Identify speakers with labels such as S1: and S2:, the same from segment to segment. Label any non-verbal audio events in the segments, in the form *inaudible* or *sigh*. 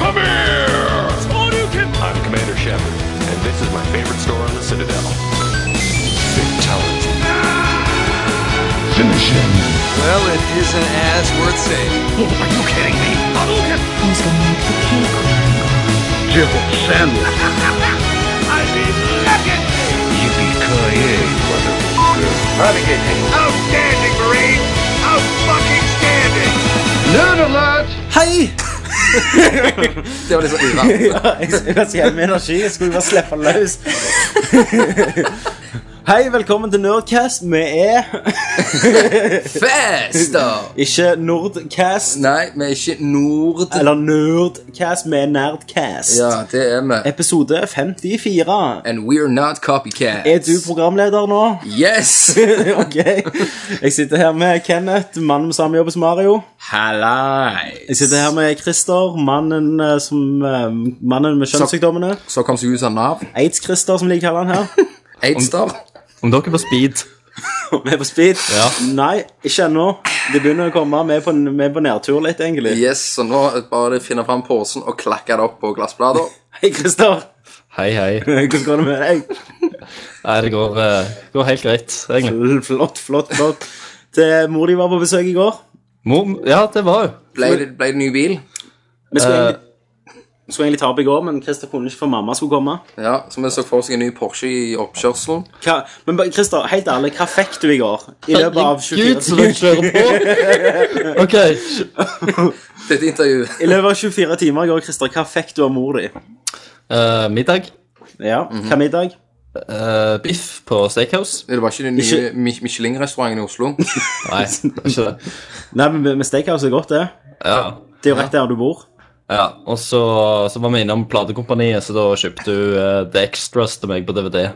S1: Come here! I'm Commander Shepard, and this is my favorite store on the Citadel. Fatality. Finish him.
S2: Well, it isn't as worth saving.
S1: Are you kidding me? Hadouken!
S3: Who's gonna make the cake?
S1: *laughs* I mean, look at me! Yippee-ki-yay, motherfucker. Outstanding, Marine! Out-fucking-standing!
S2: Hei! det var litt sånn uvant. *laughs*
S4: Ja, jeg skulle ha så jævlig med energi. Jeg skulle bare slippe den løs. *laughs* Hei, velkommen til Nerdcast. Vi er
S2: Fest, da!
S4: ikke Nordcast
S2: Nei, vi er ikke nord...
S4: eller Nerdcast, vi er Nerdcast.
S2: Ja, det er vi.
S4: Episode 54.
S2: And we're not copycats.
S4: Er du programleder nå? *laughs*
S2: Yes!
S4: ok. Jeg sitter her med Kenneth, mannen med samme jobb som Mario. Jeg
S2: Hallais!
S4: sitter her med Christer, mannen, eh, som, eh, mannen med kjønnssykdommene.
S2: Så kom seg ut av NAV.
S4: Aids-Christer, som de kaller han her.
S2: Aidstar.
S5: Om dere er på speed
S4: Vi er på speed. Nei, ikke ennå. Det begynner å komme. Vi er på, vi er på nedtur litt, egentlig.
S2: Yes, så nå er det bare å finne fram posen og klakke det opp på glassblader.
S4: Hei, Christer.
S5: Hei, hei
S4: Hvordan går det med deg?
S5: Nei, det går, eh, går helt greit, egentlig
S4: Fl- Flott, flott, flott. Det, mor di var på besøk i går.
S5: Mom, ja, det var jo
S2: Ble det, ble det ny bil?
S4: Vi skulle egentlig, skulle egentlig ta opp i går, men Christer kunne ikke for mamma skulle komme.
S2: Ja, så vi så for seg en ny Porsche i oppkjørselen.
S4: Hva, men bare, Christer, helt ærlig, hva fikk du i går? I løpet av 24
S5: Gud, så du kjører på *laughs* Ok,
S2: Dette intervjuet.
S4: I løpet av 24 timer i går, Christer, hva fikk du av mor di?
S5: eh, middag
S4: Ja, Hva middag?
S5: eh, Biff på Steakhouse
S2: Det var ikke den nye Mi- Michelin-restauranten i *laughs* Oslo.
S5: Nei, det var ikke det
S4: Nei, men med steakhouse er godt, det.
S5: Ja,
S4: Det er jo rett der du bor.
S5: ja. og så, så var vi innom pladekompaniet Så da kjøpte du eh, The Extras til meg på DVD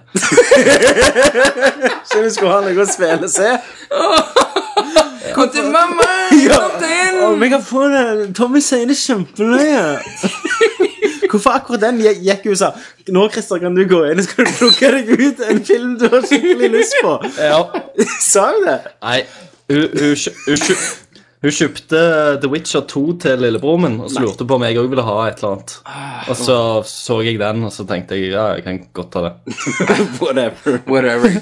S4: Så vi skulle ha noe å spille og se.
S2: Kom til mamma! Kom til inn!
S4: Å, men jeg har funnet eh, Tommy sier det *laughs* kjempeløye. Hvorfor akkurat den gikk- gikk jo sa Nå, Christer, kan du gå inn og skal du plukke deg ut en film du har skikkelig lyst på.
S5: Ja,
S4: Sa hun det?
S5: nei Hun, hun, kjø- hun, kjø- hun kjøpte The Witcher 2 til lillebroren min Og så lurte på om jeg også ville ha et eller
S4: Ah,
S5: annet Og så så jeg den, og så tenkte jeg Ja, jeg kan godt ta det
S4: Whatever.
S2: Whatever.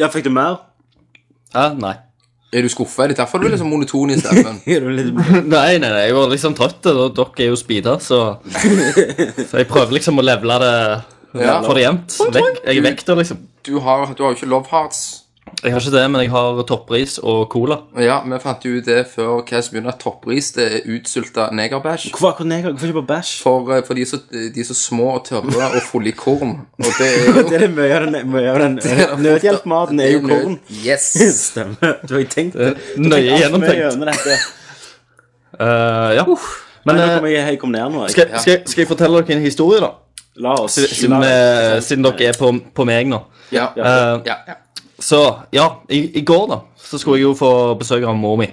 S4: Ja, fikk du mer?
S5: Ja,
S4: *laughs*
S5: nei
S2: Er du skuffa? Det er derfor du er litt sånn monoton i stemmen.
S4: Gjør du litt
S5: Nei, nei, nei, jeg var liksom trøtt, og dere er jo speeda, så Så jeg prøver liksom å levele det
S2: Ja.
S5: for det jevnt. Vek, jeg er vekter, liksom.
S2: Du har, du har jo ikke love hearts.
S5: Jeg har ikke det, men jeg har toppris og cola.
S2: Ja, vi fant jo ut det før Cass begynner at toppris det er utsulta negerbæsj.
S4: Hvorfor akkurat neger? Hvorfor ikke bare bæsj?
S2: For, eh, for de, er så, de er så små og tørre og fulle i korn. Og det er jo
S4: *laughs* Det er det mye av den, mye av den nødhjelpmaten er jo korn. *laughs*
S2: Yes.
S4: Stemmer. Du har jo tenkt det.
S5: Nøye gjennomtenkt.
S4: gjennom dette.
S5: Eh, ja.
S4: Men
S5: Men
S4: nå
S5: eh,
S4: kommer jeg, jeg kom ned nå. Jeg.
S5: skal, skal, jeg- skal jeg fortelle dere en historie, da?
S4: La oss
S5: Siden, eh, siden dere er på, på meg nå.
S2: Ja.
S5: Eh,
S2: ja, ja.
S5: Så ja, i, i går da Så skulle jeg jo få besøk av mor mi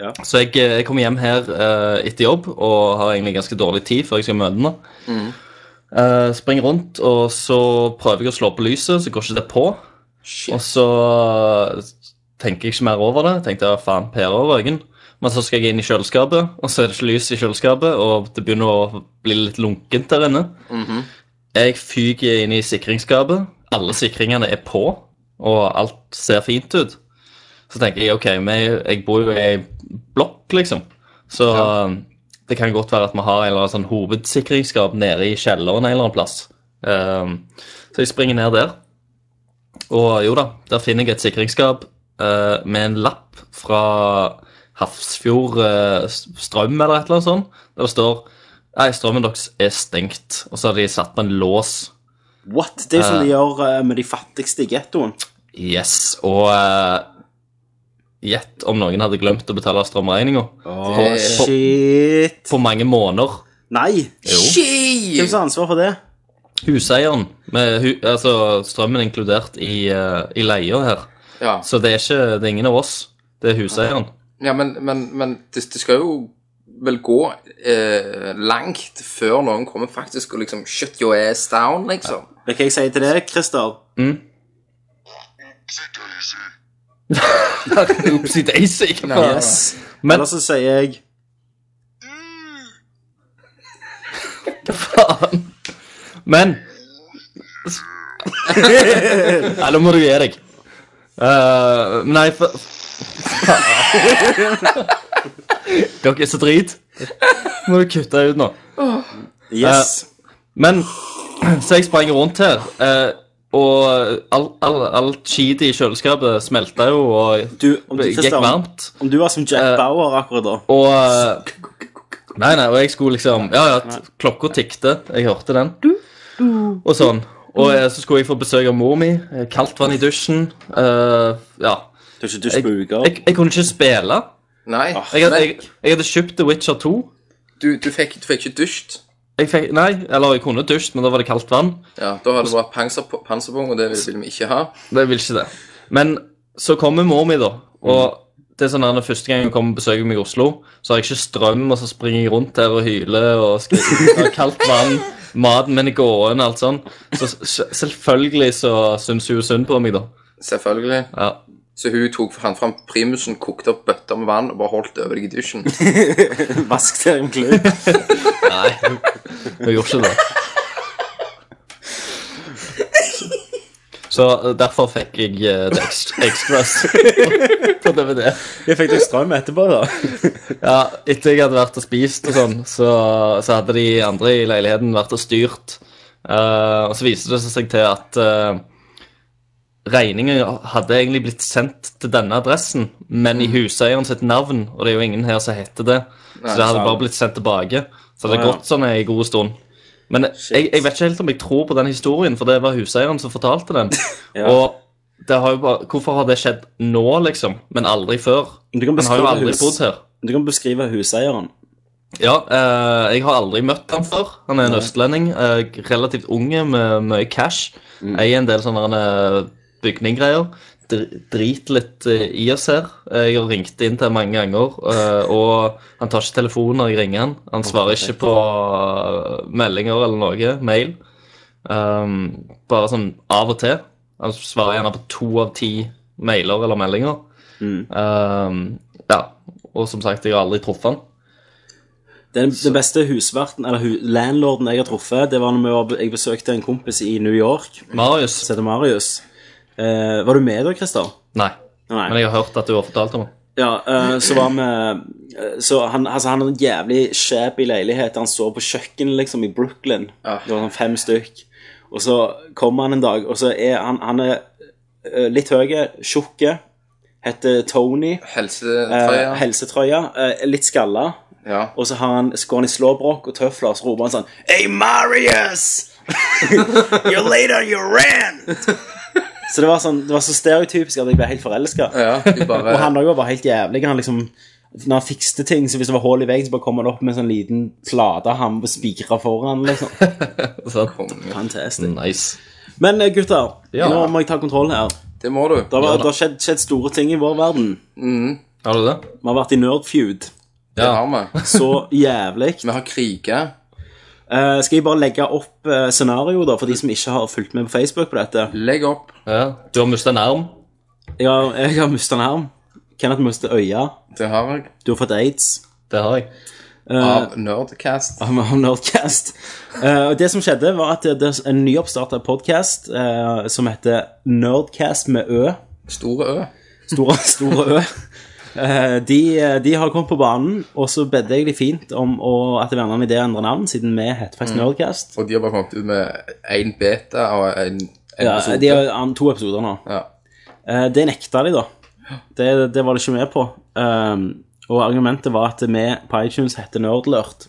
S4: Ja.
S5: Så jeg, eh, jeg kom hjem her eh, etter jobb Og har egentlig ganske dårlig tid før jeg skal møte henne Eh, Springer rundt Og så prøver jeg å slå på lyset Så går ikke det på
S2: Shit.
S5: Og så eh, tenker jeg ikke mer over det Tenkte jeg, faen, pære over øynene men så skal jeg inn i kjøleskapet, og så er det ikke lys i kjøleskapet, og det begynner å bli litt lunkent der inne. Jeg fyker inn i sikringsskapet. Alle sikringene er på, og alt ser fint ut. Så tenker jeg ok, men jeg, jeg bor jo i ei blokk, liksom. Så um, det kan godt være at vi har en eller annen sånn hovedsikringsskap nede i kjelleren en eller annen plass. Um, så jeg springer ned der. Og jo da, der finner jeg et sikringsskap eh, med en lapp fra Hafrsfjord eh, Strøm eller et eller annet sånt. Der det står Nei, strømmen deres er stengt. Og så har de satt på en lås.
S4: What? Det er jo som de gjør eh, med de fattigste i gettoen.
S5: Yes. Og eh, gjett om noen hadde glemt å betale strømregninga.
S4: Å, shit.
S5: På mange måneder.
S4: Nei.
S5: Jo.
S4: Hvem som har ansvar for det?
S5: Huseieren, med hu altså strømmen inkludert i, uh, i leia her.
S2: Ja.
S5: Så det er ikke det er ingen av oss. Det er huseieren.
S2: ja, men, men, men det, det skal jo vel gå eh, langt før noen kommer faktisk og liksom shut your ass down, liksom.
S4: Vet du hva jeg sier til deg, Christer?
S5: Oopsie daisy. hva faen?
S4: Yes. Men... Eller så sier jeg
S5: Hva faen? Men Nei, nå må du gi deg. Eh, nei, for Dere er så drit. Må du kutte ut nå.
S4: Yes.
S5: Eh, Men så jeg sprang rundt her, eh, og alt all, all cheaty i kjøleskapet smelta jo og
S4: Du, om du,
S5: gikk
S4: Christian,
S5: varmt.
S4: om du var som Jack
S5: Eh,
S4: Bauer akkurat da
S5: Og eh, Nei, nei, og jeg skulle liksom Ja, ja, t- klokka tikte. Jeg hørte den. Og sånn. Og eh, så skulle jeg få besøk av mor mi. eh, Kaldt vann i dusjen. eh, ja.
S4: Du er ikke dusj
S5: Jeg,
S4: på uker.
S5: jeg, jeg kunne ikke spille.
S2: Nei,
S5: Ah. Jeg hadde,
S2: men
S5: jeg, jeg hadde kjøpt The Witcher 2.
S2: du, du, fikk, du fikk ikke dusjt.
S5: Jeg fikk, nei, eller jeg kunne dusjt, men da var det kaldt vann.
S2: Ja, Da hadde det vært panser, panserpung, og det ville vi ikke ha.
S5: Det vil ikke det. Men så kommer mor mi, da. Og det er sånn her, den første gang hun kommer og besøker meg i Oslo, så har jeg ikke strøm, og så springer jeg rundt her og hyler og skriker av kaldt vann. Maten min er gående, alt sånn. Så s- selvfølgelig så syns hun synd på meg, da.
S2: Selvfølgelig.
S5: Ja.
S2: Så hun tok han fram primusen, kokte opp bøtter med vann og bare holdt det over deg i
S4: *laughs*
S2: dusjen.
S4: Vask deg om
S5: *laughs*
S4: kløy.
S5: Nei, hun hun gjorde ikke det. Så eh, derfor fikk jeg eh, The Ex- Extras *laughs* på DVD.
S4: Jeg fikk deg strøm etterpå, da.
S5: Ja, etter jeg hadde vært og spist og sånn, så, så hadde de andre i leiligheten vært og styrt. Eh, og så viste det seg til at eh, regningen hadde egentlig blitt sendt til denne adressen, men i
S4: Mm.
S5: huseieren sitt navn, og det er jo ingen her som heter det. Så det hadde
S4: sant.
S5: bare blitt sendt tilbake. Så
S4: Å,
S5: det hadde
S4: ja.
S5: gått sånn en god stund. Men jeg, jeg vet ikke helt om jeg tror på den historien, for det var huseieren som fortalte den.
S4: *laughs* Ja.
S5: Og det har jo bare, hvorfor har det skjedd nå, liksom, men aldri før?
S4: Men Du kan
S5: Han har jo
S4: beskrive,
S5: aldri
S4: hus,
S5: bodd her.
S4: du kan beskrive huseieren.
S5: Ja, eh, jeg har aldri møtt han før. Han er en østlending. eh, relativt unge med mye cash. Eier en del sånne eh, bygninggreier. Dr- Drit litt eh, i oss her. Eh, Jeg har ringt inn til han mange ganger, eh, og han tar ikke telefonen når jeg ringer han. Han svarer ikke på eh, meldinger eller noe. Mail. Um, bare sånn av og til. Han svarer gjerne på to av ti mailer eller meldinger. Um, ja. Og som sagt, jeg har aldri truffet han.
S4: Den, den beste husverten, eller hu, landlorden jeg har truffet, det var når vi var, jeg besøkte en kompis i New York,
S5: Marius?
S4: som heter Marius. Eh, var du med da, Christer?
S5: Nei.
S4: Nei.
S5: Men jeg har hørt at du har fortalt om det.
S4: Ja, eh, så var vi eh, Så han, altså, han hadde en jævlig shabby leilighet. Han sov på kjøkkenet liksom i Brooklyn.
S2: Ja.
S4: Det var sånn fem stykk. Og så kommer han en dag, og så er han, han er eh, litt høy, tjukk, heter Tony. Eh,
S2: Helsetrøya.
S4: helsetrøya. Eh, litt skalla.
S2: ja.
S4: Og så har han, så går han i slåbrok og tøfler, og så roper han sånn Hey, Marius! *laughs* You're late on your
S2: *laughs*
S4: rant! så det var, sånn, det var så stereotypisk at jeg ble helt forelska.
S2: ja,
S4: *laughs*
S2: de bare
S4: Og han også var bare helt jævlig. Han liksom når han fikste ting, så hvis det var hull i veggen, så bare kom han opp med en sånn liten plate han spikra foran. liksom.
S5: Sant?
S4: Fantastisk.
S5: Nice.
S4: Men eh, gutter,
S5: Ja.
S4: nå må jeg ta kontroll her.
S2: Det må du.
S4: Det
S5: Ja
S4: har,
S5: da.
S4: det har skjedd, skjedd store ting i vår verden.
S5: Har du det?
S4: Vi har vært i nerdfeud
S2: Det har vi.
S4: så jævlig.
S2: Vi har kriga.
S4: Eh, skal jeg bare legge opp uh, scenarioet da, for de som ikke har fulgt med på Facebook på dette?
S2: Legg opp.
S5: Ja. Du har mistet en arm?
S4: Jeg har, jeg har mista en arm. Kenneth mista øya.
S2: Det har jeg.
S4: Du har fått aids.
S5: Det har jeg.
S4: Eh.
S2: Av Nerdcast.
S4: Om, om Nerdcast. Eh, og det som skjedde, var at det, det er en nyoppstarta podkast eh, som heter Nerdcast med Ø.
S2: Store Ø.
S4: Store, *laughs* store Ø. Eh, de, eh, de har kommet på banen, og så bedde jeg de fint om å, at det var en annen idé å endre navn, siden vi heter faktisk
S2: Mm.
S4: Nerdcast.
S2: Og de har bare kommet ut med én beta og en, en
S4: Ja,
S2: episode.
S4: de har an- to episoder nå.
S2: Ja.
S4: Eh, det nekta de, da. Det, det var de ikke med på. Um, og argumentet var at vi på iTunes heter Nerdlurt.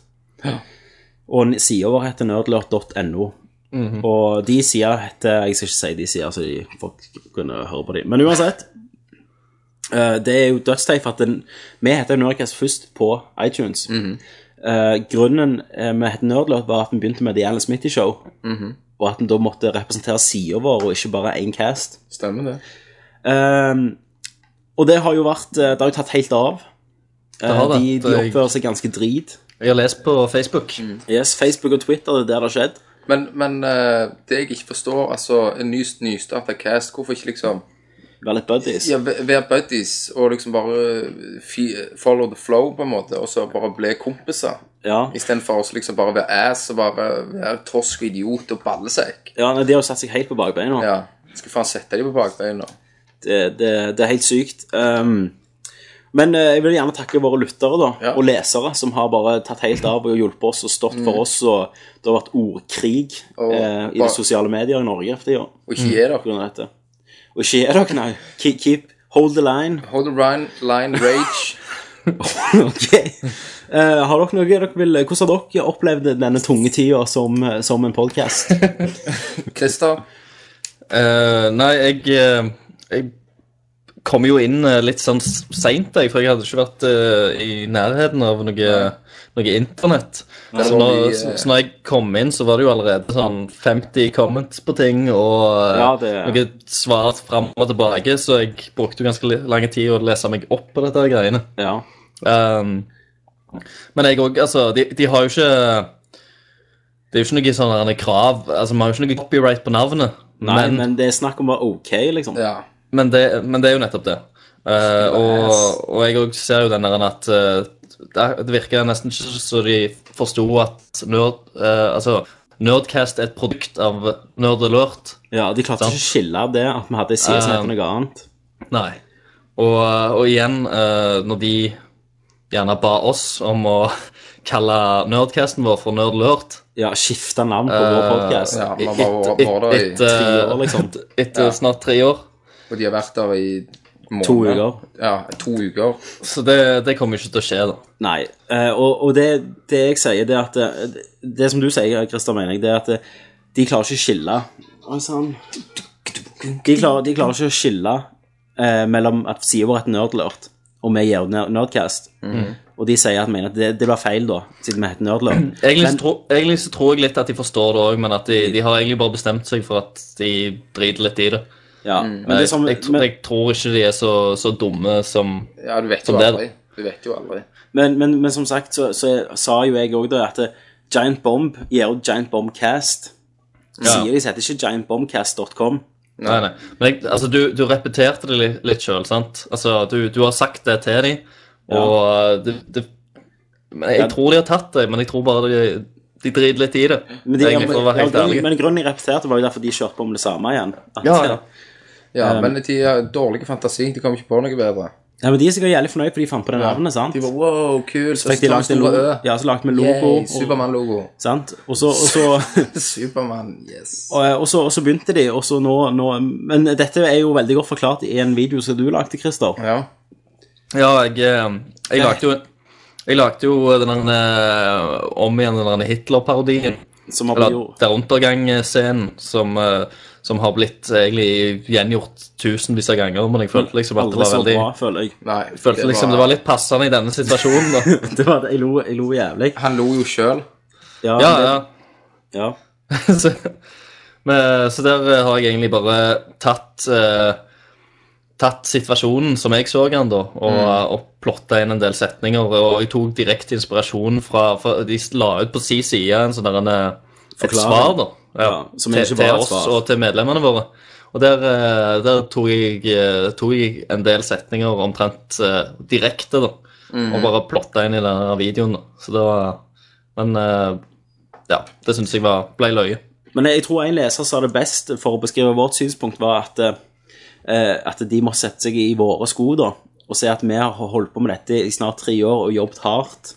S4: Og sida vår heter nerdlurt.no. Og de sida heter Jeg skal ikke si de sida, så de folk kunne høre på de. Men uansett. eh, det er jo dødsteit, for at den, vi heter Nerdcast først på iTunes. Eh, grunnen eh, vi heter Nerdlurt, var at vi begynte med The Alan Smitty Show. Og at vi da måtte representere sida vår, og ikke bare én cast.
S2: Stemmer det.
S4: Ehm, og det har jo vært eh, Det har jo tatt helt av. Eh,
S5: har det.
S4: De, de
S5: Det er-
S4: oppfører seg ganske drit.
S5: Jeg har lest på Facebook.
S4: Yes, Facebook og Twitter det er der det har skjedd.
S2: Men, men eh, det jeg ikke forstår, altså en ny nystart av Cast, hvorfor ikke liksom
S4: Være litt buddies.
S2: Ja, væ- være buddies og liksom bare fi, follow the flow, på en måte, og så bare bli kompiser.
S4: Ja.
S2: Istedenfor å liksom bare være ass og bare være tosk og idiot og ballesekk.
S4: ja, nei, De har jo satt seg helt på bakbeina.
S2: Ja. Skal faen sette dem på bakbeina.
S4: Det, det, det er helt sykt. Um, men eh, jeg vil gjerne takke våre lyttere da,
S2: Ja.
S4: og lesere, som har bare tatt helt av og hjulpet oss og stått
S5: Mm.
S4: for oss. og Det har vært ordkrig
S2: Og
S4: eh, i
S2: bare-
S4: de sosiale medier i Norge for tida.
S2: Og
S5: Mm.
S2: ikke gi
S4: på
S2: dere.
S4: grunn av dette. Og ikke gi dere, nei. Keep, keep hold the line.
S2: Hold the line, line rage.
S4: *laughs* ok. Eh, har dere noe dere vil Hvordan har dere opplevd denne tunge tida som, som en podkast?
S2: Christer.
S5: Eh, nei, jeg, eh, jeg kom jo inn eh, litt sånn s- seint, jeg, for jeg hadde ikke vært eh, i nærheten av noe, noe internett. Så
S2: var
S4: sånn
S5: når,
S2: vi,
S5: så,
S2: eh,
S5: så når jeg kom inn, så var det jo allerede sånn 50 comments på ting, og eh,
S4: Ja, det-
S5: noe svar fram og tilbake, så jeg brukte jo ganske li- lang tid å lese meg opp på dette her greiene.
S4: ja.
S5: Um, men jeg òg Altså, de, de har jo ikke Det er jo ikke noe sånn her krav Altså, vi har jo ikke noe copyright på navnet.
S4: Nei, men,
S5: men, men,
S4: det er snakk om å være OK, liksom.
S2: Ja.
S5: det, men det er jo nettopp det. Uh, og, og jeg òg ser jo den der at uh, det det virker nesten ikke så de forsto at nerd, uh, altså, Nerdcast er et produkt av Nerd Alert.
S4: Ja, De klarte ikke å skille det at vi hadde en side som
S5: Eh,
S4: heter noe annet.
S5: Nei. Og, og igjen, eh, når de gjerne ba oss om å *laughs* kalle nerdcasten vår for Nerdlurt
S4: Ja, Skifte navn på vår podkast.
S2: ja. man bare var der i
S5: Etter
S4: tre år,
S5: *laughs*
S4: liksom.
S5: etter snart tre eh, år.
S2: Og de har vært der i måneder.
S4: To uker.
S2: Ja, to uker.
S5: Så det, det kommer jo ikke til å skje, da.
S4: Nei. eh, og og det, det jeg sier, det er at Det, det som du sier, Christer, mener jeg, det er at eh, de klarer ikke å skille Oi sann. De, klarer- de klarer ikke å skille eh, mellom at sida vår er et nerdlurt, og vi gjør nerd- Nerdcast.
S5: Mhm.
S4: Og de sier at, mener at det, det var feil, da, siden vi heter Nerdlurt.
S5: Egentlig, så tro, egentlig så tror jeg litt at de forstår det òg, men at de, de har egentlig bare bestemt seg for at de driter litt i det.
S4: Ja, men det
S5: Jeg,
S4: er som,
S5: jeg, tr-
S4: men,
S5: jeg tror ikke de er så, så dumme som
S2: Ja, du vet
S5: Som
S2: jo
S5: det er,
S2: aldri. Du vet jo aldri.
S4: men, men, men som sagt, så, så jeg- sa jo jeg òg da at eh, Giant Bomb gir jo Giant Bomb Cast.
S5: Ja.
S4: Sier de så heter ikke giantbombcast.com.
S5: Nei, nei. Men jeg, altså, du, du repeterte det litt, litt sjøl, sant? Altså, du, du har sagt det til dem, og uh, det, det men Jeg
S4: Ja.
S5: tror de har tatt det, men jeg tror bare de, de driter litt i det.
S4: Men, de,
S5: egentlig, for å være
S4: ja,
S5: helt
S4: grunnen-
S5: ærlig.
S4: men grunnen jeg repeterte, var jo derfor de kjørte på med det samme igjen. At,
S5: Ja, ja.
S2: Ja, men de har dårlig fantasi. De kommer ikke på noe bedre.
S4: Ja, men De er sikkert jævlig fornøyd, for de fant på det navnet. sant?
S2: De bare wow, kult. Så
S4: Fikk de lagt en
S2: store
S4: logo,
S2: ø.
S4: ja, så lagde vi logo,
S2: Yay,
S4: og,
S2: Supermann-logo. *laughs*
S4: sant? Og, så, og, så, *laughs*
S2: Supermann, yes.
S4: og, eh, og, så, og så begynte de, og så nå, nå Men dette er jo veldig godt forklart i en video som du lagde, Christer.
S2: Ja.
S5: Ja, jeg, eh, jeg lagde jo jeg lagde jo den der, eh, om igjen den der Hitler-parodien.
S4: Som har blitt
S5: Eller
S4: Mm. jo-
S5: der undergangsscenen, som, eh, som har blitt egentlig gjengjort tusenvis av ganger. Men jeg følte liksom at det
S4: Mm. aldri
S5: var
S4: så
S5: veldig
S4: bra, føler jeg. *laughs*
S2: Nei.
S5: jeg følte liksom det var litt passende i denne situasjonen. da.
S4: Det var, jeg, lo, jeg lo jævlig.
S2: Han lo jo sjøl.
S4: *laughs* Ja,
S5: Ja,
S4: det-
S5: ja.
S4: ja.
S5: *laughs* så, men, så der eh, har jeg egentlig bare tatt eh, Tatt situasjonen som jeg så den, da, og, eh, og plotta inn en del setninger. Og jeg tok direkte inspirasjon fra, fra De la ut på si side en sånn der en, eh, et
S4: Forklaring.
S5: svar, da.
S4: Ja, som
S5: til,
S4: ikke var et
S5: til oss
S4: svar.
S5: og til medlemmene våre. Og der, eh, der tok, jeg, eh, tok jeg en del setninger omtrent eh, direkte, da. Og bare plotta inn i denne videoen. da. Så det var Men eh, ja, det syns jeg var, ble løye.
S4: Men jeg tror en leser sa det best for å beskrive vårt synspunkt, var at, eh, at de må sette seg i våre sko da, og se at vi har holdt på med dette i snart tre år og jobbet hardt.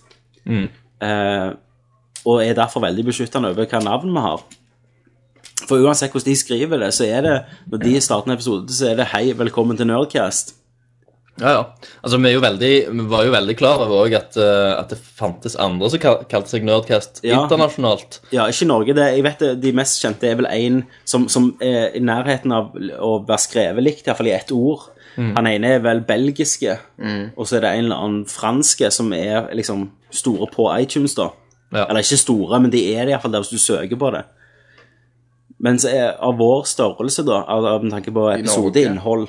S4: Eh, og er derfor veldig beskyttende over hva navn vi har. For uansett hvordan de skriver det, så er det, når de starter en episode, så er det hei, velkommen til Nerdcast.
S5: Ja, ja. Altså, vi, er jo veldig, vi var jo veldig klar over også at, eh, at det fantes andre som kal- kalte seg Nerdcast
S4: Ja.
S5: internasjonalt.
S4: Ja, ikke Norge. Det, jeg vet det, De mest kjente er vel en som, som er i nærheten av å være skrevet likt, iallfall i ett ord. Han ene er vel belgiske,
S2: Mm.
S4: og så er det en eller annen franske som er liksom store på iTunes, da.
S5: Ja.
S4: Eller ikke store, men de er det iallfall der hvis du søker på det. Mens eh, av vår størrelse, da, av, av med tanke på episodeinnhold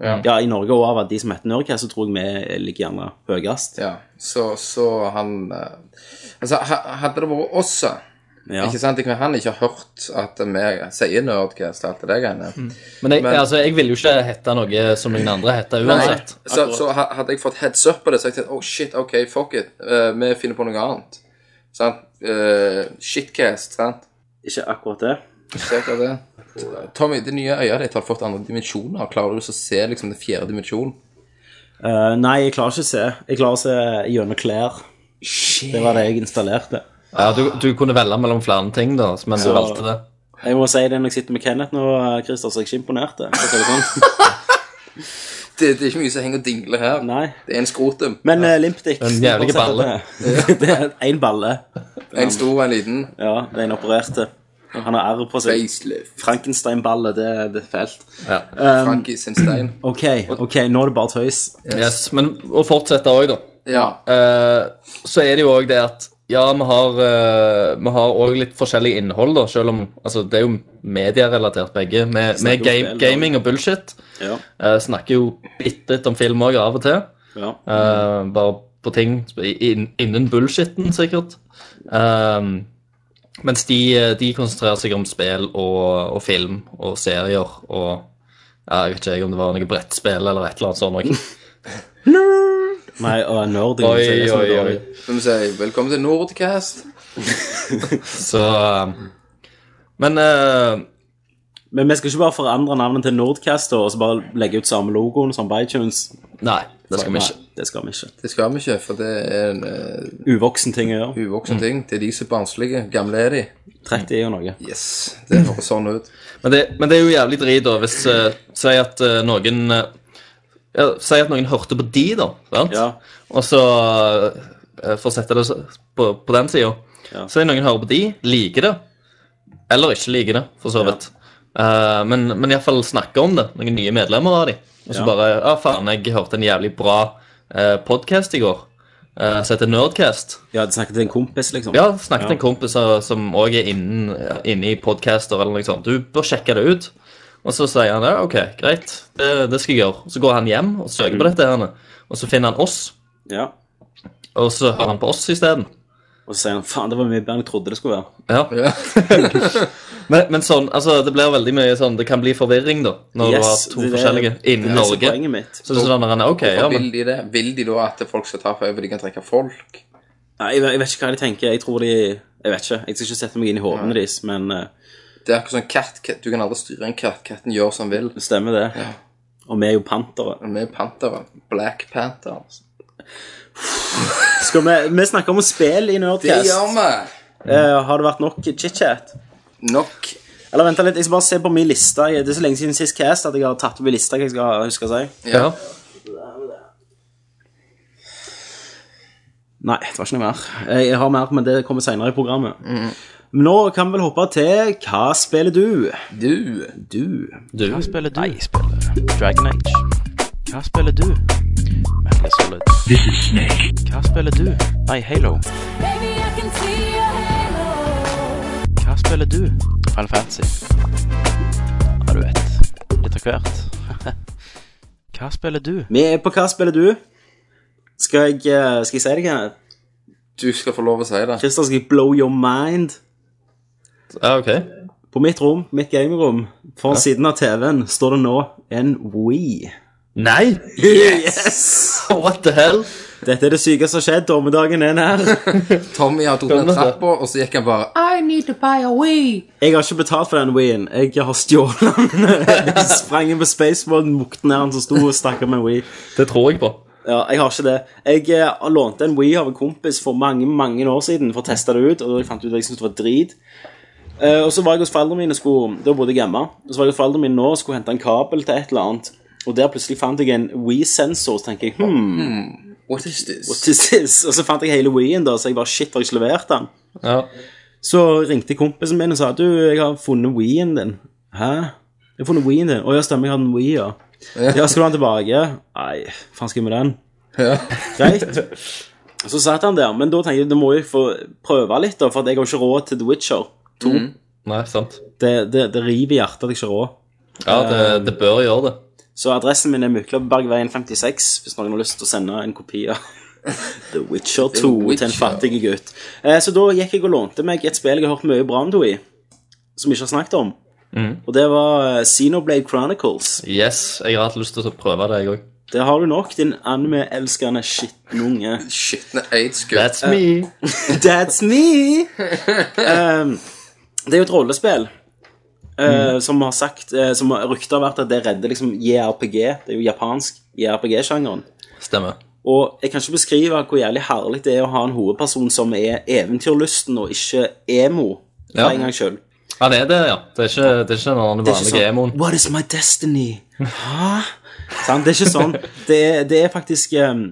S2: Ja.
S4: i Norge og av at de som heter Nerdcast, så tror jeg vi ligger gjerne høyest.
S2: Ja. Så, så han eh, Altså, ha- hadde det vært oss,
S4: Ja.
S2: Ikke sant? Det kan være han ikke har hørt at vi sier nerdcast og alt det der greiene.
S4: Mm.
S5: Men jeg,
S2: Men-
S5: altså, jeg ville jo ikke hette noe som noen andre heter
S2: Nei,
S5: uansett.
S2: så, så ha- hadde jeg fått heads up på det, så hadde jeg tenkt oh shit, OK, fuck it. eh, vi finner på noe annet. Sant? Eh, shitcast, sant?
S4: Ikke akkurat det.
S2: Ser dere det? Tommy, det nye øyet ditt har fått andre dimensjoner. Klarer du så å se liksom den fjerde dimensjonen?
S4: Eh, nei, jeg klarer ikke å se. Jeg klarer å se gjennom klær. Det var det jeg installerte.
S5: Ja, du, du kunne velge mellom flere ting, da, men du
S4: Så-
S5: valgte det.
S4: Jeg må si det når jeg sitter med Kenneth nå, eh, Christer, så er jeg ikke imponert. det, for å si det *laughs* Sånn.
S2: Det, det er ikke mye som henger og dingler her.
S4: Nei.
S2: Det er en skrotum.
S4: Men uh, Limpdix
S5: En jævlig balle.
S4: Det *laughs* er én balle.
S2: En stor og en liten.
S4: Ja, det er en opererte. Han har R på seg.
S2: Facelift.
S4: Frankenstein-balle, det, det er fælt.
S5: Ja.
S4: Um,
S2: Frankie sin
S4: *clears throat*
S2: stein.
S4: OK, ok, nå er det bare tøys.
S5: Yes. Men å fortsette òg, da.
S2: Ja.
S5: Eh, så er det jo òg det at ja, vi har eh, Vi har òg litt forskjellig innhold, da, selv om altså, det er jo medierelatert, begge. Vi vi
S4: Snakker
S5: er
S4: om
S5: game,
S4: spill, da.
S5: gaming og bullshit.
S4: Ja,
S5: Eh, snakker jo bitte litt om film òg, av og til.
S4: ja.
S5: Eh, bare på ting inn- innen bullshitten, sikkert. Ehm, mens de, eh, de konsentrerer seg om spill og, og film og serier og ja, Jeg vet ikke jeg om det var noe brettspill eller et eller annet sånt. noe. *laughs*
S4: Nei, og en nerd
S5: Oi,
S4: jeg må si, det er så
S5: oi, oi.
S4: dårlig.
S2: Så vi sier velkommen til Nordcast.
S5: Så eh, Men eh,
S4: Men vi skal ikke bare forandre navnet til Nordcast og så bare legge ut samme logoen som Bitunes.
S5: Nei, det skal vi ikke.
S4: Nei, det skal vi ikke.
S2: Det skal vi ikke, for det er en eh,
S4: Uvoksen ting å gjøre.
S2: uvoksen ting. Det er de som er barnslige. Gamle er de.
S4: 30 er jo noe.
S2: Yes. Det høres sånn ut.
S5: Men det, men det er jo jævlig drit, da, hvis eh, Si at eh, noen eh, ja, Si at noen hørte på de, da. Sant?
S4: Ja.
S5: Og så eh, For å sette det så- på, på den sida.
S4: Ja.
S5: Så er noen hører på de, liker det. Eller ikke liker det, for så vidt. Eh, men men iallfall snakker om det. Noen nye medlemmer av de. Og så
S4: Ja.
S5: bare Ja, faen, jeg hørte en jævlig bra uh, podkast i går. Uh, som heter Nerdcast.
S4: Ja, de snakket til en kompis, liksom.
S5: Ja, snakket med en kompis av- som òg er innen, inne i podcaster eller noe sånt. Du bør sjekke det ut. Og så sier han ja, OK, greit, det, det skal jeg gjøre. Så går han hjem og søker på dette, her, og så finner han oss,
S4: Ja.
S5: og så hører han på oss isteden.
S4: Og så sier han faen, det var mye bedre enn jeg trodde det skulle være.
S5: *laughs* Ja.
S2: Ja.
S5: Men, men sånn, altså, det blir veldig mye sånn Det kan bli forvirring, da, når du har
S4: Yes,
S5: to
S4: det er det-
S5: forskjellige innen
S4: Det er
S5: Norge.
S4: poenget mitt.
S5: Så det er sånn at han er OK, ja,
S2: Hvorfor
S5: men
S2: vil de det? Vil de da at folk skal ta for over de kan trekke folk?
S4: Nei, jeg, vet- jeg vet ikke hva de tenker. Jeg tror de Jeg vet ikke. Jeg skal ikke sette meg inn i hodene deres, men eh,
S2: Det er akkurat sånn katt, katt. Du kan aldri styre en katt. Katten gjør som han vil.
S4: det stemmer, det. Og vi er jo pantere.
S2: Vi er pantere. Black Panther.
S4: Skal vi, vi snakker om å spille i
S2: Det
S4: Nerdcast.
S2: gjør vi!
S4: Eh, har det vært nok chit-chat?
S2: Nok.
S4: Eller vent litt, jeg skal bare se på min liste. Jeg- Det er så lenge siden sist cast at jeg har tatt opp min liste hva jeg skal huske å si.
S5: ja.
S4: Nei, det var ikke noe mer. Eh, Jeg jeg har mer, men det kommer senere i programmet. Men Nå kan vi vel hoppe til Hva spiller du?
S2: Du.
S4: Du.
S5: Du.
S6: spiller du? Nei, jeg spiller Dragon Age. Hva spiller du? Metal Solid. This is Snake. Hva spiller du? Nei, Halo.
S7: Baby, I can see your halo.
S6: Hva spiller du? Final Fantasy. Ja, du vet. Litt av hvert. *laughs* Hva spiller du?
S4: Vi er på Hva spiller du? Skal jeg, eh, skal jeg si det, Kenneth?
S2: Du skal få lov å si det.
S4: Christer, skal jeg blow your mind?
S5: ja, OK.
S4: På mitt rom, mitt gamerom, foran siden av TV-en, står det nå en Wii.
S5: Nei! *laughs* What the hell?
S4: Dette er det sykeste som har skjedd. Dommedagen er nær.
S2: Tommy har tatt ned
S5: Skjønner det.
S2: trappa, og så gikk han bare
S4: Jeg har ikke betalt for den Wii-en. Jeg har stjålet den. Jeg sprang inn på Spaceboarden, mukte ned han som sto og stakk av med en Wii.
S5: Det tror jeg på.
S4: Ja, jeg har ikke det. Jeg eh, lånte en Wii av en kompis for mange mange år siden for å teste det ut, og jeg fant ut at jeg syntes det var drit. Eh, og så var jeg hos foreldrene mine, skulle, da bodde jeg hjemme, og så var jeg hos foreldrene mine nå og skulle hente en kabel til et eller annet, og der plutselig fant jeg en Wii-sensor, så tenker jeg, hmm,
S2: What is this?
S4: what is this? Og så fant jeg hele Wii-en da, så jeg bare, shit, har jeg ikke levert den?
S5: Ja.
S4: Så ringte kompisen min og sa, du, jeg har funnet Wii-en din. Hæ? Jeg har funnet Wii-en din. Å, ja, stemmer, jeg hadde en Wii, ja. Ja, skal du ha den tilbake? Nei, faen skal jeg med den? Greit. Så satt han der, men da tenkte jeg, du må jo få prøve litt da, for at jeg har jo ikke råd til The Witcher.
S5: Nei, sant.
S4: Det, det, det river i hjertet at jeg ikke har råd.
S5: Ja, det, det bør gjøre det.
S4: Så adressen min er Myklabergveien 56, hvis noen har lyst til å sende en kopi av The Witcher 2 til
S2: Witcher.
S4: en fattig gutt. Eh, så da gikk jeg og lånte meg et spill jeg har hørt mye bra om, Doi, som vi ikke har snakket om. Og det var eh, Xenoblade Chronicles.
S5: Yes, jeg har hatt lyst til å prøve det, jeg òg.
S4: Det har du nok, din anime-elskende skitnunge.
S2: *laughs* Skitne aids-gutt.
S5: That's me.
S4: That's me! Um, det er jo et rollespill. eh, Som har sagt eh, Som ryktet har vært at det redder liksom JRPG. Det er jo japansk JRPG-sjangeren.
S5: Stemmer.
S4: Og jeg kan ikke beskrive hvor jævlig herlig det er å ha en hovedperson som er eventyrlysten og ikke emo. For
S5: Ja.
S4: en gang selv.
S5: Han er det, ja. Det er ikke, det er ikke den andre
S4: Det er ikke
S5: vanlige
S4: sånn
S5: emoen.
S4: What is my destiny? Hæ? Sant? Det er ikke sånn. Det er, det er faktisk um,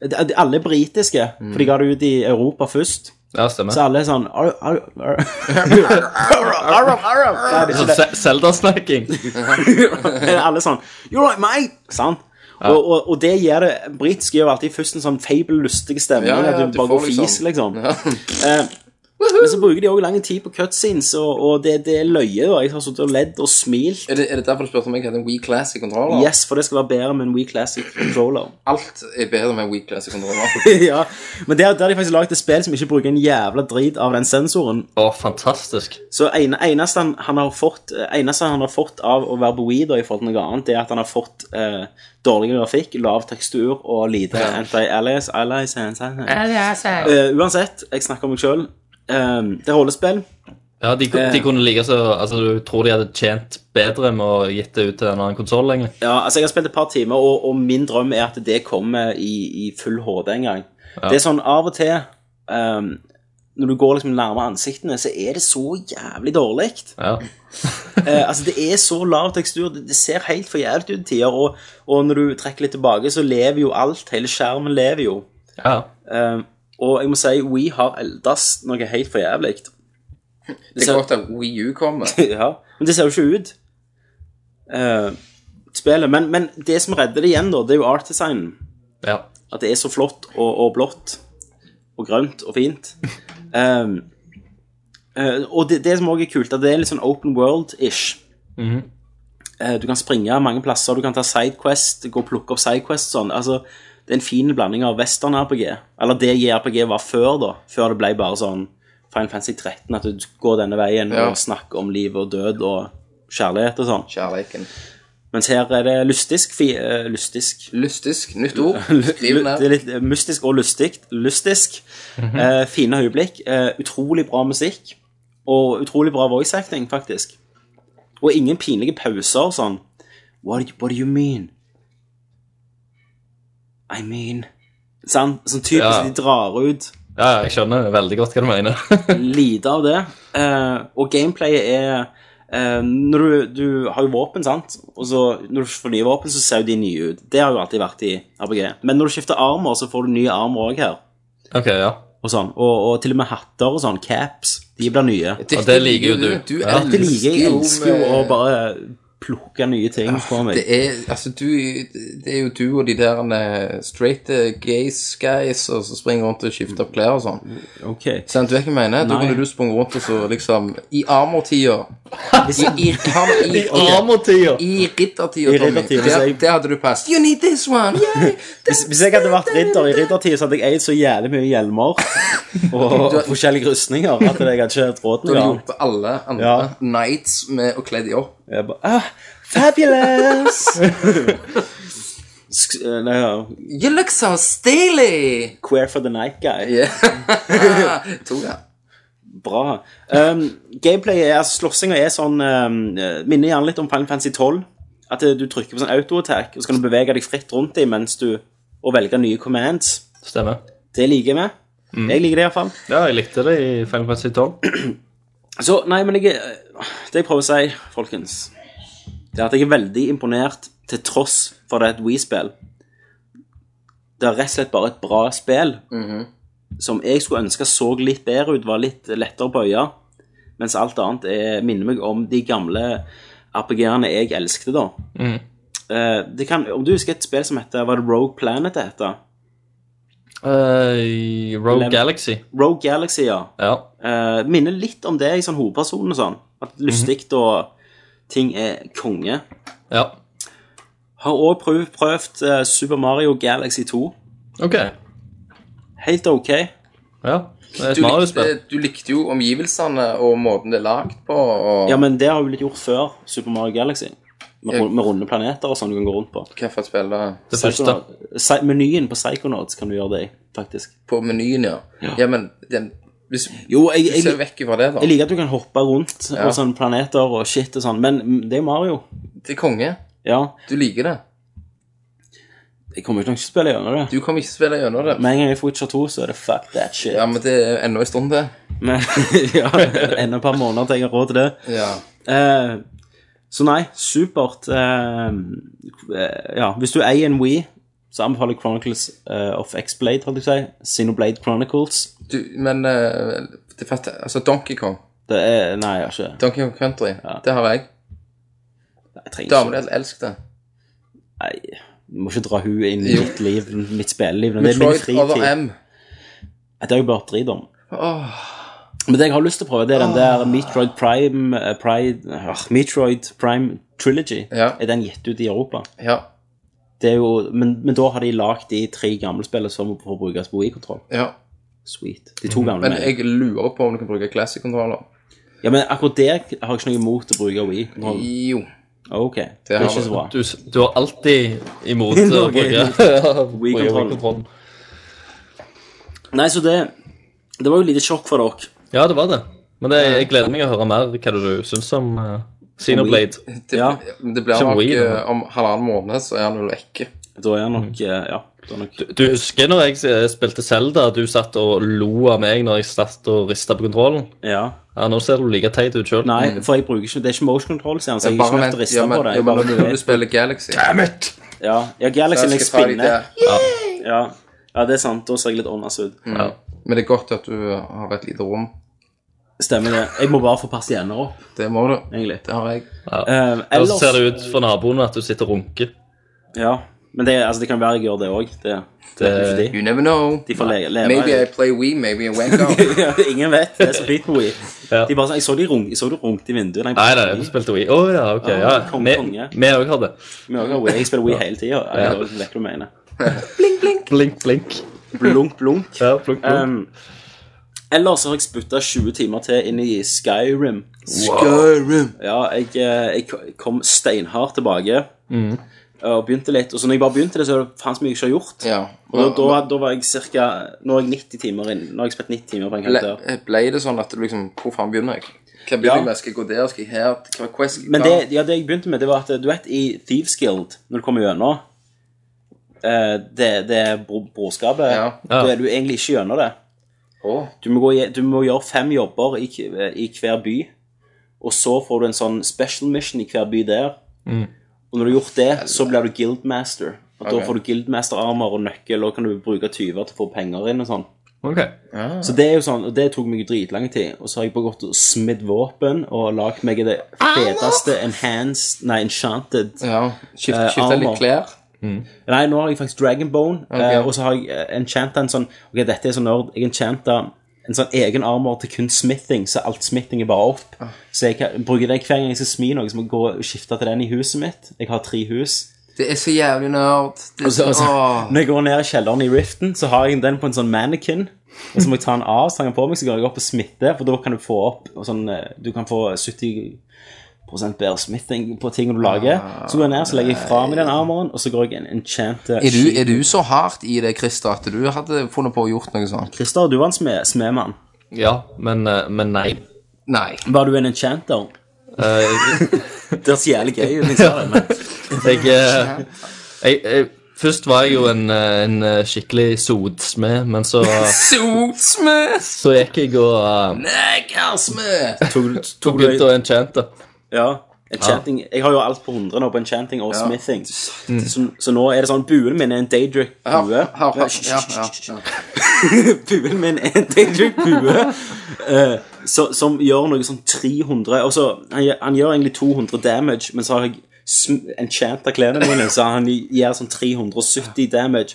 S4: det, er- Alle er britiske, for de ga det ut i Europa først.
S5: Ja, stemmer.
S4: Så alle er sånn arr, arr, arr. Arr, arr, arr. Nei, det er ikke
S5: Sånn
S4: det.
S5: Se- Zelda-snakking.
S4: Eller Alle er sånn You're right, mate! Sant? Og, og, og det gjør det Britiske gjør alltid først en sånn feibellustig stemning.
S2: Ja, ja,
S4: at
S2: du
S4: du bare
S2: får sånn-
S4: går fis, liksom.
S2: Ja.
S4: *laughs* Eh, men så bruker de òg lang tid på cutscenes, og, og det, det er løye. Og jeg har sittet og ledd og smilt.
S2: Er, det, er det derfor du spurte om jeg hadde en Wii Classic-kontroller?
S4: Yes, for det skal være bedre med en Wii Classic controller. *laughs*
S2: Alt er bedre med en Wii Classic-kontroller.
S4: ja, Men der, der har de faktisk laget et spill som ikke bruker en jævla drit av den sensoren.
S5: Å, fantastisk.
S4: Så ene, eneste, han, han har fått, eh, eneste han har fått av å være på Wii da, i forhold til noe annet, det er at han har fått eh, dårlig grafikk, lav tekstur og lite anti-allies. allies, allies, Eh, uansett, jeg snakker om meg sjøl. det er rollespill.
S5: Ja, de, de kunne like så Altså, du tror de hadde tjent bedre med å gitt det ut til en annen konsoll, egentlig.
S4: Ja, altså jeg har spilt et par timer, og, og min drøm er at det kommer i, i full HD en gang. Det er sånn av og til ehm, Når du går liksom nærmere ansiktene, så er det så jævlig dårlig.
S5: Ja.
S4: Eh, altså, det er så lav tekstur. Det, det ser helt for jævlig ut i tider. Og, og når du trekker litt tilbake, så lever jo alt. Hele skjermen lever jo.
S5: ja.
S4: Ehm, og jeg må si, We har eldes noe helt for jævlig. *laughs*
S2: Det er godt at Wii U kommer.
S4: Ja, men det ser jo ikke ut. eh, spillet. Men, men det som redder det igjen, da, det er jo art-designen.
S5: ja.
S4: At det er så flott og, og blått og grønt og fint. Um, eh, og det, det som òg er kult, at det er litt sånn open world-ish. Eh, du kan springe mange plasser, du kan ta sidequest, gå og plukke opp sidequest sånn. Altså, det er en fin blanding av western-RPG. Eller det JRPG var før, da. Før det ble bare sånn Final Fantasy 13, at du går denne veien
S2: Ja.
S4: og snakker om liv og død og kjærlighet og sånn.
S2: Kjærleiken.
S4: Mens her er det lystisk. Fi, eh, lystisk.
S2: Lystisk. Nytt ord. Skriv
S4: Lu-
S2: den
S4: Det
S2: her.
S4: er litt mystisk og lustig. Lystisk. Eh, fine øyeblikk. Eh, utrolig bra musikk. Og utrolig bra voice acting, faktisk. Og ingen pinlige pauser sånn What, do you- what do you mean? I mean Sant? Sånn typisk
S5: Ja.
S4: de drar ut
S5: ja, jeg skjønner veldig godt hva du mener. *laughs*
S4: lite av det. Eh, og gameplayet er eh, Når du, du har jo våpen, sant, og så når du får nye våpen, så ser jo de nye ut. Det har jo alltid vært i RPG. Men når du skifter armer, så får du nye armer òg her.
S5: ok, ja.
S4: Og, sånn. og, og til og med hatter og sånn. Caps. De blir nye.
S5: Og det liker jo du.
S2: Du
S5: Ja.
S4: Dette liker jeg. Jeg elsker jo å
S2: med-
S4: bare plukke nye ting på meg.
S2: eh. Ah, Det er, altså, du, det er jo du og de der eh, straight eh, gays guys og som springer rundt og skifter opp klær og sånn.
S4: Ok.
S2: Sant, du vet hva jeg mener? Da
S4: Nei.
S2: kunne du sprunget rundt og så liksom I armortida. I, i, i, i, ok.
S5: Armortida!
S2: I
S4: I
S2: riddertida, Tommy.
S4: riddertida, så
S2: Der,
S4: jeg-
S2: der hadde du passet. You need this one! Yay!
S4: Hvis, hvis jeg hadde vært ridder i riddertid, så hadde jeg eid så jævlig mye
S2: *laughs*
S4: hjelmer og forskjellige rustninger at jeg hadde ikke
S2: Da
S4: hatt råd til
S2: hadde
S4: noe
S2: du
S4: annet.
S2: hjulpet alle andre
S4: Ja.
S2: knights med å kle de opp.
S4: Jeg bare ah, Fabulous! Sk eh, nei, ja.
S2: You look so steely!
S4: Queer for the night guy.
S2: *laughs* Yeah. Tok jeg.
S4: Bra. Um, gameplay er, altså, Slåssinga er sånn um, eh, Minner gjerne litt om Final Fantasy 12. At eh, du trykker på sånn auto-attack, og så kan du bevege deg fritt rundt dem mens du og velge nye commands.
S5: Stemmer.
S4: Det liker vi. Jeg liker det iallfall.
S5: Ja, jeg likte det i Final Fantasy 12.
S4: Så nei, men jeg er- Det jeg prøver å si, folkens, det er at jeg er veldig imponert til tross for det er et Wii-spill. Det er rett og slett bare et bra spill
S2: Mhm.
S4: som jeg skulle ønske så litt bedre ut, var litt lettere på øya, mens alt annet er, minner meg om de gamle RPG-ene jeg elsket da.
S5: Mm.
S4: Eh, det kan, om du husker et spill som heter, var det Rogue Planet det heter?
S5: Eh, Rogue
S4: Level-
S5: Galaxy.
S4: Rogue Galaxy, ja.
S5: Ja.
S4: Eh, minner litt om det i sånn hovedpersonen og sånn. At lystig og ting er konge.
S5: ja.
S4: Har òg prøvd, prøvd eh, Super Mario Galaxy 2.
S5: Ok.
S4: helt ok.
S5: Ja, det er et
S2: Du likte,
S5: Mario-spill.
S2: du likte jo omgivelsene og måten det er lagd på. Og
S4: Ja, men det har jo blitt gjort før Super Mario Galaxy. Med, ru- med runde planeter og sånn du kan gå rundt på.
S2: hva for et spill det er.
S5: Det første.
S4: Psychonaut- Psy- menyen på Psychonauts kan du gjøre det i, faktisk.
S2: På menyen, ja.
S4: Ja.
S2: Ja, men den, hvis du
S4: Jo, jeg, jeg,
S2: ser vekk fra det, da.
S4: Jeg liker at du kan hoppe rundt
S2: Ja.
S4: og sånn planeter og shit og sånn, men mm, det er Mario.
S2: Til konge.
S4: Ja,
S2: Du liker det.
S4: jeg kommer ikke nok til å spille gjennom det.
S2: Du kommer ikke til å spille gjennom det.
S4: Med en gang jeg får Witcher 2, så er det fuck that shit.
S2: Ja, men det er ennå en stund til.
S4: Men *laughs* ja, enda et par måneder til jeg har råd til det.
S2: Ja.
S4: Eh, så nei, supert. Eh, eh, ja, hvis du eier en Wii, så anbefaler jeg Chronicles eh, of X-Blade, holdt jeg på å si. Xenoblade Chronicles.
S2: Du, men eh, det fatter Altså, Donkey Kong.
S4: Det er Nei, jeg har ikke
S2: Donkey Kong Country.
S4: Ja.
S2: Det har jeg.
S4: Jeg trenger ikke
S2: Damene elsker det.
S4: Nei, du må ikke dra hun inn i
S2: Jo. altså,
S4: mitt liv, mitt spilleliv. Det er min
S2: Metroid Other
S4: fritid.
S2: M.
S4: Det har jeg bare drit om.
S2: Åh,
S4: Men det jeg har lyst til å prøve, det er
S2: Ah.
S4: den der Metroid Prime eh, Pride, øh, Metroid Prime Trilogy.
S2: Ja.
S4: Er den gitt ut i Europa?
S2: ja.
S4: Det er jo, men, men da har de lagd de tre gamle spillene som får brukes på Wii-kontroll.
S2: ja.
S4: Sweet. De to gamle.
S2: Mhm. Men
S4: mener jeg.
S2: jeg lurer på om du kan bruke classic-kontroller.
S4: Ja, men akkurat det har jeg ikke noe imot å bruke Wii-kontroll.
S2: Jo.
S4: Ok, det,
S2: har
S4: er ikke
S2: du.
S4: så bra.
S5: Du, s- du har alltid imot å
S4: Norge.
S5: bruke *laughs* bruke
S4: Wii-kontrollen.
S5: Wii-kontrollen.
S4: Nei, så det Det var jo et lite sjokk for dere.
S5: Ja, det var det. Men det, jeg gleder meg å høre mer hva du syns om uh, Xenoblade.
S2: Det,
S4: Ja.
S2: det blir
S5: Som
S2: nok
S5: Wii, da.
S2: eh, om halvannen måned, så er han vel vekke.
S4: Da er jeg
S2: Mhm.
S4: nok eh, Ja. Da er nok
S5: Du husker når jeg eh, spilte Zelda, du satt og lo av meg når jeg satt og rista på kontrollen?
S4: Ja.
S5: Ja, nå ser du like teit ut sjøl.
S4: Nei, for jeg bruker ikke Det er ikke motion control, sier han, så jeg
S2: Bare
S4: har ikke nødt
S2: vent
S4: til å
S2: ja,
S4: riste
S2: men,
S4: på det.
S2: ja,
S4: Jeg
S2: men
S4: bare
S2: når du spiller Galaxy Damn it!
S4: Ja, ja Galaxy jeg spinner. Ja. ja, det er sant. Da ser jeg litt åndas ut.
S5: Ja.
S2: Men det er godt at du har et lite rom.
S4: Stemmer det. Jeg må bare få persienner opp,
S2: Det må du.
S4: egentlig.
S2: Det har jeg.
S4: Eh,
S5: Og så
S4: ellers
S5: ser det ut for naboene at du sitter og runker.
S4: Ja. Men det, altså, det kan være jeg gjør det òg. Det, det er *laughs* ikke de.
S2: You never know.
S4: De får le- leve.
S2: Maybe I
S4: i-
S2: play Wii, maybe I wake
S4: *laughs*
S2: up.
S4: Ingen vet. Det er så fint med Wii.
S5: Ja.
S4: De bare, sånn, jeg, så de rung, jeg så de runket i vinduet. Nei,
S5: Nei, nei, du spilte Wii. Å ja, ok.
S4: Ah,
S5: Ja.
S4: kong-
S5: Vi
S4: konge.
S5: vi òg har det.
S4: Vi også har Wii. Jeg spiller Wii hele tida.
S5: Ja.
S4: Jeg vet hva du mener.
S5: Blink, blink.
S4: Blunk, blunk.
S5: Ja, blunk, blunk.
S4: Um, ellers så har jeg spytta 20 timer til inn i Skyrim.
S2: Skyrim.
S4: Ja, jeg, eh, jeg kom steinhardt tilbake. Og begynte litt, og så når jeg bare begynte det, så er det faen så mye jeg ikke har gjort.
S2: Ja.
S4: Og da, da, da var jeg cirka, Nå er jeg 90 timer inn. Nå har jeg spilt 90 timer på en
S2: Ble,
S4: karakter.
S2: ble det sånn at du liksom Hvor faen begynner jeg? Hva begynner
S4: Ja.
S2: jeg med? Skal jeg gå der? Skal jeg her? Hva quest skal jeg
S4: Men
S2: ta?
S4: det, ja, det jeg begynte med, det var at du vet, i Thieves Guild, når du kommer gjennom eh, det, det bro- brorskapet,
S2: Ja.
S5: Ja.
S4: da er du egentlig ikke gjennom det.
S2: Å.
S4: Du må, gå, i- du må gjøre fem jobber i, k- i hver by, og så får du en sånn special mission i hver by der. Og når du har gjort det, så blir du guildmaster. Og
S2: Ok.
S4: Da får du guildmaster-armer og nøkkel, og kan du bruke tyver til å få penger inn og sånn.
S5: Ok.
S4: Så det er jo sånn, og det tok meg jo dritlang tid. Og så har jeg bare gått og smidd våpen og lagd meg det feteste enhanced Nei, enchanted.
S2: Ja. Skifte,
S4: Eh,
S2: skifte
S4: armor.
S2: litt klær.
S4: Nei, nå har jeg faktisk dragonbone, eh, og så har jeg eh, enchanta en sånn Ok, dette er sånn nerd. Jeg enchanta en sånn egen armor til kun smithing, så alt smithing er bare opp.
S2: Ah.
S4: Så jeg kan, bruker det hver gang jeg skal smi noe, så må jeg gå og skifte til den i huset mitt. Jeg har tre hus.
S2: Det er så jævlig nerd. Det er
S4: Så,
S2: så,
S4: altså,
S2: Åh.
S4: Når jeg går ned i kjelleren i Riften, så har jeg den på en sånn mannequin. Og så må jeg ta den av, så har jeg den på meg, så går jeg opp og smitter. For da kan du få opp og sånn, eh, Du kan få 70 bedre smitting på tingene du lager.
S2: Ah,
S4: Så går jeg ned, så legger jeg fra meg den armoren, og så går jeg en enchant
S2: Er du, er du så hardt i det, Christer, at du hadde funnet på å gjort noe sånt?
S4: Christer, du var en smed, smedmann.
S5: Ja, men, eh, men nei.
S2: Nei.
S4: Var du en enchanter?
S5: Eh,
S4: *laughs* Det høres jævlig gøy ut. liksom.
S5: jeg, eh, jeg, jeg Først var jeg jo en, eh, en eh, skikkelig sotsmed, men så,
S2: Sotsmed!
S5: så gikk jeg og eh,
S2: Negersmed!
S4: Tok du- Tok du
S5: begynte å enchante.
S4: Ja. Enchanting, Jeg har jo alt på 100 nå på enchanting og smithing. Så, så nå er det sånn Buen min er en *laughs* daydrick-bue.
S2: Ja, ja, ja, ja.
S4: Buen min er en daydrick-bue eh, så- som gjør noe sånn 300 altså, han, gjør- han gjør egentlig 200 damage, men så har jeg sm- enchanta klærne mine, så han gir sånn 370 damage.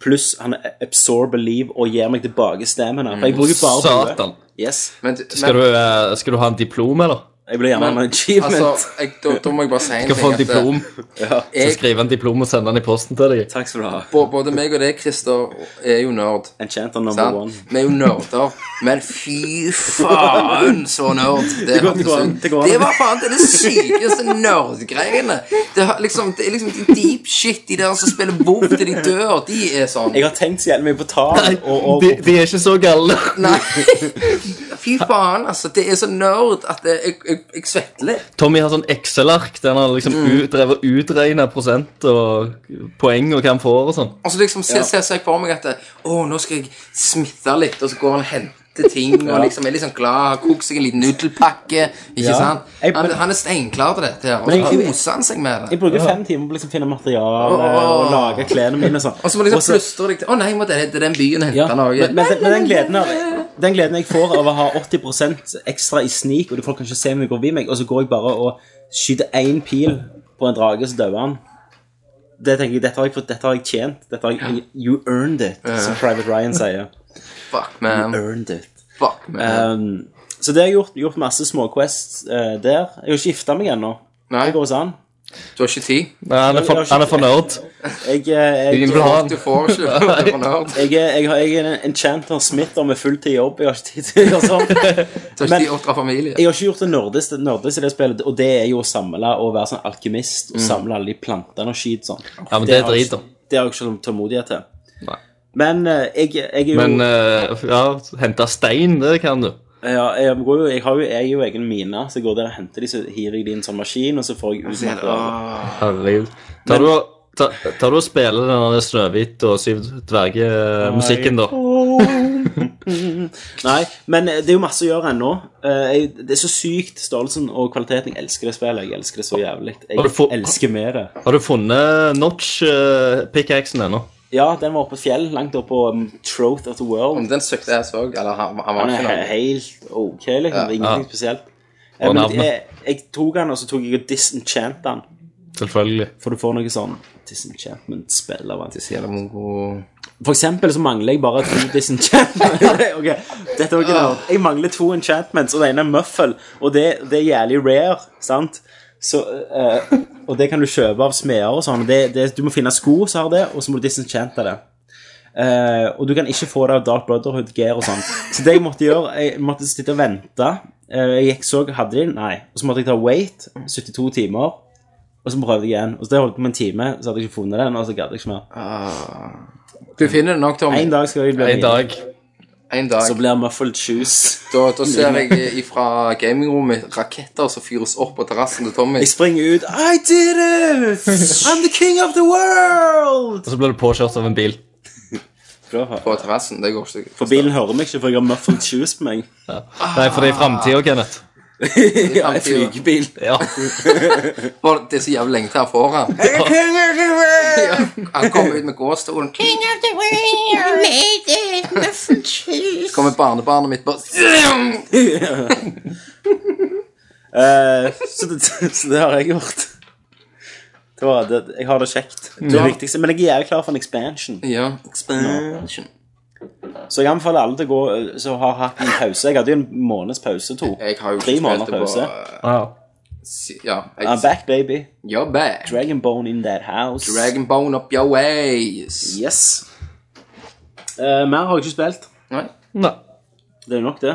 S4: Pluss han absorber liv og gir meg tilbake stamina. For jeg bruker bare bue.
S5: Mm. Satan.
S4: Yes.
S2: Men,
S5: Skal
S2: men
S5: du, eh, skal du ha en diplom, eller?
S4: Jeg blir gjerne
S2: Men,
S4: med en achievement.
S2: altså, jeg, da, da må jeg bare si en
S5: Skal få
S2: ting.
S5: en
S2: at, eh,
S5: diplom. Så
S2: Jeg,
S5: skriver en diplom og sender den i posten til deg.
S4: Takk skal du ha.
S2: bå- både meg og deg, Christer, er jo nerd.
S4: Enchanter number one.
S2: Sant? Vi er jo nerder, men fy faen, så nerd. Det,
S4: går- det går an,
S2: hørtes ut.
S4: det går an.
S2: det var faen det er det sykeste nerdgreiene. Det, har liksom, det er liksom de deep shit, de der som spiller WoW til de dør, de er sånn.
S4: Jeg har tenkt så jævlig mye på tall og, og
S5: De, de er ikke så gale.
S2: Nei, fy faen, altså. Det er så nerd at det, jeg, jeg, jeg svetter litt.
S5: Tommy har sånn Excel-ark der han har liksom
S4: Mm.
S5: ut, drevet utregna prosent og poeng og hva han får og sånn.
S2: Og så liksom ser ser- ser jeg for meg at det- Å, nå skal jeg smitte litt Og så går han og henter ting Og liksom er litt sånn glad Har kokt seg en liten nudelpakke Ikke
S4: Ja.
S2: sant?
S4: Jeg-
S2: Han, han er steinklar til dette her Og
S4: Men
S2: så
S4: jeg-
S2: koser han seg med
S4: Jeg
S2: det
S4: bruker fem timer på å liksom finne materiale
S2: Åh.
S4: og lage klærne mine. og Sånn.
S2: Og så må du
S4: Og
S2: liksom
S4: så-
S2: plystre deg til Å nei, jeg må til til den byen og hente
S4: ja,
S2: noe
S4: men, men, den- men den, gleden av, den gleden jeg får av å ha 80 ekstra i snik, og de folk kan ikke se meg gå forbi meg, og så går jeg bare og skyter én pil på en drage, så dauer han. Det tenker jeg, Dette har jeg, fått, dette har jeg tjent. Dette har jeg, you earned it, som Private Ryan sier.
S2: Fuck man,
S4: Earned it.
S2: fuck man
S4: Um, så det har jeg gjort, gjort masse småquests eh, der. Jeg har ikke gifta meg ennå.
S2: Nei,
S4: Det går sånn. ikke an.
S2: du har ikke tid
S5: Nei, han er for, han er for nerd.
S4: Jeg, eh, jeg,
S5: Ingen vil ha han.
S2: Du får ikke
S4: *laughs*
S2: Du får nerd
S4: Jeg er, jeg, har- jeg er en enchanter smitter med fulltid jobb. Jeg har ikke tid til å gjøre sånn.
S2: Du har ikke tid
S4: Men-
S2: å oppdra familie
S4: Jeg har ikke gjort det nerdeste, nerdeste i det spillet, og det er jo å samle og være sånn alkymist og samle alle de plantene og skit sånn.
S5: Mm. Ja, men det
S4: har jeg-
S5: driter.
S4: Det har jeg ikke sånn tålmodighet til.
S5: Nei.
S4: Men eh, jeg, jeg er jo
S5: Men eh, ja, hente stein, det kan du.
S4: ja, jeg, går jo, jeg har jo, jeg er jo egen mine, så jeg går der og henter de, så hiver jeg de i en sånn maskin, og så får jeg ut materialet.
S5: Herregud. Tar du og- ta- tar du og spiller den der Snøhvit og Syv dverger-musikken, da?
S4: Nei, men eh, det er jo masse å gjøre ennå. Eh, jeg- Det er så sykt størrelsen og kvaliteten. Jeg elsker det spillet. Jeg elsker det så jævlig.
S5: Har du
S4: Jeg
S5: fått-
S4: elsker med det.
S5: Har du funnet notch-pickaxen ennå?
S4: Ja, den var oppe på fjell, langt oppe på um, Troth of the
S2: Om
S4: World.
S2: den søkte jeg så Eller han, han var
S4: Han
S2: ikke
S4: er
S2: noe
S4: helt ok, liksom. Ingenting
S5: Ja.
S4: spesielt. Eh,
S5: Og
S4: Men
S5: navnet.
S4: jeg, jeg tok han, og så tok jeg og disenchant han.
S5: Selvfølgelig.
S4: For du får noe sånn disenchantment-spill av han.
S2: Sier det mongo
S4: For eksempel så mangler jeg bare to Ah. disenchantments. *laughs* ok, dette var ikke nerd. Jeg mangler to enchantments, og det ene er muffle. Og det, det er jævlig rare, sant? Så, eh, og det kan du kjøpe av smeder og sånn. Det, det, du må finne sko som har det, og så må du disenchante det. Eh, og du kan ikke få det av Dark Brotherhood gear og sånn. Så det jeg måtte gjøre, jeg måtte sitte og vente. Eh, jeg gikk så, hadde de den? Nei. Og så måtte jeg ta wait, 72 timer. Og så prøvde jeg igjen. Og så det holdt på med en time, så hadde jeg ikke funnet den. og så gadd jeg ikke mer.
S2: Du finner det nok, Tommy
S4: En dag skal jeg bli
S5: En dag.
S2: En dag
S4: så blir Mm. muffled shoes.
S2: Da, da ser jeg eh, ifra gamingrommet raketter som fyres opp på terrassen til Tommy.
S4: *laughs* Jeg springer ut I did it! I'm the king of the world!
S5: Og så blir du påkjørt av en bil.
S2: På terrassen, det går ikke.
S4: For bilen hører meg ikke, for jeg har muffled shoes på meg.
S5: Nei, for det er i framtida, Kenneth.
S4: Ja, en flygebil.
S5: *laughs* Ja.
S2: For det er så jævlig lenge til han får han. Ja, Han kommer ut med gåstolen. King of the world, made it, muffled Kommer barnebarnet mitt bare
S4: Eh, *laughs* så, det, så det har jeg gjort. Det var, det, jeg har det kjekt. Det er det viktigste, men jeg er jævlig klar for en expansion.
S2: Ja. Expansion.
S4: Så jeg anbefaler alle til å gå eh, som har hatt en pause. Jeg hadde jo en måneds pause, to.
S2: Jeg har jo
S4: Tre
S2: ikke spilt
S4: måneder
S2: det på
S4: pause.
S2: eh,
S5: Ja.
S2: si- Ja.
S4: I'm
S2: Jeg,
S4: back, baby.
S2: you're back.
S4: Dragonbone in that house.
S2: Dragonbone up your ways.
S4: Yes. Eh, mer har jeg ikke spilt.
S2: Nei.
S5: Nei,
S4: Det er jo nok, det.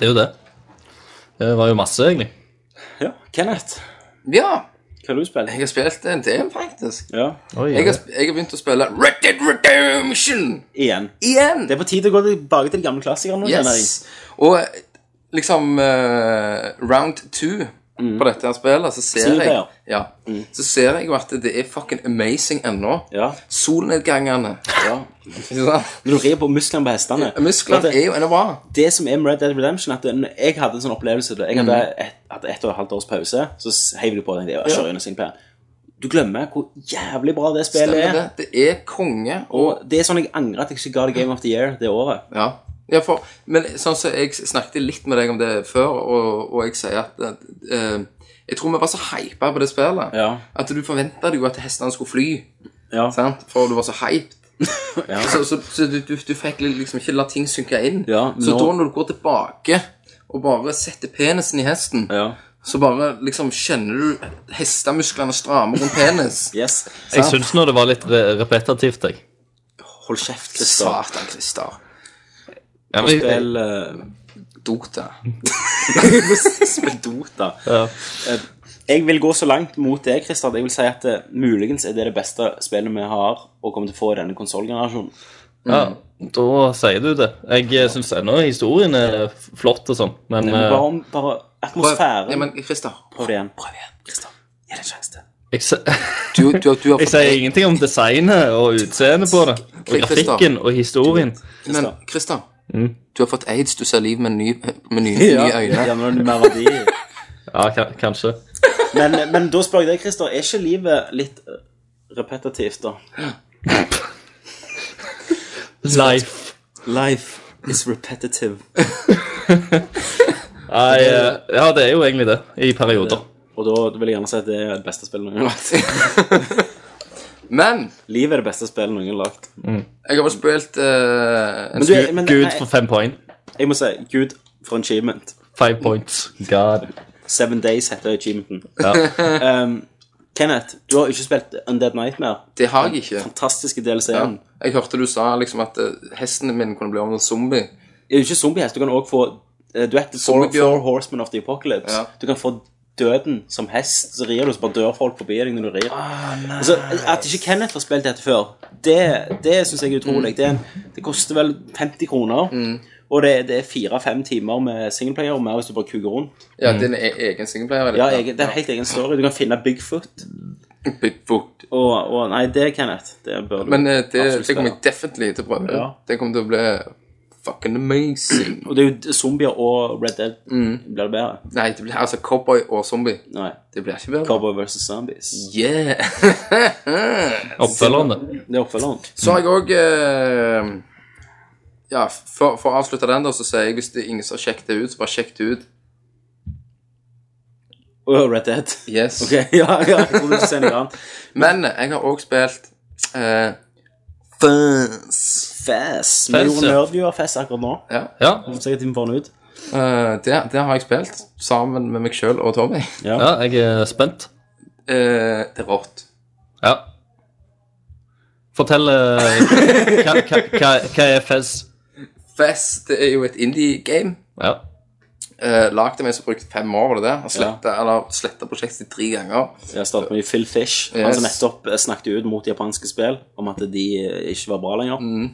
S5: det er jo det. Det var jo masse, egentlig.
S4: Ja, Kenneth,
S2: Ja,
S4: hva har du spilt?
S2: jeg har spilt en del, faktisk.
S4: Ja,
S5: Oi,
S2: Jeg har, sp- jeg har begynt å spille Red Dead Redemption
S4: igjen.
S2: igjen.
S4: Det er på tide å gå tilbake til de gamle klassikerne. nå, kjenner jeg.
S2: Yes. Og liksom eh, round two
S4: Mm.
S2: på dette her spillet, så ser jeg
S4: Singleplayer.
S2: ja, Så ser jeg jo at det er fucking amazing ennå.
S4: Mm. Ja.
S2: Solnedgangene.
S4: ja.
S2: *laughs* Ikke sant?
S4: Når du rir på musklene på hestene.
S2: Musklene
S4: det,
S2: er jo ennå bra.
S4: det som er med Red Dead Redemption, at den- jeg hadde en sånn opplevelse da Jeg hadde et, hatt ett og et halvt års pause, så s- heiv du på den. Jeg kjører gjennom singleplan. Du glemmer hvor jævlig bra det spillet
S2: Stemmer det.
S4: er.
S2: Det er konge. Og
S4: Og det er sånn jeg angrer at jeg ikke ga det Game of the Year det året.
S2: Ja. ja for, men sånn som jeg snakket litt med deg om det før, og, og jeg sier at eh, Jeg tror vi var så hypa på det spillet
S4: Ja.
S2: at du forventa jo at hestene skulle fly,
S4: Ja.
S2: sant? for du var så hyped.
S4: Ja.
S2: Så, så, så du, du, du fikk liksom ikke la ting synke inn.
S4: Ja,
S2: så
S4: nå-
S2: da når du går tilbake og bare setter penisen i hesten,
S4: Ja.
S2: så bare liksom kjenner du hestemusklene stramme rundt penis.
S4: Yes.
S5: Jeg syns nå det var litt re repetitivt, jeg.
S2: Hold kjeft, Christer. Satan, Christer.
S5: Ja, men, jeg,
S4: Spill eh,
S2: Dota.
S4: *laughs* spill Dota.
S5: Ja.
S4: Eh, Jeg vil gå så langt mot det, Christer, at jeg vil si at eh, muligens er det det beste spillet vi har og kommer til å få i denne konsollgenerasjonen.
S5: ja, da sier du det. Jeg syns ennå historien er flott og sånn, men
S4: Men
S5: eh,
S4: Bare, om- bare atmosfæren.
S2: Ja, men Christer,
S4: prøv det igjen. Prøv igjen, Christer. Gi det en sjanse til.
S5: eh, jeg, *laughs* se-
S2: du, du, du har
S5: jeg sier ingenting om designet og utseendet på det. Og grafikken og historien.
S2: Men Christer, du har fått aids. Du ser liv med, ny, med
S4: *laughs*
S2: nye, nye øyne.
S4: Mm. Ja, nå er det mer verdi.
S5: Ja, ka- kanskje.
S4: Men, eh, men da spør jeg deg, Christer, er ikke livet litt eh, repetitivt, da?
S5: Life.
S4: Life is repetitive.
S5: Nei, eh, ja, det er jo egentlig det. I perioder.
S4: Og da vil jeg gjerne si at det er det beste spillet noen har lagt.
S2: Men
S4: Livet er det beste spillet noen har lagt.
S2: jeg har vel spilt eh, en
S4: Men du, men,
S5: Gud
S4: nei,
S5: for fem poeng.
S4: jeg må si Gud for en achievement.
S5: Five points. God.
S4: Seven Days heter achievementen.
S5: Ja.
S4: *laughs* Um, Kenneth, du har ikke spilt Undead Nightmare.
S2: Det har jeg ikke.
S4: Fantastiske
S2: Ja.
S4: DLC-en.
S2: Jeg hørte du sa liksom at eh, hesten min kunne bli om en zombie.
S4: Det er jo ikke zombiehest. Du kan også få eh, Du vet, Four,
S2: Zombiebjørn.
S4: four Horsemen of the Apocalypse.
S2: Ja.
S4: Du kan få døden som hest. Så rir du, så bare dør folk forbi deg når du rir. altså, at ikke Kenneth har spilt dette før, det, det syns jeg er utrolig. Det, er en, det koster vel 50 kroner. Og det, det er fire-fem timer med singleplayer og mer hvis du bare kuker rundt.
S2: Ja, din e egen singleplayer? er det?
S4: Mm. Ja,
S2: *laughs*
S4: egen, Det er en helt egen story. Du kan finne Bigfoot.
S2: Bigfoot.
S4: Og, og Nei, det, Kenneth, det bør du
S2: Men eh, det,
S4: absolutt
S2: det kommer
S4: spille.
S2: jeg definitivt til å prøve.
S4: Ja.
S2: Det kommer til å bli fucking amazing. *clears throat*
S4: Og det er jo zombier og Red Dead.
S2: Mm.
S4: Blir det bedre?
S2: Nei, det blir altså cowboy og zombie.
S4: Nei.
S2: Det blir ikke bedre.
S4: Cowboy versus Zombies.
S2: Mm. Yeah. *laughs*
S5: Oppfølgeren, det.
S4: Det er oppfølgeren.
S2: Så har jeg òg eh, Ja, for, for å avslutte den, da, så sier jeg hvis det er ingen som har sjekket det ut, så bare sjekk det ut.
S4: Og Red Dead. *laughs*
S2: Yes.
S4: Ok, ja, ja, jeg trodde du skulle si noe annet.
S2: Men eh, jeg har òg spilt eh, Fuzz.
S4: Fess. Vi
S5: Fess,
S4: gjorde
S5: ja.
S4: nerdviewer-fess akkurat nå.
S2: Ja.
S5: Ja.
S4: Som sikkert vi får den ut.
S2: Eh, det, det har jeg spilt sammen med meg sjøl og Tommy. *laughs*
S5: ja, jeg er spent.
S2: Eh, det er rått.
S5: Ja. Fortell eh, hva, hva, hva, hva er Fez?
S2: Fest det er jo et indie-game.
S5: Ja.
S2: Uh, Lagd av en som brukte fem år på det. der, Og sletta, eller sletta prosjektet sitt tre ganger.
S4: Jeg startet med Phil Fish, han
S2: Yes.
S4: som nettopp eh, snakket ut mot japanske spill om at de eh, ikke var bra lenger.
S2: Mm.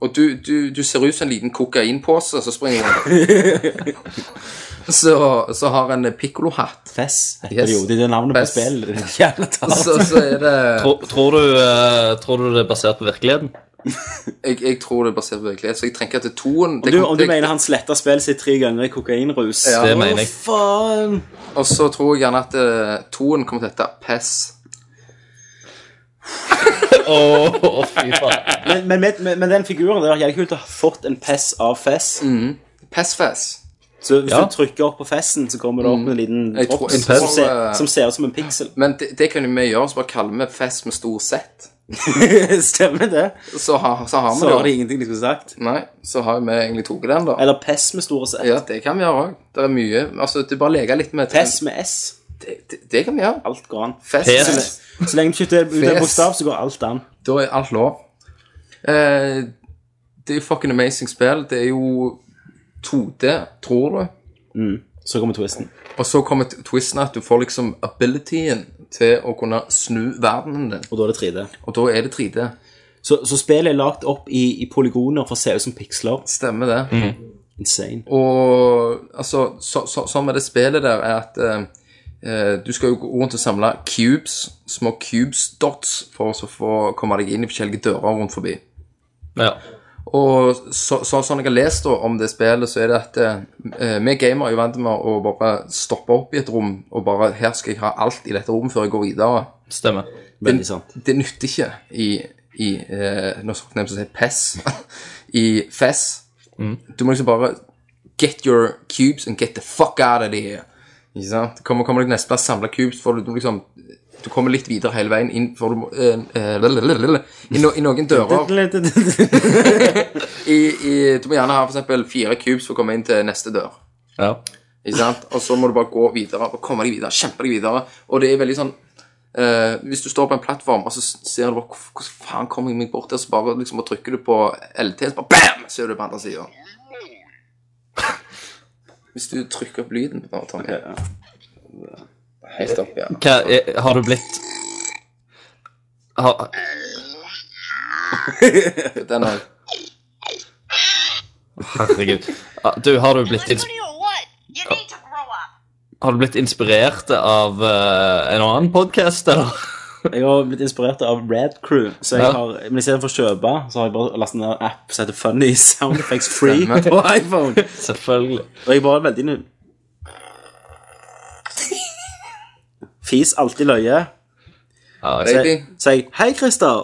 S2: Og du, du, du ser ut som en liten kokainpose, så springer han.
S4: *laughs*
S2: så, så har en pikkolohatt.
S4: Fess heter
S2: Yes.
S4: det jo. Det er det navnet
S2: Fess. Altså,
S4: på spill. *laughs* det er Jævla talt.
S2: Så, så er det
S5: Tror, tror, du, eh, tror du det er basert på virkeligheten?
S2: jeg, jeg tror det er basert på virkelighet, så jeg trenger ikke til toen.
S4: Om du, om du mener han sletta spillet sitt tre ganger i kokainrus
S2: Ja.
S5: Det
S4: Å,
S5: mener jeg.
S4: faen!
S2: Og så tror jeg gjerne at eh, toen kommer til å hete Pess.
S5: Å, å, fy faen.
S4: Men, men, med- men, men den figuren der, jævlig kult å ha fått en pess av Fess.
S2: Mm. Pessfess.
S4: Så hvis
S5: Ja.
S4: du trykker opp på Fessen, så kommer det opp en liten
S2: Mm. Jeg tror-
S4: drops
S2: en
S4: som,
S2: pess.
S4: ser- som ser ut som en piksel. *laughs*
S2: Men det, det kan jo vi gjøre, så bare kaller vi Fess med stor Z.
S4: Stemmer det?
S2: Så, har- så har vi
S4: Så har de
S2: det jo.
S4: ingenting de skulle sagt.
S2: Nei, så har vi egentlig tatt den, da.
S4: Eller pess med store S.
S2: Ja, det kan vi gjøre òg. Det er mye Altså, du bare leker litt med
S4: Pess med S.
S2: Det, det, det kan vi gjøre.
S4: Alt går an.
S2: Fest.
S5: Pes.
S2: Fest.
S4: Så lenge du ikke deler ut en
S2: Fes.
S4: bokstav, så går alt an.
S2: Da er alt lov. Eh, det er jo fucking amazing spill. Det er jo 2D, tror du.
S4: Mm. Så kommer twisten.
S2: Og så kommer t- twisten at du får liksom abilityen til å kunne snu verdenen din.
S4: Og da er det 3D.
S2: Og da er det 3D.
S4: Så, så spillet er lagt opp i, i polygoner for å se ut som piksler.
S2: Stemmer det.
S4: Insane.
S2: Og altså, så, så, sånn med det spillet der er at eh, eh, du skal jo gå rundt og samle cubes, små cubes dots, for å så få komme deg inn i forskjellige dører rundt forbi.
S5: Ja.
S2: Og så, så, sånn jeg har lest da, om det spillet, så er det at eh, vi gamere er jo vant med å bare stoppe opp i et rom og bare Her skal jeg ha alt i dette rommet før jeg går videre.
S5: Stemmer.
S4: Veldig sant.
S2: Det nytter ikke i, i eh, Nå skal jeg si PES. *laughs* I FES. Du må liksom bare Get your cubes and get the fuck out of here. Ikke sant? Kommer, kommer deg neste plass, samle cubes, får du, du liksom Du kommer litt videre hele veien inn, for du må eh, eh, lalalala, i, no, I noen
S4: *laughs*
S2: dører i, i, du må gjerne ha for eksempel fire cubes for å komme inn til neste dør.
S5: Ja.
S2: Ikke sant? Og så må du bare gå videre og komme deg videre. Kjempe deg videre. Og det er veldig sånn eh, Hvis du står på en plattform og så ser du bare "Hvor- Hvordan faen kommer jeg meg bort der? Så bare liksom, bare trykker du på LT, så bare BAM! Så er du på andre sida. *laughs* Hvis du trykker opp lyden på den, Tommy. Helt opp, ja.
S5: Hva, er, har du blitt har,
S2: Den er
S5: Herregud. Ah, Du, har du blitt, ins
S8: do you want? You need to grow up.
S5: har du blitt inspirert av eh, en annen podkast, eller? *laughs*
S4: Jeg har blitt inspirert av Red Crew, så jeg
S5: Ja.
S4: har, men istedenfor å kjøpe, så har jeg bare lastet ned en app som heter Funny Sound Effects Free
S2: Stemmer.
S4: på iPhone.
S5: Selvfølgelig.
S4: Og jeg bare er veldig nu... Fis alltid løye.
S5: Ja,
S4: Så
S5: jeg,
S4: jeg, så jeg Hei, Christer!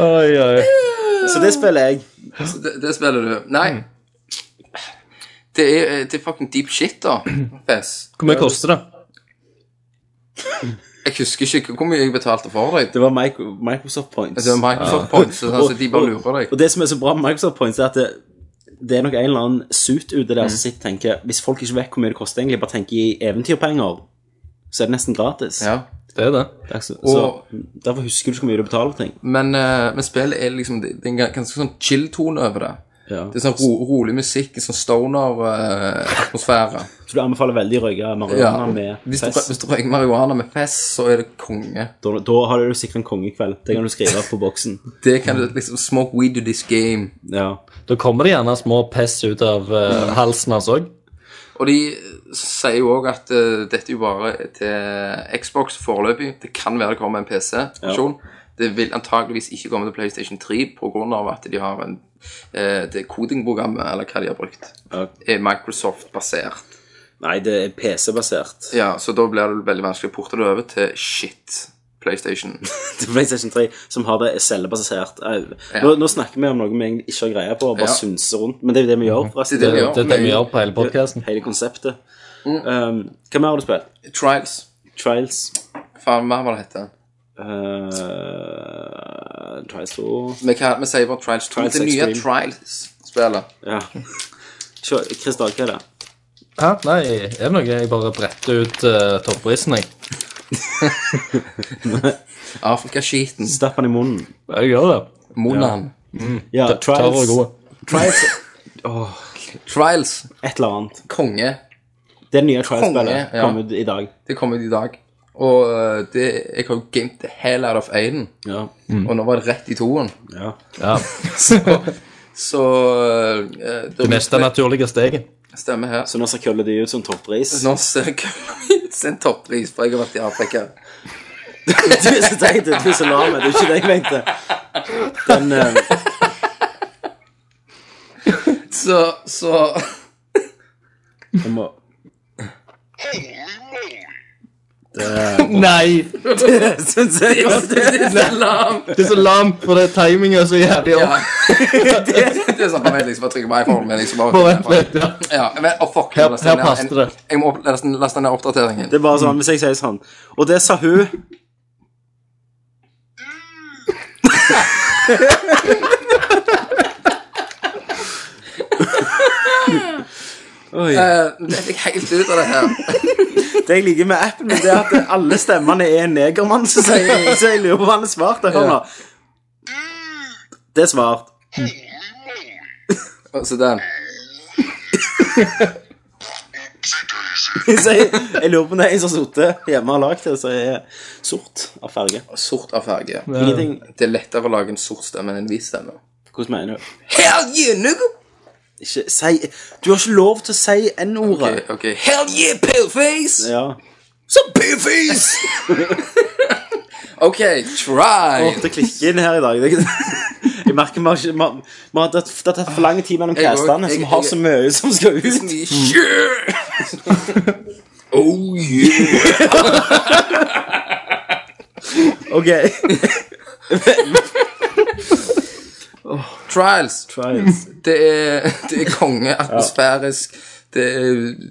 S5: oi, oi.
S4: Så det spiller jeg.
S2: Så det, det spiller du. Nei. Det er, det er fucking deep shit, da. Fess.
S5: Hvor mye koster det?
S2: Jeg husker ikke hvor mye jeg betalte for deg. Altså,
S4: Det var Mic- Microsoft Points.
S2: Det er Microsoft Points, så altså, de bare lurer
S4: Og
S2: deg.
S4: det som er så bra med Microsoft Points, er at det, det er nok en eller annen suit ute
S2: Mm.
S4: der som sitter og tenker Hvis folk ikke vet hvor mye det koster, egentlig bare tenker i eventyrpenger, så er det nesten gratis.
S2: Ja.
S5: Det er det.
S4: Det er ikke Så,
S2: Og-
S4: så Derfor husker du ikke hvor mye du betaler for ting.
S2: Men, eh, men spillet er liksom Det det er en gans- ganske sånn chill-tone over det.
S4: Ja.
S2: Det er sånn ro, rolig musikk, en sånn stoner-atmosfære.
S4: Så du anbefaler veldig å røyke *laughs*
S2: ja.
S4: marihuana med
S2: Hvis du,
S4: fest.
S2: hvis du røyker marihuana med fess, så er det konge.
S4: Da, da har du sikra en kongekveld. Det kan du skrive på boksen.
S2: Det kan du liksom Smoke weed to this game.
S4: Ja.
S5: Da kommer det gjerne små pess ut av eh, halsen hans òg.
S2: Og de sier jo òg at eh, dette er jo bare til Xbox foreløpig. Det kan være det kommer en PC-versjon. Det vil antageligvis ikke komme til PlayStation 3 pga. at de har en, eh, det kodingprogrammet, eller hva de har brukt,
S4: Ja.
S2: er Microsoft-basert.
S4: Nei, det er PC-basert.
S2: Ja, Så da blir det veldig vanskelig å porte det over til shit. PlayStation.
S4: til PlayStation 3 som har det selvbasert. Au.
S2: Ja.
S4: Nå, nå snakker vi om noe vi egentlig ikke har greie på, og bare
S2: Ja.
S4: synser rundt. Men det er jo det vi gjør. forresten.
S2: Det Mm. er Ja,
S5: Det er det vi gjør på hele podkasten.
S4: Hele konseptet. Um, hva mer har du spilt?
S2: *laughs* Trials.
S4: Trials.
S2: Faen, mer hva det heter.
S4: eh, Trials 2
S2: Vi, kan, vi sier bare Trials 2.
S4: Trials
S2: det nye
S4: Extreme.
S2: Trials-spillet.
S4: Ja. Sjå, Christer, hva er det?
S5: Hæ? Nei, er det noe? Jeg bare bretter ut uh, topprisen, jeg.
S2: Afrikaskiten.
S4: Stapp den i munnen.
S5: Jeg gjør det.
S2: Monaen.
S4: Ja,
S5: Tørr og
S4: Trials.
S5: gode.
S4: Trials
S2: Trials.
S4: Et eller annet.
S2: Konge.
S4: Det er det nye
S2: Konge,
S4: Trials-spillet.
S2: ja.
S4: Kom ut i dag.
S2: Det kom ut i dag. Og eh, det, jeg har jo gamet the hell out of Aiden.
S4: Ja.
S2: Og nå var det rett i toen.
S4: ja.
S5: Ja,
S2: Så eh,
S5: Det meste naturlige *laughs* steget.
S2: stemmer her. *laughs*
S4: Så nå ser kølla di ut som toppris.
S2: Nå ser jeg en toppris, for jeg har vært i Afrika.
S4: Du er *laughs* så teit, du er så lam. Det er ikke det jeg mente. Den eh,
S2: Så, så *laughs*
S4: Jeg må
S5: Nei!
S4: Syns jeg jo det. *laughs*
S5: Det er så lamt, for det er timinga så jævlig
S2: Ja. *laughs* det er sånn, jeg liksom bare trykker på iPhone, men liksom bare
S5: Ja.
S2: ja, men, oh, fuck, jeg
S5: Her-
S2: må laste
S5: her
S2: ned en-
S5: passer det.
S2: Jeg må opp- laste laste ned oppdateringen.
S4: Det er bare sånn, hvis jeg sier sånn Og det sa hun. Oi.
S2: Eh, Det er helt ut av det *laughs* her.
S4: Det jeg liker med appen, min, det er at alle stemmene er en negermann som sier Så jeg lurer på hva han er svart. Hør nå. Det er svart. *laughs*
S2: Og Så den.
S4: Så jeg, jeg lurer på om det er en som har sittet hjemme og lagd det, så er sort av farge.
S2: Sort av farge.
S4: Ingenting
S2: Det er lettere å lage en sort stemme enn en hvit stemme.
S4: Hvordan mener du?
S2: Hell yeah, nigga!
S4: Ikke si Du har ikke lov til å si N-ordet.
S2: Ok, ok. Hell yeah, paleface!
S4: Ja.
S2: Så *laughs* paleface! ok, try!
S4: Åh, det klikker inn her i dag. Det er ikke- *laughs* Jeg merker vi har ikke vi har- vi har- Det det har tatt for lang tid mellom
S2: Jeg òg.
S4: castene, så vi
S2: Jeg-
S4: har
S2: jeg-
S4: så mye som skal *laughs* ut.
S2: *laughs* Yeah! oh yeah!
S4: OK.
S2: Trials.
S4: Trials.
S2: Det er, *laughs* det er konge, atmosfærisk. Det er,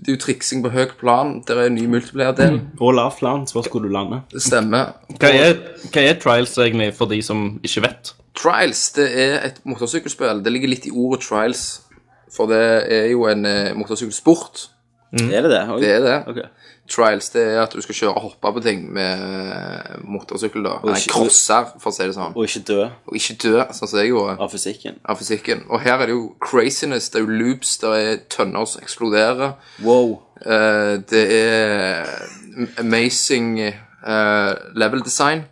S2: det er jo triksing på høyt plan. Det er en ny multiplier-del.
S4: Og lavt plan, spørs hvor du lander.
S2: Det stemmer.
S5: Hva er, hva er trials egentlig for de som ikke vet?
S2: Trials det er et motorsykkelspill. Det ligger litt i ordet trials, for det er jo en eh, motorsykkelsport.
S4: Er det det? Oi.
S2: Mm. Det er det.
S4: Ok.
S2: Trials det er at du skal kjøre og hoppe på ting med eh, motorsykkel. da. Eller
S4: ikke-
S2: crosser, for å si det sånn.
S4: Og ikke dø
S2: Og ikke dø, sånn som jeg gjorde.
S4: av fysikken.
S2: Av fysikken. Og her er det jo craziness. Det er jo loops, det er tønner som eksploderer.
S4: Wow.
S2: Eh, det er amazing eh, level design.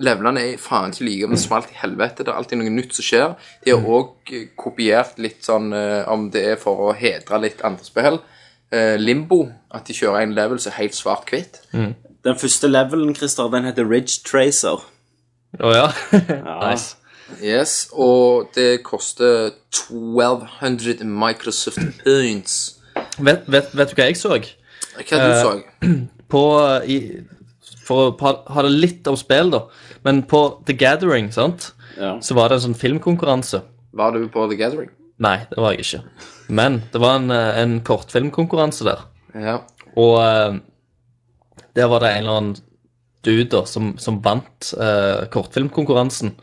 S2: Levelene er faen ikke like, men smalt i helvete. Det er alltid noe nytt som skjer. De har òg kopiert litt sånn eh, om det er for å hedre litt andre spill. Eh, Limbo, at de kjører en level som er helt svart-hvitt.
S4: Den første levelen, Christer, den heter Ridge Tracer.
S5: Å ja. *laughs* nice.
S2: Yes, og det koster 1200 Microsoft points. Eh,
S5: Vet, vet, vet du hva jeg så?
S2: Hva du så?
S5: På eh, i, For å pa- ha det litt om spill, da. Men på The Gathering sant?
S4: Ja.
S5: så var det en sånn filmkonkurranse.
S2: Var du på The Gathering?
S5: Nei, det var jeg ikke. Men det var en, eh, en kortfilmkonkurranse der.
S2: Ja.
S5: Og eh, der var det en eller annen dude da, som, som vant eh, kortfilmkonkurransen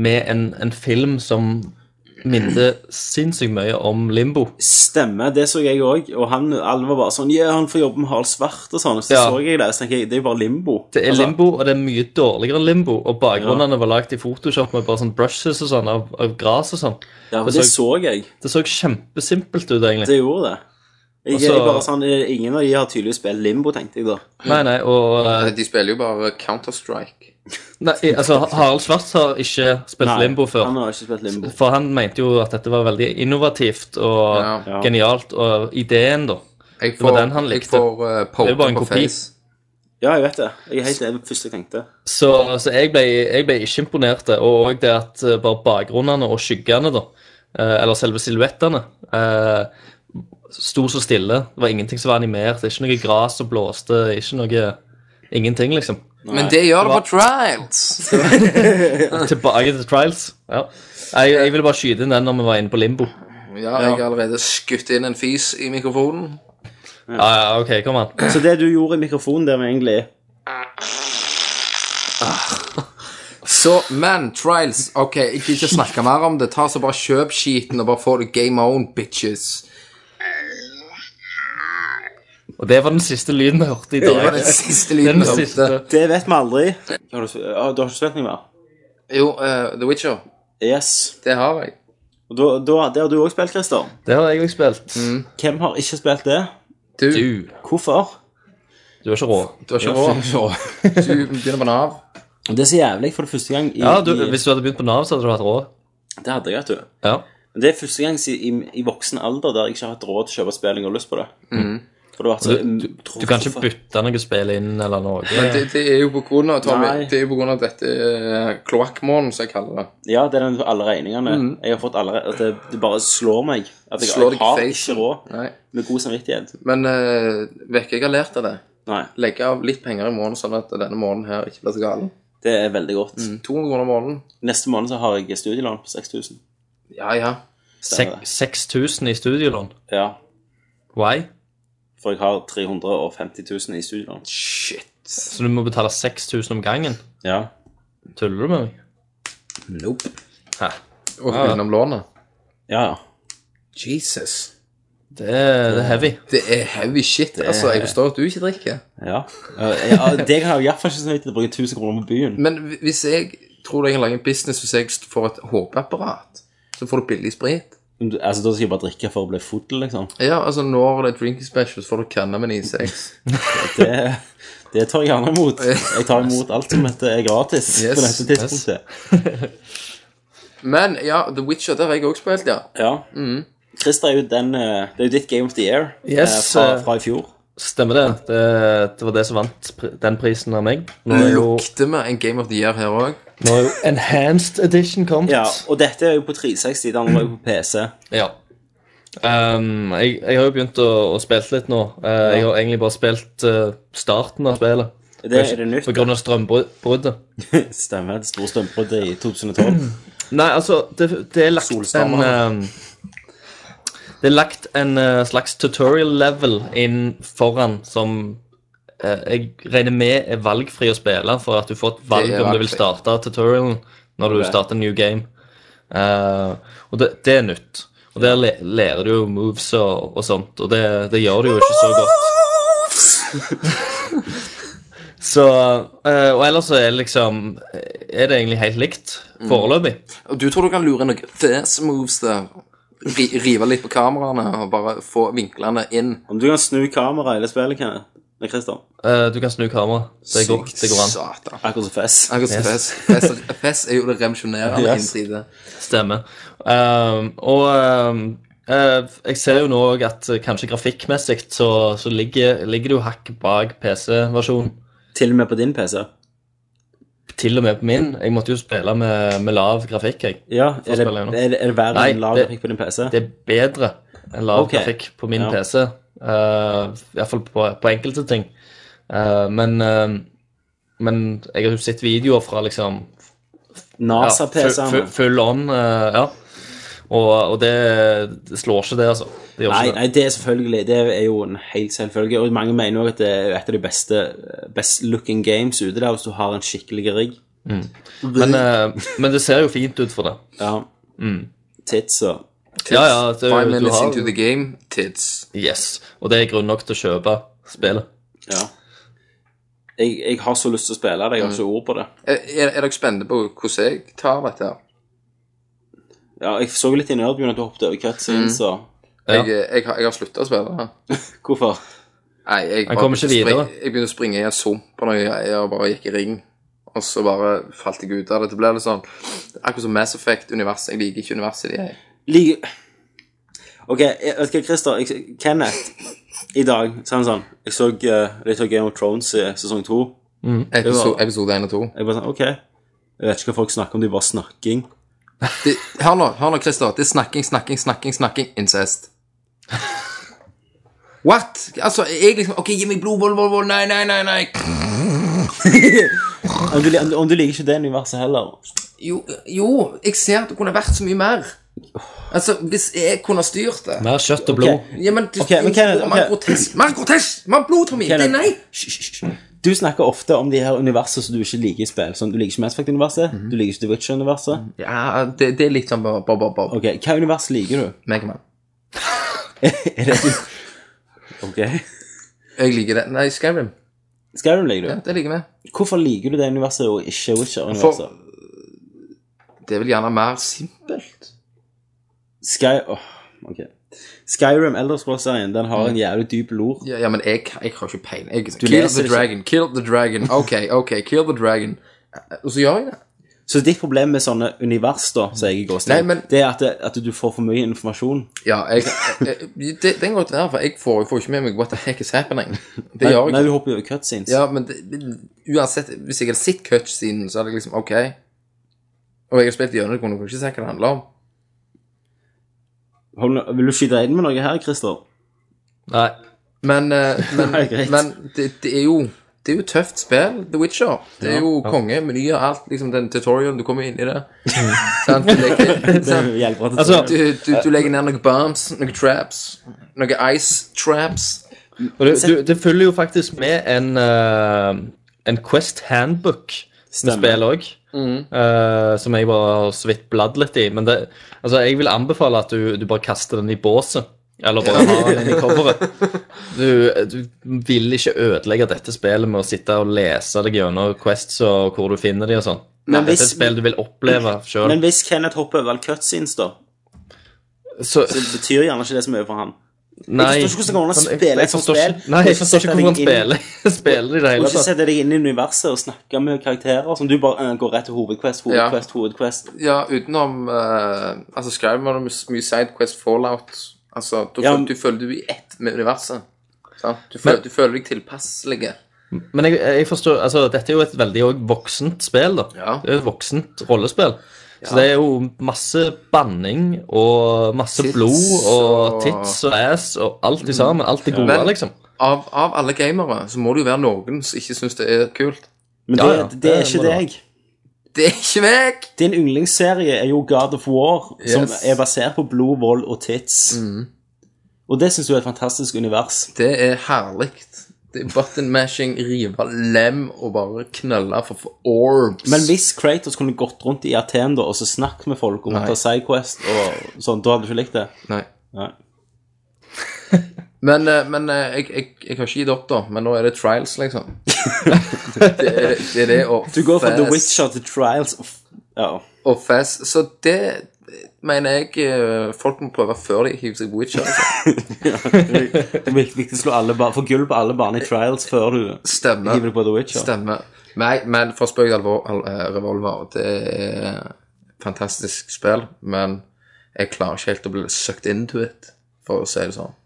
S5: med en, en film som minte sinnssykt mye om Limbo.
S4: Stemmer, det så jeg òg. Og han, alle var bare sånn Ja, han får jobbe med Harald Svart og sånn. Og så
S5: Ja.
S4: så jeg det, så tenker jeg det er jo bare limbo.
S5: Det er
S4: Altså,
S5: Limbo, og det er mye dårligere enn Limbo. Og bakgrunnene var lagd i Photoshop med bare sånn brushes og sånn av, av gras og sånn.
S4: Ja, for
S5: Det
S4: det
S5: så-
S4: så jeg.
S5: Det så kjempesimpelt ut, egentlig.
S4: Det gjorde det. Jeg,
S5: Og så-
S4: jeg bare sånn, Ingen av de har tydeligvis spilt limbo, tenkte jeg da.
S5: Nei, nei, og eh,
S2: De spiller jo bare Counter-Strike.
S5: nei, Altså, Harald Schwartz har ikke spilt Limbo før.
S4: Han har ikke spilt limbo.
S5: For han mente jo at dette var veldig innovativt og
S2: Ja.
S4: Ja.
S5: genialt, og ideen, da.
S2: Jeg
S5: var
S2: får,
S5: den han likte.
S2: Jeg får eh,
S5: Det er jo bare
S2: poker
S5: en
S2: på
S5: kopi.
S2: face.
S4: Ja, jeg vet det. Jeg er helt enig med det første jeg tenkte.
S5: Så, så jeg, ble, jeg ble ikke imponert, og òg det at eh, bare bakgrunnene og skyggene, da, eh, eller selve silhuettene, eh, sto så stille. Det var ingenting som var animert, det er ikke noe gras som blåste, ikke noe Ingenting,
S2: *laughs*
S5: liksom.
S2: Men det gjør det på trials.
S5: Tilbake til Trials. Ja. Jeg, jeg ville bare skyte inn den når vi var inne på Limbo.
S2: Ja, jeg har allerede skutt inn en fis i mikrofonen.
S5: Ja, ja, OK, kom an.
S4: Så det du gjorde i mikrofonen der, var egentlig
S2: Så, men, trials Ok, jeg vil ikke snakke mer om det. Ta så bare kjøp skiten og bare få det game on, bitches.
S5: Og det var den siste lyden vi hørte i
S2: Det var
S5: dag.
S2: den siste
S5: Den
S2: lyden. jeg hørte.
S5: siste.
S4: Det vet vi aldri. Har du, ja, du har ikke spilt noe mer?
S2: Jo, eh, The Witcher.
S4: Yes.
S2: Det har jeg.
S4: Og da, da, det har du òg spilt, Christer.
S5: Det har jeg òg spilt.
S2: Mm.
S4: Hvem har ikke spilt det?
S2: Du,
S5: Du.
S4: Hvorfor?
S5: Du er ikke rå.
S2: du har ikke
S5: *laughs*
S2: råd. Du begynner på Nav.
S4: Det er så jævlig for det første gang i,
S5: Ja, du,
S4: i
S5: Hvis du hadde begynt på Nav, så hadde du hatt råd.
S4: Det hadde jeg, vet du.
S5: Ja.
S4: Men Det er første gang si- i, i voksen alder der jeg ikke har hatt råd til å kjøpe spill jeg har lyst på det.
S2: Mm.
S4: For det har vært så,
S5: Du, du, du kan ikke bytte noe spill inn eller noe.
S2: Men det, det er jo på grunn av, Tommy,
S4: Nei.
S2: det er jo på grunn av dette uh, kloakkmånen, som jeg kaller det.
S4: Ja, det er den, alle regningene.
S2: Mm.
S4: Jeg har fått alle, at det, det bare slår meg. At jeg,
S2: Slår deg
S4: jeg har
S2: i
S4: ikke
S2: facen.
S4: råd.
S2: Nei.
S4: Med god samvittighet.
S2: Men uh, jeg har lært av det.
S4: Nei,
S2: Legge av litt penger i måneden, sånn at denne måneden her ikke blir så galen.
S4: det er veldig godt.
S2: 200 kroner i måneden.
S4: Neste måned så har jeg studielån på 6000.
S2: Ja, ja.
S4: Stemmer det.
S5: 6000 i studielån.
S4: Ja,
S5: Why?
S4: for jeg har 350 000 i studielån.
S5: Så du må betale 6000 om gangen?
S4: Ja.
S5: Tuller du med meg?
S2: Nope.
S5: Hæ?
S2: Og utenom lånet.
S4: Ja, ja.
S2: Jesus.
S5: Det er, det er heavy.
S2: Det er heavy shit. Altså, jeg forstår at du ikke drikker.
S4: ja. ja det har jeg iallfall ikke samvittighet til å bruke 1000 kroner på byen.
S2: Men hvi- hvis jeg tror jeg kan lage en business hvis jeg får et HP-apparat, så får du billig sprit.
S4: Men du- Altså, Da skal jeg bare drikke for å bli full, liksom.
S2: Ja, altså når det er drinking special, så får du cannabin i sex.
S4: Det, det tar jeg gjerne imot. Jeg tar imot alt som heter er gratis
S2: Yes,
S4: på dette tidspunktet.
S2: Men ja, The Witcher, der har jeg også spilt, ja.
S4: Ja. Mm. Christer er jo den eh, Det er jo ditt Game of the Year eh,
S5: Yes,
S4: fra,
S5: eh,
S4: fra i fjor.
S5: Stemmer det. det. Det var det som vant pri- den prisen av meg. Nå er jo,
S2: Lukter vi en Game of the Year her òg?
S5: nå er jo Enhanced Edition kommet.
S4: Ja, Og dette er jo på 360, den var jo på PC.
S5: Ja. Ehm, jeg, jeg har jo begynt å, å spille litt nå. Eh, Jeg har egentlig bare spilt eh, starten av spillet.
S4: Det er det nytt.
S5: På grunn av strømbruddet.
S4: Stemmer. Det store strømbruddet i
S5: Mm.
S4: 2012.
S5: Nei, altså, det, det er lagt en
S4: Solstammer.
S5: ehm, Det er lagt en eh, slags tutorial level inn foran som eh, jeg regner med er valgfri å spille, for at du får et valg
S2: Det er
S5: om du vil
S2: valgfri.
S5: starte tutorialen når du
S2: Ok.
S5: starter en new game. Eh, og det, det er nytt. Og der le, lærer du jo moves og, og sånt, og det, det gjør du jo ikke så godt. *laughs* så eh, Og ellers så er det liksom Er det egentlig helt likt foreløpig.
S2: Og du tror du kan lure noen fast moves der? Ri, rive litt på kameraene og bare få vinklene inn?
S4: Om du kan snu kameraet i det spillet, Kenneth. Nei, Christian.
S5: Eh, du kan snu kamera. Det går, det går an.
S2: Satan.
S4: Akkurat som Fess.
S2: Akkurat som Fess. Fess. Fess er jo det revolusjonerende
S4: Yes.
S2: innen 3D.
S5: Stemmer. Ehm, og ehm, eh, jeg ser jo nå også at eh, kanskje grafikkmessig så, så ligger, ligger det jo hakk bak PC-versjonen.
S4: Til og med på din PC.
S5: Til og med på min. Jeg måtte jo spille med, med lav grafikk. jeg.
S4: Ja,
S5: Få
S4: er det,
S5: spille gjennom.
S4: er det, er det verre
S5: Nei,
S4: enn lav
S5: det-
S4: grafikk på din PC?
S5: Det er bedre enn lav
S4: Ok.
S5: grafikk på min
S4: Ja.
S5: PC. Uh, Iallfall på, på enkelte ting. Eh, men, eh, men jeg har jo sett videoer fra liksom ja, full,
S4: NASA-PC-ene.
S5: full on. eh, ja. Og, og det, det slår ikke det, altså. Det gjør
S4: Nei,
S5: ikke det.
S4: nei, det er selvfølgelig Det er jo en helt selvfølgelig. Og mange mener også at det er et av de beste best looking games ute der hvis du har en skikkelig rigg.
S5: Men, eh, men det ser jo fint ut for det.
S4: Ja.
S5: Mm.
S4: Tits og
S5: Ja, ja, det,
S2: Five
S5: du
S2: minutes into
S5: har,
S2: the game, tids.
S5: yes, og det er grunn nok til å kjøpe spillet.
S4: Ja. Jeg, jeg har så lyst til å spille det, jeg har ikke ord på det.
S2: Er, er er dere spente på hvordan jeg tar dette? her?
S4: Ja, jeg så litt i Nerdbyen at du hoppet over
S2: Mm.
S4: cutscenes, så
S5: Ja.
S2: Jeg, eh, jeg, har- jeg har slutta å spille. det.
S4: Hvorfor?
S2: Nei, jeg,
S5: Han
S2: bare
S5: kommer ikke
S2: begynte å
S5: videre.
S2: springe- Jeg begynte å springe i en sump på noe greier og bare gikk i ring. Og så bare falt jeg ut av det. Det ble litt sånn Akkurat som Mass Effect-universet. Jeg liker ikke universet de er i.
S4: Like OK, jeg vet du hva, Christer? Jeg, Kenneth i dag sa han sånn Jeg så eh, litt av Game of Thrones i sesong to.
S2: Episode, episode 1 og 2.
S4: Jeg bare sånn OK. Jeg vet ikke hva folk snakker om, det er bare snakking.
S2: Det, hør nå, hør nå, Christer. Det er snakking, snakking, snakking, snakking, incest. What? Altså, jeg liksom OK, gi meg blod, vold, vold, vold. Nei, nei, nei, nei.
S4: Om du, li- om, du- om du liker ikke det universet heller.
S2: Jo, jo, jeg ser at det kunne vært så mye mer. Altså, hvis jeg kunne styrt det
S5: Mer kjøtt og blod.
S2: Ja, men du
S4: Ok, men Kenneth,
S2: Man er
S4: ok.
S2: grotesk. Man er grotesk! Man er blod, Tommy. Det er
S4: Kenneth.
S2: nei.
S4: Du snakker ofte om de her universene som du ikke liker i spill. Sånn, du liker ikke Mass Effect-universet,
S2: Mhm.
S4: du liker ikke The Witcher-universet.
S2: Ja, det, det er litt sånn bob, bob, bob, bob.
S4: Ok, Hva univers liker du?
S2: Megaman.
S4: er det Ok.
S2: Jeg liker det. Nei, Skyrim.
S4: Skyrim liker du.
S2: Ja, det liker vi.
S4: Hvorfor liker du det universet og ikke Witcher-universet?
S2: For det er vel gjerne mer simpelt.
S4: Sky... Åh, ok. Skyrim Elder Scrolls-serien den har en jævlig dyp lor.
S2: Ja, ja men jeg, jeg har ikke peiling. Jeg- Kill
S4: leser
S2: the
S4: det ikke.
S2: dragon, kill the dragon. OK, OK, kill the dragon. Og så gjør jeg det.
S4: Så ditt problem med sånne univers, da, som jeg i gåsehud,
S2: Nei, men-
S4: det er at, det, at du får for mye informasjon.
S2: Ja, jeg, jeg, jeg det, Den går til her, for jeg får, jeg får ikke med meg what the heck is happening. Det
S4: Nei,
S2: gjør jeg
S4: nei, du hopper jo over cutscenes.
S2: Ja, men det, det- uansett, hvis jeg hadde sett cutscenen, så hadde jeg liksom OK. Og jeg har spilt gjennom det, kunne jeg ikke se hva det handler om.
S4: Hold nå- vil du skyte inn med noe her, Christer?
S5: Nei.
S2: Men, eh, men,
S4: *laughs* Nei, greit.
S2: Mm, men det, det er jo det er jo tøft spill, The Witcher. Det er jo konge, menyer, alt. liksom Den tutorialen, du kommer inn i det.
S4: *laughs*
S2: Sant? Du, legger,
S4: Det hjelper at det
S5: Altså,
S2: du, du, du legger ned noen bombs, noen traps, noen ice traps.
S5: og det, du, det følger jo faktisk med en, eh, en Quest handbook med
S4: Stemmer.
S5: spill òg. som jeg bare har så vidt bladd litt i. Men det, altså, jeg vil anbefale at du, du bare kaster den i båset. Eller bare har den inn i coveret. Du, du vil ikke ødelegge dette spillet med å sitte og lese deg gjennom Quests og hvor du finner de og sånn.
S4: Men
S5: Dette er et
S4: hvis-
S5: spill du vil oppleve sjøl.
S4: Men hvis Kenneth hopper over alle cutscenes, da,
S5: Så
S4: så betyr gjerne ikke det så mye for han.
S5: Nei.
S4: Jeg forstår ikke hvordan han
S5: Men jeg-
S4: spiller
S5: jeg
S4: et sånt
S5: forstår
S4: spill.
S5: ikke- Nei, jeg forstår ikke hvordan han spiller *laughs* spiller i det
S4: Du
S5: hele
S4: må ikke
S5: tatt.
S4: sette deg inn i universet og snakke med karakterer som du bare eh, går rett til hovedquest, hovedquest, hovedquest.
S2: Ja, utenom eh, Altså, Skyrim var det mys- mye Sidequest Fallout. Altså, du,
S4: Ja,
S2: føl- du føler du er i ett med universet. Sant? Du, føler,
S5: Men-
S2: du føler deg tilpasselig.
S5: Men jeg, jeg forstår, altså, dette er jo et veldig også voksent spill, da.
S2: Ja.
S5: Det er jo et voksent rollespill. Så det er jo masse banning og masse
S2: Tits
S5: blod og
S2: og-
S5: tits og ass og alt i sammen. Alt det gode,
S2: Men-
S5: liksom.
S2: Av, av alle gamere så må det jo være noen som ikke syns det er kult.
S4: Men
S5: Ja,
S4: det,
S5: ja,
S4: det,
S5: det
S4: er
S5: må
S4: ikke
S5: det
S4: deg.
S2: Det er ikke meg!
S4: Din yndlingsserie er jo God of War, som
S2: Yes.
S4: er basert på blod,
S5: Mm.
S4: vold og tits. Og det syns du er et fantastisk univers.
S2: Det er herlig. Det er button mashing, rive lem og bare knølle for, for orbs.
S4: Men hvis Kratos kunne gått rundt i Aten da, og så snakket med folk om å
S2: Nei.
S4: ta Sidequest og sånn, da hadde du ikke likt det?
S2: Nei.
S4: Nei.
S2: Men, eh, men eh, jeg, jeg, jeg har ikke gitt opp, da. Men nå er det trials, liksom. *laughs* det, er, det er det og
S4: Du går fra The
S2: Fez-
S4: Witcher til Trials of Ja.
S2: Og Fez. Så det mener jeg eh, folk må prøve før de hiver seg på Witcher. Altså.
S4: Det er viktig å slå alle ba- få gull på alle baner i Trials før du
S2: Stemmer.
S4: hiver deg på The Witcher.
S2: Stemmer. Nei, men for spøk til alvor, al- eh, revolver, det er fantastisk spill, men jeg klarer ikke helt å bli sucked into it, for å si det sånn.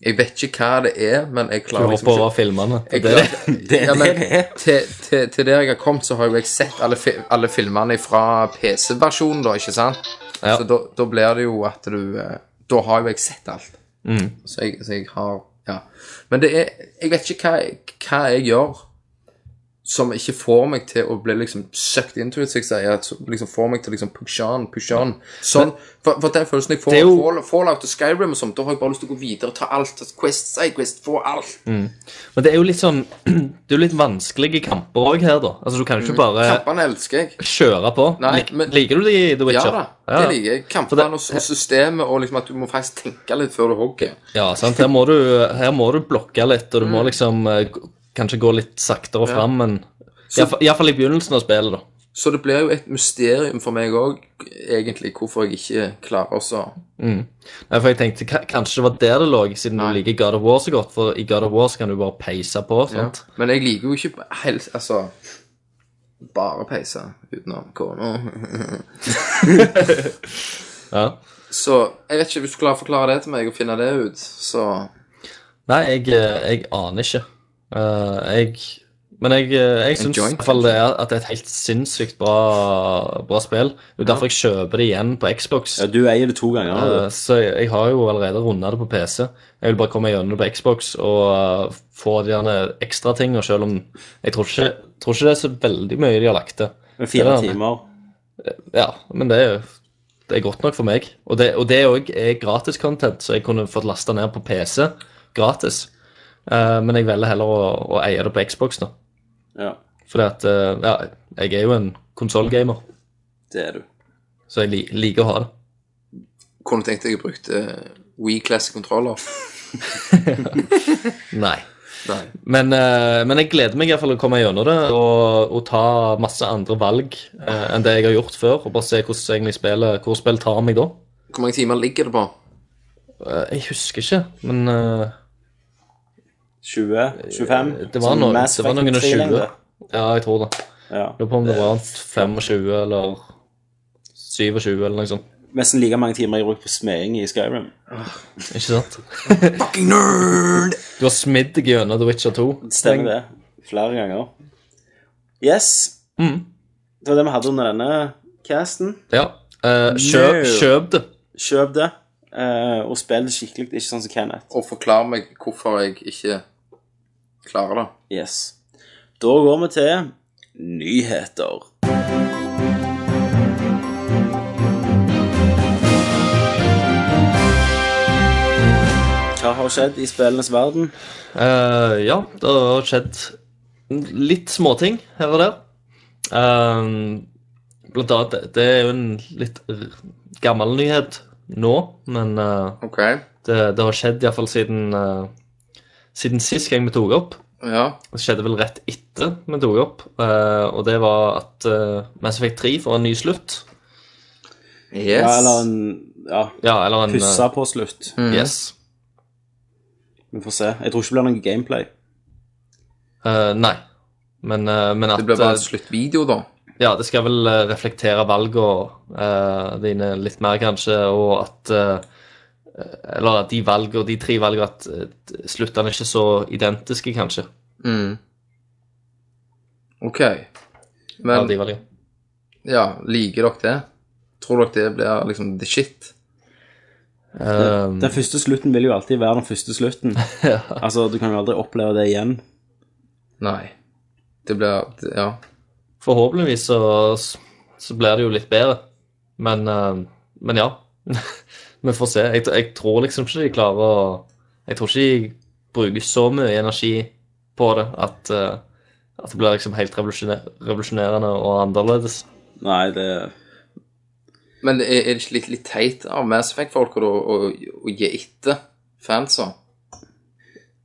S2: Jeg vet ikke hva det er, men jeg
S5: Du
S2: klarer liksom
S5: hopper over filmene. Det
S2: Jeg
S5: er det.
S2: klarer- ja, men, til, til, til der jeg har kommet, så har jo jeg sett alle, fi alle filmene fra PC-versjonen, da, ikke sant?
S5: Ja.
S2: Så da, da blir det jo at du eh, Da har jo jeg sett alt.
S5: Mm.
S2: Så, jeg, så jeg har Ja. Men det er Jeg vet ikke hva jeg, hva jeg gjør som ikke får meg til å bli liksom sucked into it, som jeg sier. Som liksom får meg til å liksom push on, push on. Sånn, for, for den følelsen jeg får
S5: Det er
S2: av
S5: jo-
S2: Fall- Fallout og Skyrim og sånt, da har jeg bare lyst til å gå videre og ta alt. ta Quest, side quest, få alt.
S5: Men det er jo litt sånn *clears throat* Det er jo litt vanskelige kamper òg her, da. Altså, du kan jo ikke bare
S2: Kampene elsker jeg.
S5: kjøre på.
S2: Mm. Nei,
S5: Lik-
S2: men-
S5: Liker du de i The
S2: Ja
S5: Witcher?
S2: da, det liker jeg. Kampene og, og systemet, og liksom at du må faktisk tenke litt før du hogger.
S5: Ja, sant. Her må du, her må du blokke litt, og du
S2: Mm.
S5: må liksom eh, g- kanskje gå litt saktere fram, men Iallfall i begynnelsen av spillet, da.
S2: Så det blir jo et mysterium for meg òg, egentlig, hvorfor jeg ikke klarer også
S5: Mm. Nei, for jeg tenkte ka- kanskje det var der det lå, siden
S2: Nei.
S5: du liker God of War så godt. For i God of War så kan du bare peise på. sant?
S2: Men jeg liker jo ikke helt Altså bare peise utenom kona. *laughs*
S5: Ja.
S2: Så jeg vet ikke hvis du klarer å forklare det til meg og finne det ut, så
S5: Nei, jeg, eh, jeg aner ikke. Eh, jeg Men jeg, eh, jeg syns i
S2: joint,
S5: hvert fall det er, at det er et helt sinnssykt bra, bra spill. Det er derfor jeg kjøper det igjen på Xbox.
S4: Ja, du eier det to ganger.
S5: Eh,
S4: du.
S5: Så jeg, jeg har jo allerede runda det på PC. Jeg vil bare komme gjennom det på Xbox og eh, få de derne ekstra tingene, selv om jeg tror ikke, tror ikke det er så veldig mye de har lagt til.
S4: Med Fire
S5: det er det.
S4: timer.
S5: Ja, men det er, det er godt nok for meg. Og det, og det er også- er gratis content, så jeg kunne fått lasta ned på PC gratis. Eh, men jeg velger heller å, å eie det på Xbox, da.
S4: Ja,
S5: Fordi at eh, Ja, jeg er jo en konsollgamer,
S4: det er du.
S5: så jeg li, liker å ha det.
S2: kunne tenkt jeg brukte eh, Wii Classic Controller.
S5: Nei.
S2: *laughs* Nei.
S5: Men, eh, men jeg gleder meg i hvert fall å komme gjennom det og, og ta masse andre valg eh, enn det jeg har gjort før. Og bare se hvordan egentlig spillet, hvor spill tar meg da.
S2: Hvor mange timer ligger det på?
S5: Eh, jeg husker ikke, men eh,
S4: 20? 25?
S5: det var
S4: Sånn
S5: noen,
S4: Mass
S5: det var noen og
S4: Effect 3
S5: 20.
S4: lengde.
S5: Ja, jeg tror det.
S4: Ja.
S5: Lurer på om det var 25 eller 27 eller noe sånt.
S4: Nesten like mange timer jeg brukte på smeding i Skyrim.
S5: Ikke sant? *laughs* Fucking nerd! Du har smidd deg gjennom The Witcher 2.
S4: Stemmer det. Flere ganger. Yes.
S5: Mm.
S4: Det var det vi hadde under denne casten.
S5: Ja. Eh, kjøp,
S4: No.
S5: kjøp det.
S4: Kjøp det, eh, og spill det skikkelig. Ikke sånn som Kenneth.
S2: Og forklar meg hvorfor jeg ikke klarer det.
S4: Yes. Da går vi til nyheter. Hva har skjedd i spillenes verden?
S5: Eh, ja, det har skjedd litt småting her og der. Ehm, blant annet, det- det er jo en litt r- gammel nyhet nå, men eh,
S2: OK.
S5: det, det har skjedd iallfall siden, eh, siden sist gang vi tok opp.
S2: Ja.
S5: Det skjedde vel rett etter vi tok opp, eh, og det var at uh, Mass Effect 3 får en ny slutt.
S2: Yes.
S4: Ja, eller en ja,
S5: Ja, eller en eh,
S4: pussa på slutt.
S2: Mm.
S5: Yes.
S4: Vi får se. Jeg tror ikke det blir noe gameplay.
S5: Eh, nei. Men, eh, men at
S2: Det blir bare en
S5: eh,
S2: sluttvideo, da.
S5: Ja, det skal vel eh, reflektere valgene eh, dine litt mer, kanskje, og at eh, Eller at de valgene, de tre valgene, at eh, sluttene er ikke så identiske, kanskje. Mm.
S2: OK.
S5: alle
S2: Men
S5: de valgene.
S2: ja, liker dere det? Tror dere det blir liksom the shit?
S5: Eh,
S4: Den første slutten vil jo alltid være den første
S5: *laughs*
S4: slutten. Altså, Du kan jo aldri oppleve det igjen.
S2: Nei. Det blir Ja.
S5: forhåpentligvis så, så blir det jo litt bedre, men, eh, men ja. *laughs* Vi får se. Jeg, jeg tror liksom ikke de klarer å Jeg tror ikke de bruker så mye energi på det. At, eh, at det blir liksom helt revolusjoner- revolusjonerende og annerledes.
S4: Nei, det
S2: Men er er det ikke litt, litt teit av Mass Effect-folk å, å, å gi etter fansa?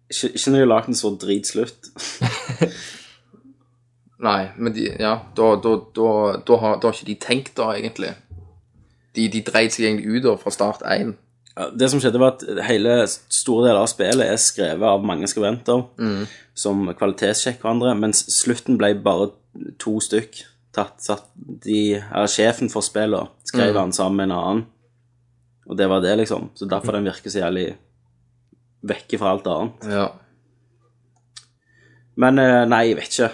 S4: Ikke, ikke når de har lagd en så dritslutt.
S2: Nei, men de, ja, da, da, da, da, har, da har ikke de tenkt da, egentlig. De, de dreit seg egentlig ut da, fra start én.
S4: Ja, Det som skjedde, var at hele store deler av spillet er skrevet av mange skribenter
S5: Mm.
S4: som kvalitetssjekker hverandre, mens slutten ble bare to stykk. Tatt, satt, de, eller sjefen for spillet skrev han sammen med en annen, og det var det, liksom. Så derfor den virker så jævlig vekke fra alt annet.
S2: Ja.
S4: Men eh, nei, jeg vet ikke.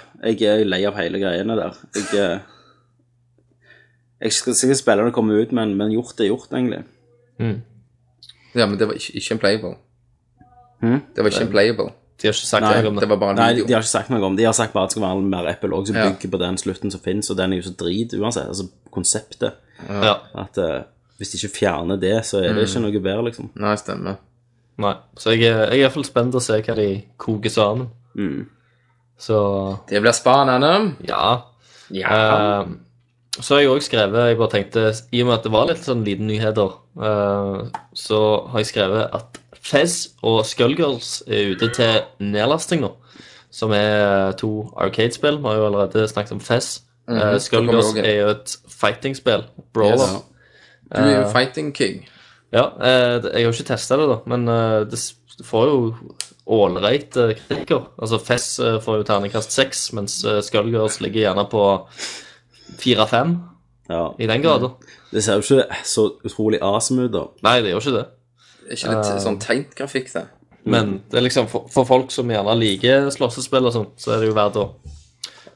S4: Jeg er lei av hele greiene der. Jeg, eh, jeg skal sikkert spille når det kommer ut, men, men gjort er gjort, egentlig.
S2: ja, men det var ikke, ikke en playable.
S5: Hm?
S4: Mhm.
S2: Det var ikke en playable.
S5: De har ikke sagt
S4: Nei,
S5: noe om det.
S2: Det var bare en
S4: Nei, de
S2: video.
S4: har ikke sagt noe om det. De har sagt bare at det skal være en mer epilog som
S2: Ja.
S4: bygger på den slutten som finnes, og den er jo så drit uansett. Altså konseptet.
S5: Ja,
S4: At eh, hvis de ikke fjerner det, så er
S2: Mm.
S4: det ikke noe bedre, liksom.
S2: Nei, stemmer.
S5: nei. Så jeg, er- jeg er iallfall spent å se hva de koker sammen.
S2: Mm.
S5: Så
S2: Det blir spennende.
S5: ja. Eh, så har jeg òg skrevet Jeg bare tenkte, I og med at det var litt sånn liten nyheter, eh, så har jeg skrevet at Fez og Skullgirls er ute til nedlasting nå. Som er to Arcade-spill. Vi har jo allerede snakket om Fez. Mm
S2: Mhm, det kommer
S5: Skullgirls
S2: også inn.
S5: er jo et fighting-spill. Brawler.
S2: Yes. Du er jo fighting king.
S5: Ja, eh, det- jeg har ikke testet det, da, men eh, det s- det får jo ålreit eh, kritikker. Altså, Fess eh, får jo terningkast seks, mens eh, Skullgirls ligger gjerne på fire-fem
S4: Ja.
S5: i den grad. da.
S2: Mm.
S4: Det ser jo ikke så utrolig awesome ut, da.
S5: Nei, det gjør ikke det.
S2: Er ikke litt sånn tegnt grafikk, det?
S5: Men
S2: Mm.
S5: det er liksom for, for folk som gjerne liker slåssespill og sånt, så er det jo verdt å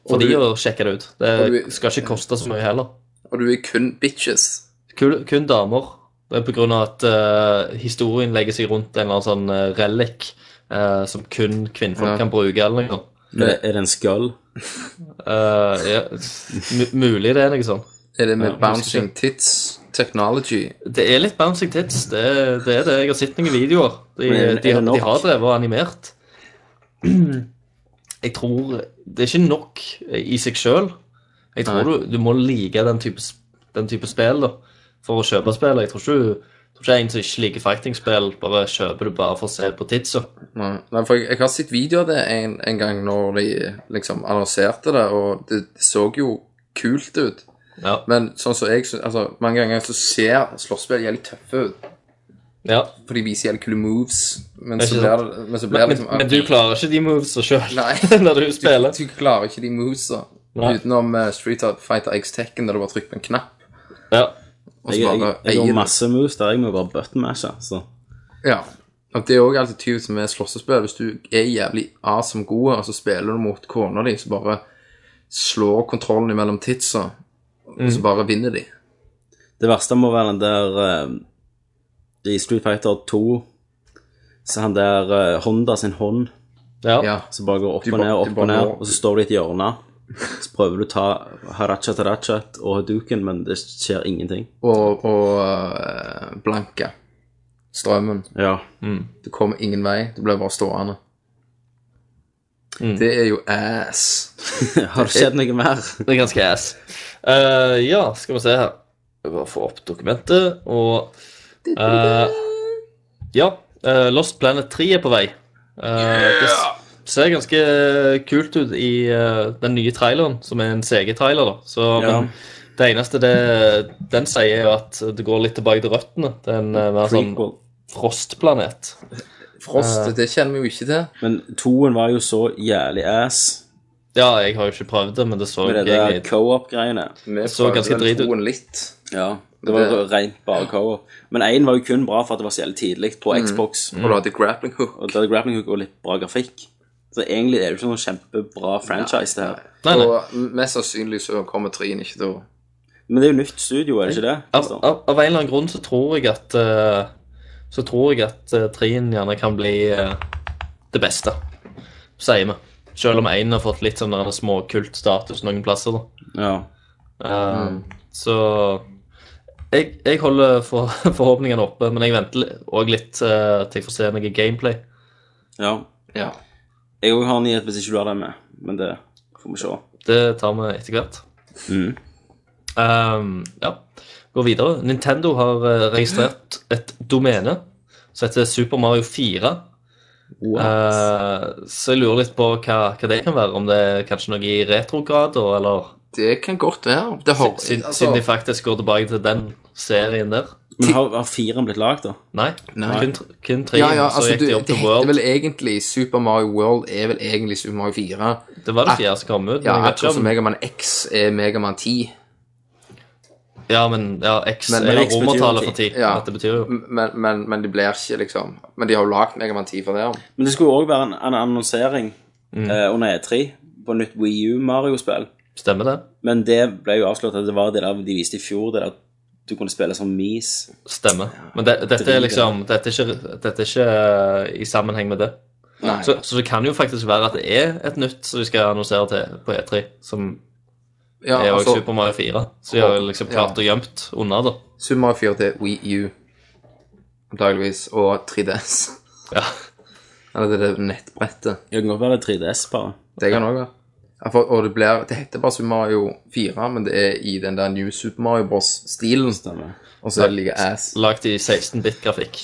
S5: for
S2: Og du-
S5: de å sjekke det ut. Det
S2: og du-
S5: skal ikke koste så mye heller.
S2: Og du er kun bitches.
S5: Kun, kun damer. Det er på grunn av at eh, historien legger seg rundt en eller annen sånn eh, relik eh, som kun kvinnfolk
S2: Ja.
S5: kan bruke. eller noe sånt.
S4: Er det, er det en skull?
S5: Eh, ja, mu- mulig det er noe sånn.
S2: Er det med
S5: Ja,
S2: bouncing tits technology?
S5: Det er litt bouncing tits, det, er- det er det. Jeg har sett noen videoer. De,
S4: Men er
S5: de,
S4: det nok?
S5: de har drevet og animert. *clears throat* Jeg tror Det er ikke nok eh, i seg sjøl. Jeg tror du, du må like den type, s- den type spill da, for å kjøpe spill. Jeg tror ikke, du, tror ikke en som ikke liker fighting-spill, bare kjøper du bare for å se på titsa.
S2: Nei, nei, for jeg, jeg har sett videoer av det en, en gang når de liksom annonserte det, og det, det så jo kult ut.
S5: Ja.
S2: Men sånn som jeg, sy- altså, mange ganger så ser slåsspill jævlig tøffe ut,
S5: ja.
S2: for de viser jævlig kule moves, men
S5: Det er
S2: så
S5: ikke
S2: blir det, men så blir det
S5: Men,
S2: liksom...
S5: men du klarer ikke de movesa sjøl
S2: Nei.
S5: *laughs* når du spiller.
S4: *laughs*
S2: Du, du klarer ikke de movesa,
S5: Nei.
S2: utenom eh, Street Fighter X Tekken, der du bare trykker på en knapp,
S5: Ja.
S2: og så
S4: Jeg, jeg,
S2: bare
S4: jeg, jeg
S2: eier
S4: gjorde
S2: du.
S4: masse moves der. Jeg må bare buttonmashe. Så
S2: Ja. Og det er også alltid typisk med slåssespill. Hvis du er jævlig awesome gode, og så spiller du mot kona di, så bare slår kontrollen imellom titsa, og
S4: Mm.
S2: så bare vinner de.
S4: det verste må være den der eh, I Street Fighter 2 så han der eh, Honda sin hånd
S5: Ja.
S2: Ja.
S4: som bare går opp
S2: Du
S4: og
S2: ba-
S4: ned,
S2: du
S4: opp
S2: bare
S4: og ned,
S2: må-
S4: og så står du i et hjørne. Så prøver du å ta harachat harachat og haduken, men det skjer ingenting.
S2: Og, og øh, blanke strømmen.
S4: Ja. *laughs*
S2: Du kommer ingen vei. Du blir bare stående.
S4: Mm.
S2: Det er jo ass.
S4: Har det skjedd noe mer?
S5: Det er ganske ass. Eh, ja, skal vi se her. Jeg bare få opp dokumentet, og eh, Ja. eh, Lost Planet 3 er på vei. Eh, Det s- ser ganske kult ut i eh, den nye traileren, som er en CG-trailer. da. Så,
S4: Ja.
S5: men det eneste det, den sier, er jo at det går litt tilbake til røttene. Det er en eh, mer
S2: Altså,
S5: sånn
S4: Prequel.
S5: frostplanet.
S2: Frost,
S4: Eh.
S2: det kjenner vi jo ikke til.
S4: Men toen var jo så jævlig ass
S5: Ja, jeg har jo ikke prøvd det, men det så
S4: med det der
S5: egentlig
S4: co-op-greiene.
S2: Vi
S5: så ganske drit ut.
S2: troen litt.
S4: Ja. Det var jo
S2: Det-
S4: rent bare co-op. Men én var jo kun bra for at det var så jævlig tidlig på Xbox.
S5: Mm.
S2: Og du hadde grappling hook.
S4: Og det hadde grappling hook og litt bra grafikk. Så egentlig er det jo ikke noen kjempebra franchise, det her.
S5: Nei, nei.
S2: Og mest sannsynlig så kommer trien ikke til å
S4: Men det er jo nytt studio, er det ikke det?
S5: av,
S4: Kristian?
S5: av, av en eller annen grunn så tror jeg at eh, Så tror jeg at uh, trien gjerne kan bli eh, det beste, sier vi. Selv om én har fått litt sånn der småkultstatus noen plasser. da.
S4: Ja.
S5: Eh, Så jeg, jeg holder for, *laughs* forhåpningene oppe, men jeg venter òg litt eh, til jeg får se noe gameplay.
S4: ja.
S2: Ja.
S4: Jeg òg har en nyhet hvis ikke du har den med, men det får vi se.
S5: Det tar vi etter hvert.
S4: Mhm.
S5: Ehm, ja, gå videre. Nintendo har eh, registrert et domene som heter Super Mario 4. Eh, så jeg lurer litt på hva, hva det kan være. Om det er kanskje noe i retrograder, eller
S2: Det kan godt være. Det har,
S5: siden,
S2: altså,
S5: siden de faktisk går tilbake til den serien der.
S4: Men har, har firen blitt lagd, da?
S5: Nei,
S2: Nei.
S5: Kun, tr- kun tre,
S2: ja, ja,
S5: så
S2: altså,
S5: gikk
S2: du,
S5: de opp
S2: det
S5: til
S2: heter
S5: World.
S2: vel egentlig Super Mario World er vel egentlig Super Mario 4.
S5: Det var det fjerde som kom ut. men
S2: Ja,
S5: jeg vet ikke
S2: akkurat som
S5: om-
S2: Megaman X er Megaman 10.
S5: ja, men ja, X
S2: Men-
S5: er
S2: men
S5: jo
S4: X betyr jo
S5: romertallet
S4: ti.
S5: for ti.
S2: Ja.
S5: Dette betyr jo
S2: Men, men, men det blir ikke, liksom. Men de har jo lagd Megaman 10 for det. om.
S4: Men det skulle òg være en, en annonsering eh, under E3 på nytt Wii U Mario-spill.
S5: Stemmer det?
S4: Men det ble jo avslått at det var det der de viste i fjor, det der du kunne spille som mis.
S5: Stemmer. Men det, dette er liksom Dette er ikke, dette er ikke eh, i sammenheng med det.
S2: Nei.
S5: Så, så det kan jo faktisk være at det er et nytt som de skal annonsere til på E3, som
S2: ja,
S5: er jo
S2: altså,
S5: Super Mario 4. Så de har jo liksom klart å gjemt unna, da.
S2: Super Mario 4 til Wii U, antageligvis, og 3DS.
S5: Ja.
S2: Eller det der nettbrettet.
S4: Ja, Det kan godt være det er 3DS, bare.
S2: Det kan også være. Ja, for- Og det, blir, det heter bare Super Mario 4, men det er i den der New Super Mario Bros.-stilen.
S4: Stemmer.
S2: Og så er det like ass.
S5: Lagt i 16-bit-grafikk.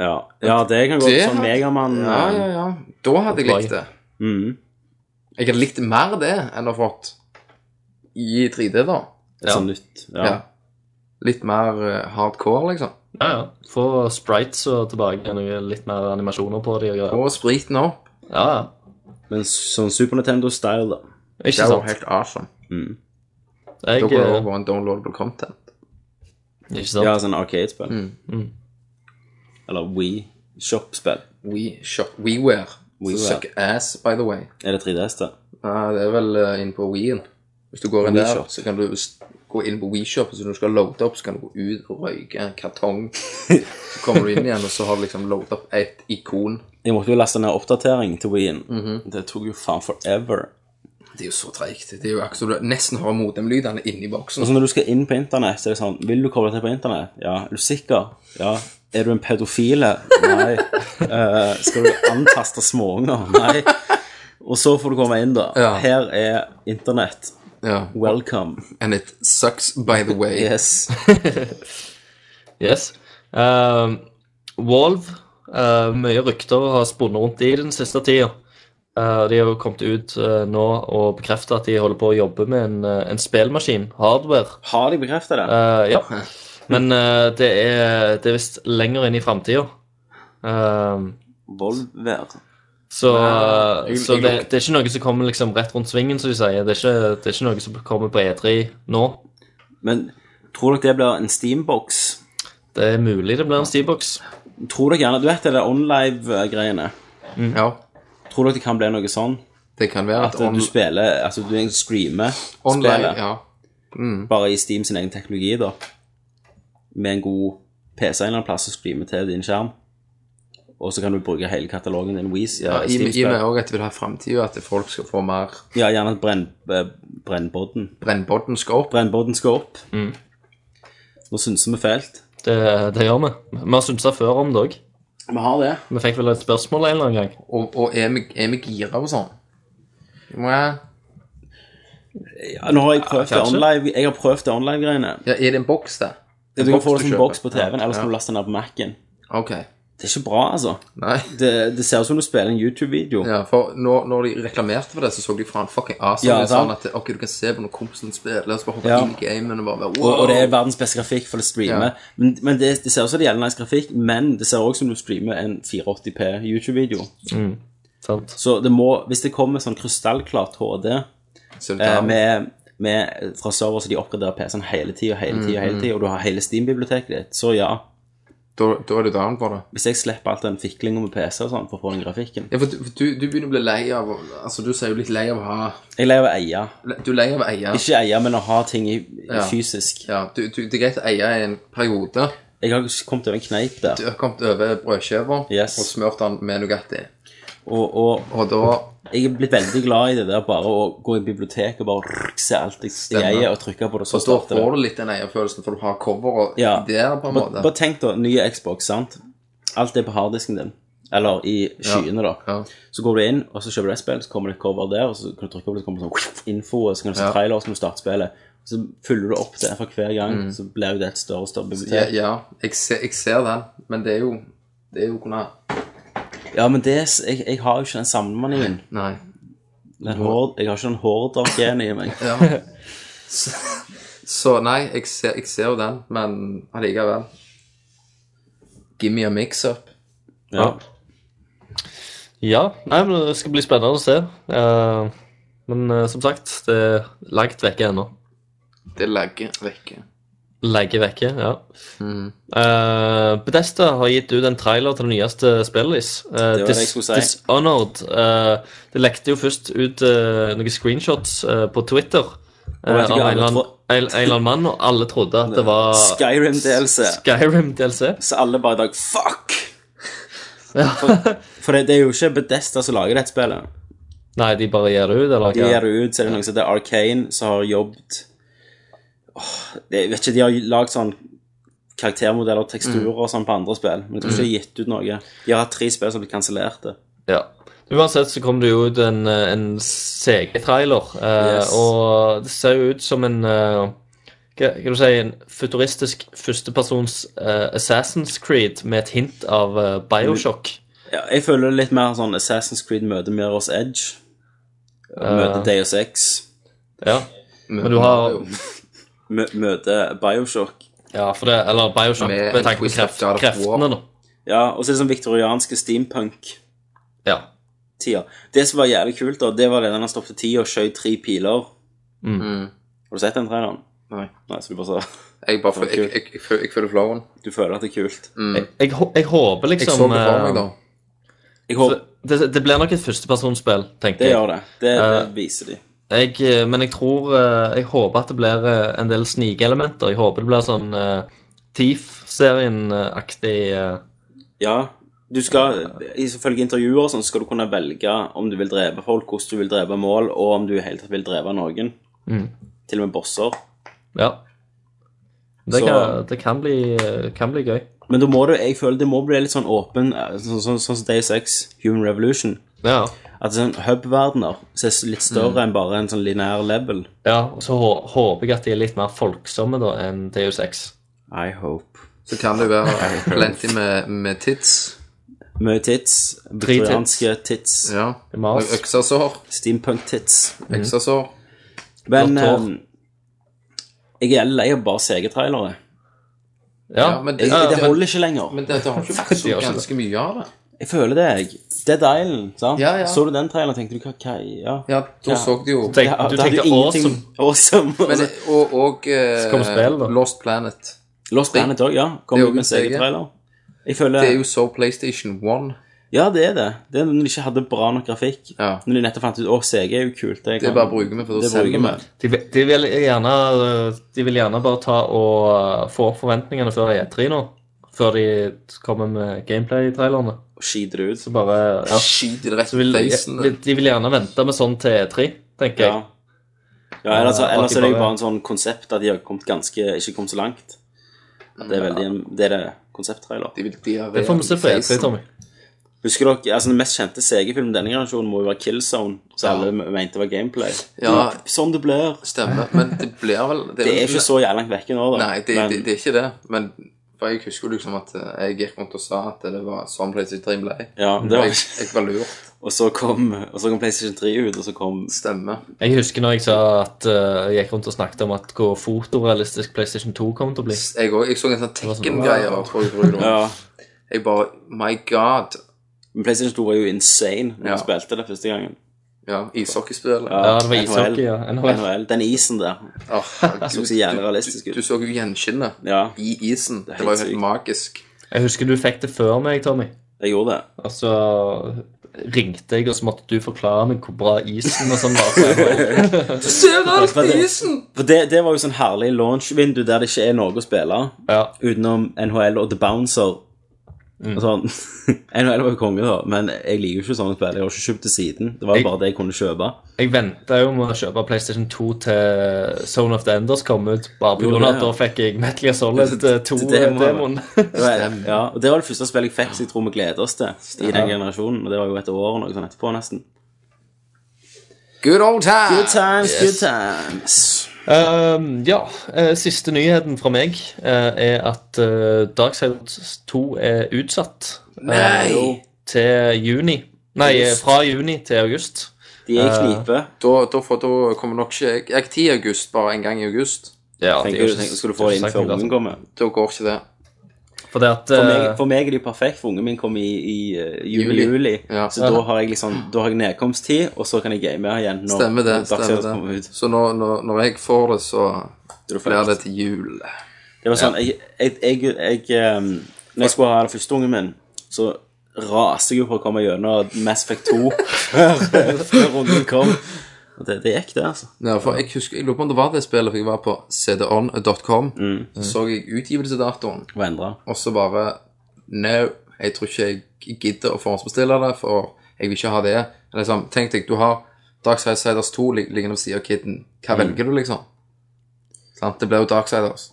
S4: Ja. ja, det kan gå
S2: Det
S4: som um,
S2: hadde-
S4: Megamann.
S2: Ja, ja, ja. Da hadde jeg likt det.
S4: Mhm.
S2: Jeg hadde likt mer det enn å ha fått i 3D, da.
S4: Et sånt nytt. Ja.
S2: Ja. Litt mer eh, hardcore, liksom.
S5: Ja, ja. Få sprites og tilbake noe litt mer animasjoner på de og greier.
S2: Og spriten opp.
S5: Ja, ja.
S4: Men sånn Super Nintendo-style, da.
S5: Ikke
S2: Det var
S5: sant?
S2: helt awesome. Da
S5: Jeg,
S2: kunne det også
S5: eh,
S2: vært en downloadable content.
S5: ikke sant?
S4: Ja, sånn Arcade-spill.
S2: Mm,
S4: Eller Wii Shop-spill.
S2: We shop, WeWare. We
S4: WiiWare.
S2: suck ass, by the way.
S4: Er det 3DS, da?
S2: Nei, det er vel eh, inne på Wien. Hvis du går inn der,
S4: WeShop.
S2: så kan du s- gå inn på WeShop, og så når du skal loade opp, så kan du gå ut og røyke en
S4: *laughs*
S2: kartong. Så kommer du inn igjen, og så har du liksom loadet opp et ikon.
S4: Jeg måtte jo laste ned oppdatering til Wien.
S2: Mhm.
S4: Det tok jo faen forever.
S2: Det er jo så treigt. Det er jo akkurat som du nesten har modemlydene inni boksen.
S4: Og så når du skal inn på internett, så er det sånn Vil du koble til på internett? Ja. Er du sikker? Ja. Er du en pedofile?
S2: *laughs*
S4: Nei. Eh, skal du antaste småunger? Nei. Og så får du komme inn, da.
S2: Ja.
S4: Her er internett.
S2: Ja.
S4: Welcome.
S2: And it sucks, by the way.
S4: Yes.
S5: Yes. Um, Valve, eh, mye rykter har spunnet rundt i den siste tida. Eh, de har jo kommet ut eh, nå og bekreftet at de holder på å jobbe med en, eh, en spillmaskin, hardware.
S4: Har de bekrefta det?
S5: Eh, ja. Men eh, det er, det er visst lenger inn i framtida.
S4: Volver.
S5: så eh,
S2: jeg-
S5: så
S2: jeg
S5: det,
S2: lukter-
S5: det er ikke noe som kommer liksom rett rundt svingen, som de sier. Det er, ikke, det er ikke noe som kommer på E3 nå.
S4: Men tror dere det blir en steambox?
S5: Det er mulig det blir en Steebox.
S4: Tror dere gjerne Du vet det der OnLive-greiene?
S2: Ja,
S4: Tror dere det kan bli noe sånn?
S2: det kan være
S4: At
S2: at, on
S4: du spiller Altså du egentlig streamer
S2: online
S4: spillet
S2: ja.
S4: bare i Steam sin egen teknologi, da. Med en god PC en eller annen plass og streame til din skjerm. Og så kan du bruke hele katalogen din Wii, ja,
S2: Ja, I i
S4: i
S2: og
S4: Steam-spill.
S2: med også at vi har fremtiden, at folk skal få mer
S4: Ja, gjerne at brenn, eh, brennbodden.
S2: Brennbodden skal opp.
S4: Brennbodden skal opp.
S2: Mm.
S4: Nå synser vi fælt.
S5: Det, det gjør vi. Vi har synsa før om det òg.
S4: Vi har det.
S5: Vi fikk vel et spørsmål en eller annen gang.
S2: Og, og er vi er vi gira og sånn? Må jeg
S4: Ja, nå har jeg prøvd det
S5: kanskje.
S4: online. Jeg har prøvd det online-greiene.
S2: Ja, er det en boks, det?
S4: Du kan
S2: boks
S4: få
S2: du
S4: det som
S2: kjøper.
S4: boks på TV-en, eller så
S2: Ja.
S4: kan du laste den ned på Mac-en.
S2: Ok.
S4: Det er ikke bra, altså.
S2: Nei.
S4: Det, det ser ut som du spiller en YouTube-video.
S2: Ja, for når, når de reklamerte for det, så så de faen fucking awesome.
S4: Ja,
S2: Ja, sånn
S4: sant.
S2: at ok, du kan se på når kompisen spiller, og så bare hoppe
S4: Ja.
S2: inn i gamen og bare være,
S4: Og,
S2: wow.
S4: og det er verdens beste grafikk, for det streamer. Men, men det, det ser også det gjelder nice grafikk, men det ser også som du streamer en 480p YouTube-video.
S5: Mm. Sant?
S4: Så det må, hvis det kommer sånn krystallklart HD
S2: Så det
S4: eh,
S2: er-
S4: med, med, fra server så de oppgraderer PC-en hele tida, hele tida,
S2: Mm,
S4: hele tida, og du har hele Steam-biblioteket ditt, så ja.
S2: da, da er du down for det.
S4: Hvis jeg slipper alt den fiklinga med PC og sånn for å få den grafikken
S2: Ja, for du, for du, du begynner å bli lei av å- Altså, du sier jo litt lei av å ha
S4: Jeg leier å eie.
S2: Du er lei av å eie.
S4: Ikke eie, men å ha ting i, i
S2: Ja.
S4: fysisk.
S2: Ja, du, du, det er greit å eie i en periode.
S4: Jeg har kommet over en kneip der,
S2: Du har kommet over brødskiva
S4: Yes.
S2: og smurt den med Nugatti.
S4: og, og
S2: Og da
S4: jeg er blitt veldig glad i det der bare å gå i biblioteket og bare se alt jeg
S2: Stemmer.
S4: eier, og trykke på det, så
S2: Og da
S4: starter det.
S2: får du litt den eierfølelsen, for du har coveret
S4: Ja.
S2: der, på en
S4: Bare
S2: måte.
S4: bare tenk da, nye Xbox, sant? Alt er på harddisken din. Eller i skyene, da.
S2: Ja.
S4: Så går du inn, og så kjøper du et spill, så kommer det et cover der, og så kan du trykke på det, så kommer det sånn info, og så kan du se
S2: Ja.
S4: trailer, og så kan du starte spillet. Så fyller du opp det for hver gang, så blir jo det et større og større
S2: Ja,
S4: bibliotek.
S2: ja Mm. jeg, ser, jeg ser den, men det er jo Det er jo kunne
S4: Ja, men det, er s- jeg, jeg har jo ikke den samlemanien.
S2: Nei.
S4: Den hord, jeg har ikke den horder-genet i meg.
S2: Ja. Så, så nei, jeg ser, jeg ser jo den, men allikevel. Give me a mix-up.
S4: Ja.
S5: Ja, nei, men det skal bli spennende å se. Eh, men eh, som sagt, det er langt vekke ennå.
S2: Det legger vekke.
S5: Legge vekke, ja.
S4: Mm.
S5: Eh, Bethesda har gitt ut en trailer til det nyeste spillet deres. Eh,
S4: det jeg skulle si.
S5: Dishonored. Eh, det lekte jo først ut eh, noen screenshots eh, på Twitter eh,
S4: vet ikke,
S5: av en
S4: alle
S5: eller, annen,
S4: tro-
S5: en, en eller annen mann, og alle trodde at det var
S4: *laughs* Skyrim DLC.
S5: Skyrim DLC.
S4: Så alle bare i dag Fuck! For, for det, det er jo ikke Bedesta som lager dette spillet.
S5: Nei, de bare gir det ut, eller?
S4: De gir det ut, så er det noen som heter Arcane, som har jobbet Åh, det, Jeg vet ikke, de har lagd sånn karaktermodeller og teksturer og sånn på andre spill, men jeg tror ikke de har gitt ut noe. De har hatt tre spill som har blitt kansellerte.
S5: Ja. Uansett så kom det jo ut en, eh, en CG-trailer, eh,
S4: Yes.
S5: og det ser jo ut som en eh, hva hva du si, en futuristisk førstepersons eh, Assassin's Creed med et hint av eh, Bioshock.
S4: Ja, jeg føler det litt mer sånn Assassin's Creed møter Mirror's Edge. Møter Deus Ex.
S5: Ja. Men du har
S4: mø- Møter Bioshock.
S5: Ja, for det Eller Bioshock
S2: Med
S5: med,
S2: en
S5: tanke på
S2: twist of
S5: kreft,
S2: God of War.
S5: kreftene, da.
S4: Ja, og så er det sånn viktorianske steampunk.
S5: Ja.
S4: tida. Det som var jævlig kult, da, det var det da han stoppet tida og skjøt tre piler.
S5: Mm.
S4: Har du sett den traileren?
S2: Nei.
S4: Nei, så du bare sa
S2: Jeg bare føl- jeg, jeg, jeg, føl- jeg føler flowen.
S4: Du føler at det er kult.
S5: Jeg, jeg, hå- jeg håper
S2: Mm. Jeg
S5: liksom
S2: så det for
S5: eh,
S2: meg, da.
S4: Jeg håper
S5: det, det blir nok et førstepersonsspill, tenker
S4: det
S5: jeg.
S4: gjør det. Det,
S5: Eh,
S4: det viser de.
S5: Jeg, eh, men jeg tror eh, Jeg håper at det blir eh, en del snikelementer. Jeg håper det blir sånn uh, Thief-serien-aktig eh,
S4: Ja. Du skal, Ifølge intervjuer og sånn, så skal du kunne velge om du vil drepe folk, hvordan du vil drepe mål, og om du i hele tatt vil drepe noen.
S5: Mm.
S4: Til og med bosser.
S5: Ja. Det,
S4: Så-
S5: kan, det kan, bli, eh, kan bli gøy.
S4: Men da må du, jeg føler det må bli litt sånn åpen, eh, sånn sånn- sånn som Days X, Human Revolution.
S5: Ja.
S4: At det er sånn hub-verdener som er litt større enn bare en sånn lineær level.
S5: ja og så hå håper jeg at de er litt mer folksomme da enn Deus Ex.
S4: I hope.
S2: Så kan det være plenty med, med tits.
S4: Mye tits. Viktorianske tits.
S2: Ja.
S5: Mas.
S2: Og Øksasår.
S4: Steampunk-tits.
S5: Mhm.
S2: Øksasår.
S4: Men
S5: Godt hår.
S4: ehm, jeg er lei av bare CG-trailere.
S5: Ja,
S2: Ja, men
S4: Det,
S2: det, det,
S4: det holder ikke lenger.
S2: men det, det har
S5: *laughs*
S2: ikke vært så
S5: har ikke det.
S2: ganske mye av det.
S4: Jeg føler det, jeg. Dead Island, sant?
S2: Ja, ja.
S4: Så du den traileren, tenkte du hva hva- Ja.
S2: Ja, da
S4: Ja.
S2: så du jo
S5: Tenk,
S4: Ja,
S5: du
S4: det hadde
S5: tenkte
S4: jo
S5: awesome.
S4: ingenting- Awesome.
S2: Men,
S4: *laughs*
S2: det- Og, og eh,
S5: kom spillet, da.
S2: Lost Planet.
S4: Lost Planet òg, ja. Kom
S2: Det er jo
S4: ut med
S2: en CG.
S4: CG-trailer. Jeg føler
S2: Det er jo så PlayStation 1.
S4: Ja, det er det. Det er når de ikke hadde bra nok grafikk.
S2: Ja.
S4: Når de nettopp fant ut å, CG er jo kult. Det,
S2: Det
S4: kan-
S2: er bare bruker vi, for da
S4: det bruker
S2: selger vi.
S4: vi.
S5: De, vil- de, vil gjerne, eh, de vil gjerne bare ta og eh, få opp forventningene før E3 nå. Før de kommer med gameplay-trailerne.
S4: Og Skiter det ut.
S5: Så bare ja.
S2: Skyter det rett
S5: Så vil,
S2: i facen.
S5: de, de vil gjerne vente med sånn til E3, tenker
S4: Ja.
S5: jeg.
S4: Ja, ellers,
S5: Ja, at
S4: ellers
S5: de
S4: er det jo
S5: bare-
S4: bare en sånn konsept at de har kommet ganske, ikke kommet så langt. At det er veldig, det er det konsepttrailer.
S2: De vil diaré
S5: Det får vi se på
S2: i
S5: E3,
S2: facen.
S5: Tommy.
S4: Husker dere, altså Den mest kjente CG-filmen denne generasjonen må jo være Killzone, som alle me- mente var gameplay.
S2: Ja.
S4: Mm, Sånn det blir.
S2: Stemmer. Men det blir vel
S4: *laughs* Det er ikke så jævlig langt vekke nå, da.
S2: Nei, det,
S4: Men
S2: det, det er ikke det. Men for jeg husker jo liksom at eh, jeg gikk rundt og sa at det var sånn PlayStation 3 ble.
S4: Ja, det var
S2: Jeg, jeg var lurt.
S4: Og så kom, og så kom PlayStation 3 ut, og så kom
S2: Stemmer.
S5: Jeg husker når jeg sa at eh, jeg gikk rundt og snakket om at hvor fotorealistisk PlayStation 2 kom til å bli.
S2: Jeg, også, jeg så en sånn
S5: var sånn,
S2: Tekken-greie.
S5: wow.
S2: tror jeg, tror jeg det var.
S4: Ja.
S2: Jeg bare My God.
S4: Men PlayStation 2 var jo insane når
S2: Ja.
S4: vi spilte det første gangen.
S2: Ja, ishockeyspillet.
S5: Ja, det var ishockey, ja.
S4: NHL.
S5: NHL.
S4: Den isen der.
S2: Åh, herregud.
S4: *laughs* så jævlig realistisk ut.
S2: Du, du så jo gjenskinnet
S4: Ja,
S2: i isen. Det,
S4: er
S2: var jo
S4: helt
S2: helt
S4: sykt.
S2: magisk.
S5: Jeg husker du fikk det før meg, Tommy.
S4: jeg gjorde det.
S5: Og så ringte jeg, og så måtte du forklare meg hvor bra isen og sånn
S4: *laughs*
S5: var.
S2: Du ser alt
S4: i
S2: isen!
S4: For det, det var jo sånn herlig launch-vindu der det ikke er noe å spille.
S5: Ja,
S4: utenom NHL og The Bouncer.
S5: Mm.
S4: Altså, *laughs* NHL var jo konge, da, men jeg liker jo ikke sånne spill. Jeg har ikke kjøpt til siden. Det var jo
S5: Jeg-
S4: bare det jeg kunne kjøpe.
S5: Jeg venta jo med å kjøpe PlayStation 2 til Zone of the Enders kom ut, bare
S4: Jo,
S5: pga. at
S4: det,
S5: da
S4: ja.
S5: fikk jeg Metal Gear
S4: *laughs*
S5: Solid eh,
S4: Det må-
S5: 2-demoen.
S4: Det var, ja, og det var det første spillet jeg fikk som jeg tror vi gleder oss til i den generasjonen. Og det var jo et år og noe sånn etterpå, nesten.
S2: Good old time!
S4: Good times, good times.
S5: Ehm, ja. eh, Siste nyheten fra meg eh, er at uh, Darksiders 2 er utsatt eh,
S2: Nei!
S5: til juni. Nei, eh, fra juni til august.
S4: De er i knipe.
S5: Eh,
S2: Da, da, får, da kommer nok ikke jeg, jeg er 10 i august, bare en gang i august.
S5: Ja, det er
S4: Tenker
S5: jo
S4: du,
S5: ikke-
S4: tenker, Skulle du
S5: det
S4: få
S5: er
S4: det inn
S5: ikke sagt
S4: før
S5: noe altså.
S4: ungen kommer?
S2: Da går ikke det.
S5: For det at
S4: For meg,
S5: eh,
S4: for meg er de perfekt, for ungen min kommer i, i eh,
S2: Juli.
S4: juli. juli.
S2: Ja.
S4: Så da har jeg liksom, da har jeg nedkomsttid, og så kan jeg game igjen. Når
S2: Stemmer det.
S4: når Darksiders
S2: stemmer
S4: kommer
S2: det.
S4: ut.
S2: Så når, når, når jeg får det, så
S4: Da er det
S2: blir
S4: først.
S2: det til jul.
S4: Det var sånn, jeg, jeg, jeg, jeg ehm, Når jeg skulle ha den første ungen min, så raste jeg jo på å komme gjennom Mass Effect 2 *laughs* før, før ungen kom. Og det, det gikk, det, altså.
S2: Ja, for jeg husker, jeg lurer på om det var det spillet, for jeg var på cdon.com. Så så jeg utgivelsesdatoen,
S4: Det var endret.
S2: og så bare No, jeg tror ikke jeg gidder å forhåndsbestille det, for jeg vil ikke ha det. Liksom, tenk deg, du har Darksiders 2 lig- liggende ved siden av Kidden. Hva velger du, liksom? Sant? Det blir jo Darksiders.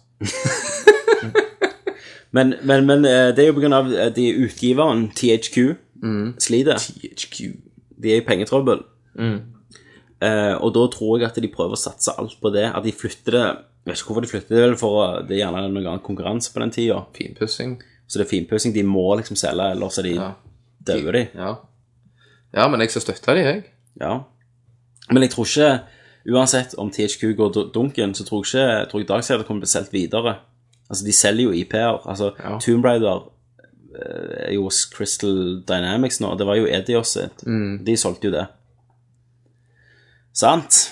S4: Men, men, men eh, det er jo på grunn av eh, de utgiveren, THQ, sliter. De er i pengetrøbbel. Eh, og da tror jeg at de prøver å satse alt på det. At de flytter det Jeg vet ikke hvorfor de flytter det, det er vel for å- det er gjerne noen annen konkurranse på den tida.
S2: Finpussing.
S4: Så det er finpussing. De må liksom selge, ellers er de
S2: Ja.
S4: dauer, de.
S2: Ja. ja, men jeg skal støtte de, jeg.
S4: Ja. Men jeg tror ikke Uansett om THQ går du- dunken, så tror jeg ikke jeg tror jeg Dagsrevyen kommer til å bli solgt videre. Altså, de selger jo IP-er. Altså,
S2: Ja.
S4: Tomb Raider eh, er jo hos Crystal Dynamics nå. Det var jo Edios sitt. De solgte jo det. Sant?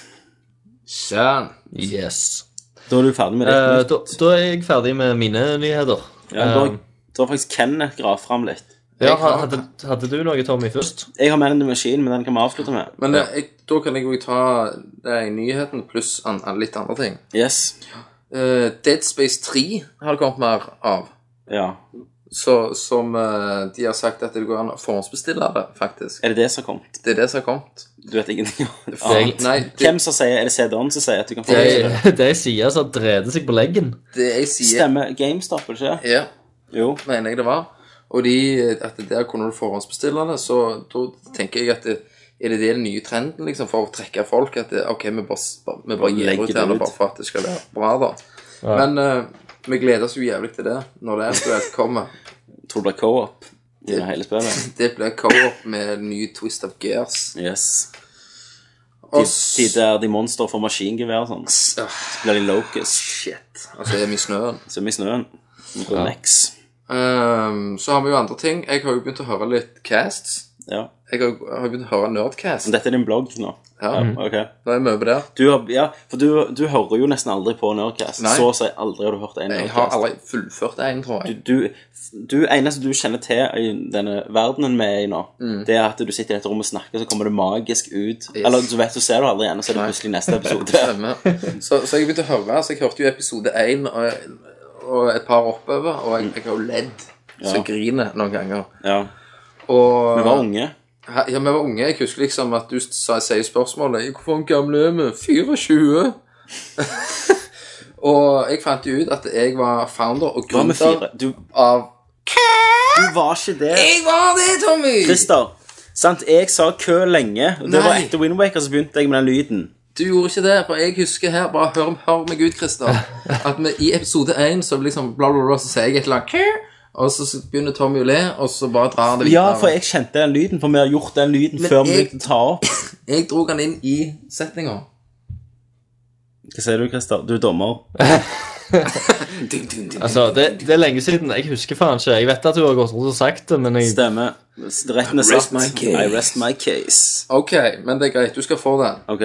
S2: Sånn.
S5: Yes.
S4: Da er du ferdig med det.
S5: Eh, da, da er jeg ferdig med mine nyheter.
S4: ja, da,
S5: Eh,
S4: da har faktisk Kenneth gravd fram litt.
S5: ja,
S2: jeg
S5: ha-
S2: har-
S5: hadde, hadde du noe, Tommy, først?
S4: Jeg har Man in the Machine, men den kan vi avslutte med.
S2: Men eh, jeg, da kan jeg jo ta eh, nyheten pluss an, an litt andre ting.
S4: Yes.
S2: Eh, Dead Space 3 har det kommet mer av.
S4: Ja.
S2: Så, som eh, de har sagt at det går an å forhåndsbestille det, faktisk.
S4: Er det det som har kommet?
S2: Det er det som har kommet.
S4: Du vet ingenting om det?
S2: Ah, nei, det,
S4: Hvem som sier Er det CD-en som sier at du kan få
S2: Det
S4: det?
S2: er-
S5: Det er ei side som dreder seg på leggen.
S2: det jeg sier
S4: Stemmer GameStop, er det ikke?
S2: Ja,
S4: Jo.
S2: mener jeg det var. Og de, at der kunne du forhåndsbestille det, så da tenker jeg at det, er det det den nye trenden liksom, for å trekke folk? At det, ok, vi bare, s- bare- vi bare gir
S4: Legger
S2: ut
S4: det
S2: den
S4: ut.
S2: bare for at det skal være bra, da. Men eh, vi gleder oss jo jævlig til det når det eventuelt kommer.
S4: Tror du det er co-op gjennom hele spillet?
S2: Det blir co-op med en ny Twist of Gears.
S4: Yes. De,
S2: Og
S4: de der de monster får maskingevær og sånn, så
S2: s- ah,
S4: blir de locus.
S2: Shit. Altså, det er mye snøen.
S4: Som i snøen. Ja. Nex.
S2: Ehm, så har vi jo andre ting. Jeg har jo begynt å høre litt casts.
S4: Ja.
S2: Jeg har, jeg har begynt å høre Nerdcast.
S4: Men dette er din blogg nå.
S2: Ja,
S4: Ok.
S2: Nå er vi over der.
S4: Du har, ja, for du, du hører jo nesten aldri på Nerdcast.
S2: Nei.
S4: Så å si aldri har du hørt en
S2: Jeg har
S4: Nerdcast.
S2: aldri fullført en, tror jeg.
S4: Du, du eneste du kjenner til i denne verdenen vi er i nå,
S2: Mm.
S4: det er at du sitter i dette rommet og snakker, så kommer det magisk ut. Eller du vet, så ser du aldri igjen, og så er det plutselig neste
S2: *laughs*
S4: episode.
S2: Stemmer. Så, så jeg begynte å høre. Så jeg hørte jo episode én og, og et par oppover, og jeg, jeg har jo ledd. Så jeg griner noen ganger.
S4: Ja.
S2: Og
S4: Vi var unge.
S2: Ja, vi var unge. Jeg husker liksom at du sa, sier spørsmålet «Ja, Hvor gammel er vi? 24? *laughs* og jeg fant jo ut at jeg var founder og
S4: Du var med
S2: gründer
S4: fire. Du,
S2: av
S4: du var ikke det.
S2: Jeg var det, Tommy!
S4: Christer, sant? jeg sa kø lenge, og det
S2: Nei.
S4: var etter Windwaker så begynte jeg med den lyden.
S2: Du gjorde ikke det, for jeg husker her Bare hør, hør meg ut,
S4: *laughs*
S2: Christer. At vi, i episode 1 så liksom bla, bla, bla, så sier jeg et eller annet «Kjør!» Og så begynner Tommy å le, og så bare drar han det
S4: Ja, for jeg kjente den lyden, for vi har gjort den lyden
S2: Men
S4: før vi
S2: jeg-
S4: begynte å ta opp.
S2: Jeg dro han inn i setninga.
S4: Hva sier du, Christer? Du er dommer.
S5: Altså, det, det er lenge siden. Jeg husker faen ikke. Jeg vet at du har gått rundt og sagt det, men jeg
S4: Stemmer. Retten er
S2: Rest
S4: satt.
S2: my case.
S4: I rest my case.
S2: OK, men det er greit. Du skal få den.
S4: Ok.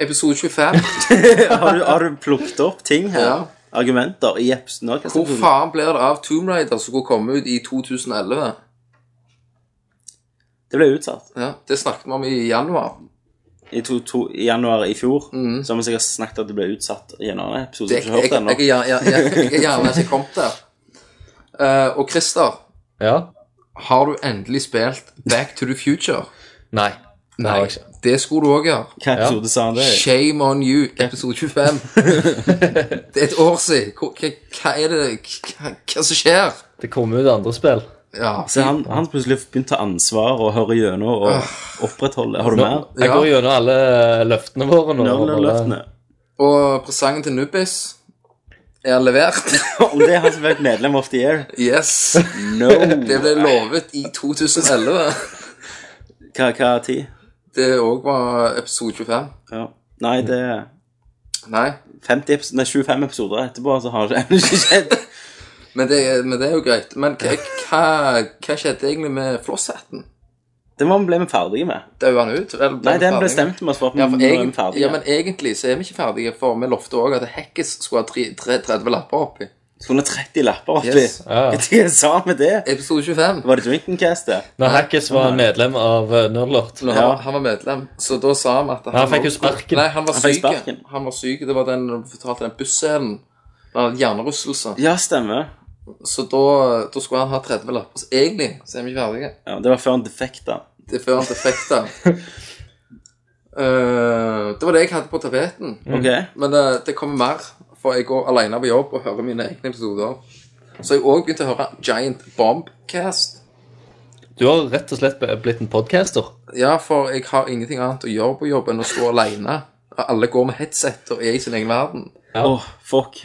S2: Episode
S4: *laughs*
S2: 25.
S4: Har du, har du plukket opp ting her?
S2: Ja.
S4: Argumenter i episoden? nå, Christer?
S2: Hvor faen blir det av Tomb Raider som skulle komme ut i 2011?
S4: Det ble utsatt.
S2: Ja, det snakket vi om i januar.
S4: I, to, to, I januar i fjor så har vi sikkert snakket at det ble utsatt i en annen episode.
S2: Mm. Det,
S4: som
S2: jeg, jeg,
S4: ikke har hørt
S2: jeg,
S4: den nå.
S2: jeg, jeg, jeg, jeg er gjerne ikke kommet der. Eh, og Christer,
S5: Ja.
S2: Har du endelig spilt Back to the Future?
S5: Nei. det har jeg ikke.
S2: Det skulle du òg gjøre.
S4: Hva episode sa han det? i?
S2: Shame on you, episode
S4: *laughs*
S2: 25. det er et år siden. Hva, hva- hva er det Hva, hva som skjer?
S5: Det kom ut andre spill.
S2: Ja,
S4: Så Altså, han, han plutselig begynt å ta ansvar og høre gjennom og opprettholde. Har du
S5: Nå,
S4: mer?
S5: jeg
S2: Ja.
S5: går gjennom alle eh, løftene våre nå.
S4: *laughs* Nørleløftene.
S2: Og presangen til Nubbis er levert. *laughs*
S4: Og det er han som er et medlem of the year.
S2: Yes.
S4: *laughs* No!
S2: Det ble lovet i 2011.
S4: Hva, hva er tid?
S2: Det òg var episode 25.
S4: Ja. Nei, det er
S2: Nei,
S4: 50 epis- nei, 25 episoder etterpå, så har det ennå ikke skjedd.
S2: men det, men det er jo greit. Men hva, hva, hva skjedde egentlig med flosshatten?
S4: Det var ble vi ferdige med.
S2: Daua han ut? Eller ble
S4: Nei,
S2: vi
S4: den
S2: ferdige?
S4: bestemte vi oss for at vi
S2: Ja,
S4: nå
S2: for
S4: er vi
S2: egent,
S4: ferdige.
S2: ja, Mm, men egentlig så er vi ikke ferdige, for vi lovte òg at Hekkes skulle ha tre- tre- 30 lapper oppi.
S4: Skulle ha 30 lapper oppi.
S2: Yes.
S5: Ja.
S4: Hva sa han med det?
S2: Episode 25.
S4: Var det Drinkencast, det?
S5: Når Hackis var medlem av eh, Nerdlort
S2: Når
S4: Ja.
S2: han, han var medlem, så da sa vi at han,
S5: han fikk jo
S2: også skulle-
S5: sparken.
S2: Nei, han var
S4: Han fikk
S2: syk.
S4: sparken.
S2: Han var syk. Det var den når vi fortalte den busscenen. Han hadde hjernerystelse.
S4: Ja, stemmer.
S2: Så da, da skulle han ha 30 lapper. Så egentlig så er vi ikke ferdige.
S4: Ja, det var før han defekta.
S2: Det er før han defekta. Eh, det var det jeg hadde på tapeten.
S4: Ok.
S2: Men eh, det, det kommer mer, for jeg går alene på jobb og hører mine egne episoder. Så jeg òg begynte å høre Giant Bombcast.
S5: Du har rett og slett blitt en podcaster.
S2: Ja, for jeg har ingenting annet å gjøre på jobb enn å stå alene. Alle går med headset og er i sin egen verden.
S4: Åh, fuck.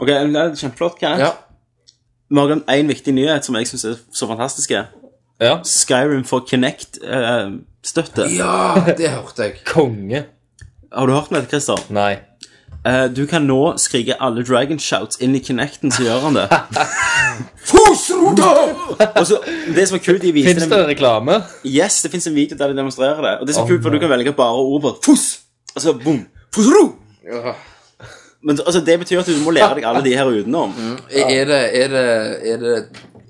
S4: Ok, men det er kjempeflott, Kenneth.
S2: Ja,
S4: Vi har glemt én viktig nyhet som jeg syns er så fantastisk.
S5: Ja.
S4: Skyrim får Kinect-støtte.
S2: ja det hørte jeg.
S5: Konge.
S4: Har du hørt om dette, Christer?
S5: Nei.
S4: Eh, du kan nå skrike alle dragon shouts inn i Kinecten, så gjør han det. Og så, det som er kult, de viser
S5: Fins det
S4: dem,
S5: reklame?
S4: Yes, det fins en video der de demonstrerer det. Og det som er kult, for du kan velge bare ord på Fuss! Og så boom! Fusro!
S2: Ja.
S4: Men altså, det betyr at du må lære deg alle de her utenom.
S2: Er er det Er det, er det,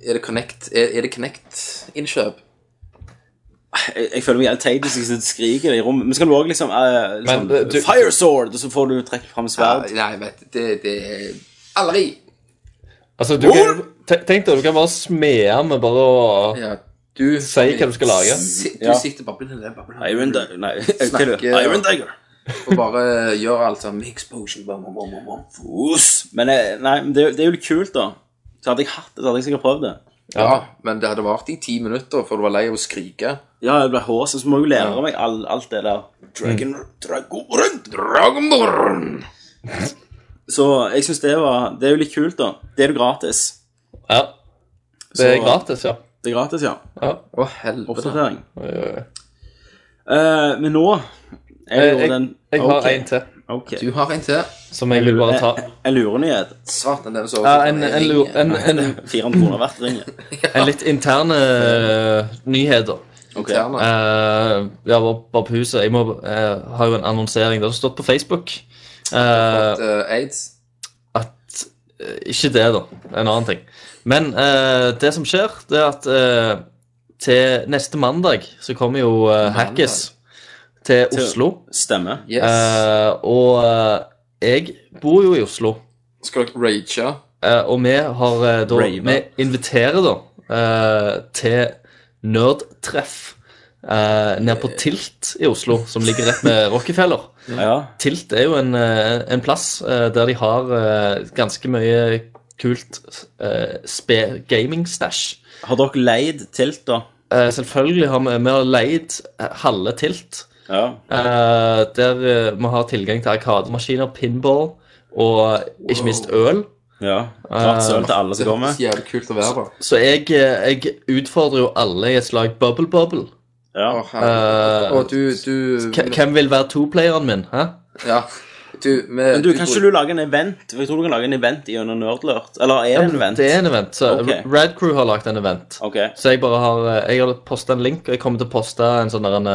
S2: er det Connect Er, er det Connect-innkjøp?
S4: Jeg, jeg føler meg helt teit hvis jeg sitter og skriker det i rommet. Men så kan du òg liksom, eh, liksom
S5: Men, eh, du-
S4: Fire sword! Og så får du trekke fram sverd.
S2: Nei, vet du, det, det er Aldri!
S5: Altså, du kan, te- tenk deg, du kan bare smede med bare å
S2: Ja, du
S5: si hva du skal lage.
S2: Si- Du
S4: Ja.
S2: sitter bare på den der babla.
S4: Iron Dagger Nei, hva er det?
S2: Snakker-
S4: Iron Dagger.
S2: og bare gjør alt sånn Mix potion bam, bam, bam, bam.
S4: Fuss. Men eh, nei, men det, er jo- det er jo litt kult, da. Så hadde jeg hatt det, så hadde jeg sikkert prøvd det.
S2: Ja, men det hadde vart i ti minutter før du var lei av å skrike.
S4: Ja, jeg ble hås, så må jeg jo lære meg all, alt det der. Mm. Dragon, Dragoren!
S2: Dragonborn!
S4: Så jeg syns det var Det er jo litt kult, da. Det er jo gratis.
S5: Ja. Det er
S4: Så-
S5: gratis, ja.
S4: Det er gratis, ja.
S2: Å, helvete.
S4: Oppdatering. Eh, men nå er
S5: Eh, Jeg,
S4: jo
S5: jeg,
S4: den
S5: jeg har
S4: Ok,
S5: en til
S4: ok.
S2: Du har en til.
S5: som jeg vil bare ta.
S4: En- En lurenyhet.
S2: Satan, den så
S5: Ja, en, en, lur- en, en,
S4: 400 kroner hvert
S5: *laughs*
S4: ring.
S5: en litt interne uh, nyheter.
S4: Ok.
S2: Interne.
S5: Eh, ja, bare, bare på huset. Jeg må, eh, har jo en annonsering. Det har stått på Facebook. eh,
S2: At, eh, Aids.
S5: at eh, Ikke det, da. En annen ting. Men eh, det som skjer, det er at eh, til neste mandag så kommer jo eh, Hackis til
S4: Til-
S5: Oslo.
S4: Stemmer.
S2: Yes.
S5: Eh, og eh, jeg bor jo i Oslo.
S2: skal dere rage?
S5: Eh, og vi har eh, da
S4: Rave.
S5: Vi inviterer da eh, til nerdtreff eh, ned på Tilt i Oslo, som ligger rett ved Rockefeller.
S4: Ja.
S5: Tilt er jo en, eh, en plass eh, der de har eh, ganske mye kult eh, spe- gaming-stæsj.
S4: Har dere leid telt, da?
S5: Eh, selvfølgelig har vi, vi har leid eh, halve Tilt.
S4: Ja.
S5: Eh, der eh, vi har tilgang til arkademaskiner, pinball og ikke minst øl.
S4: ja.
S5: Eh,
S4: Gratis øl til alle som kommer.
S2: Så jævlig kult å være på.
S5: Så jeg, eh, jeg utfordrer jo alle i et slag bubble bubble.
S4: Ja.
S2: Å, herregud.
S5: Eh,
S2: Og du, du
S5: K
S4: Mm.
S5: hvem vil være to-playeren min? Hæ?
S2: Ja. Du, med,
S4: Men du, kan ikke du lage en event? For Jeg tror du kan lage en event gjennom Nerdlurt. Eller er det en event?
S5: Det er en event. Så
S4: Ok.
S5: Rad Crew har lagd en event.
S4: Ok.
S5: Så jeg bare har eh, Jeg har posta en link, og jeg kommer til å poste en sånn der en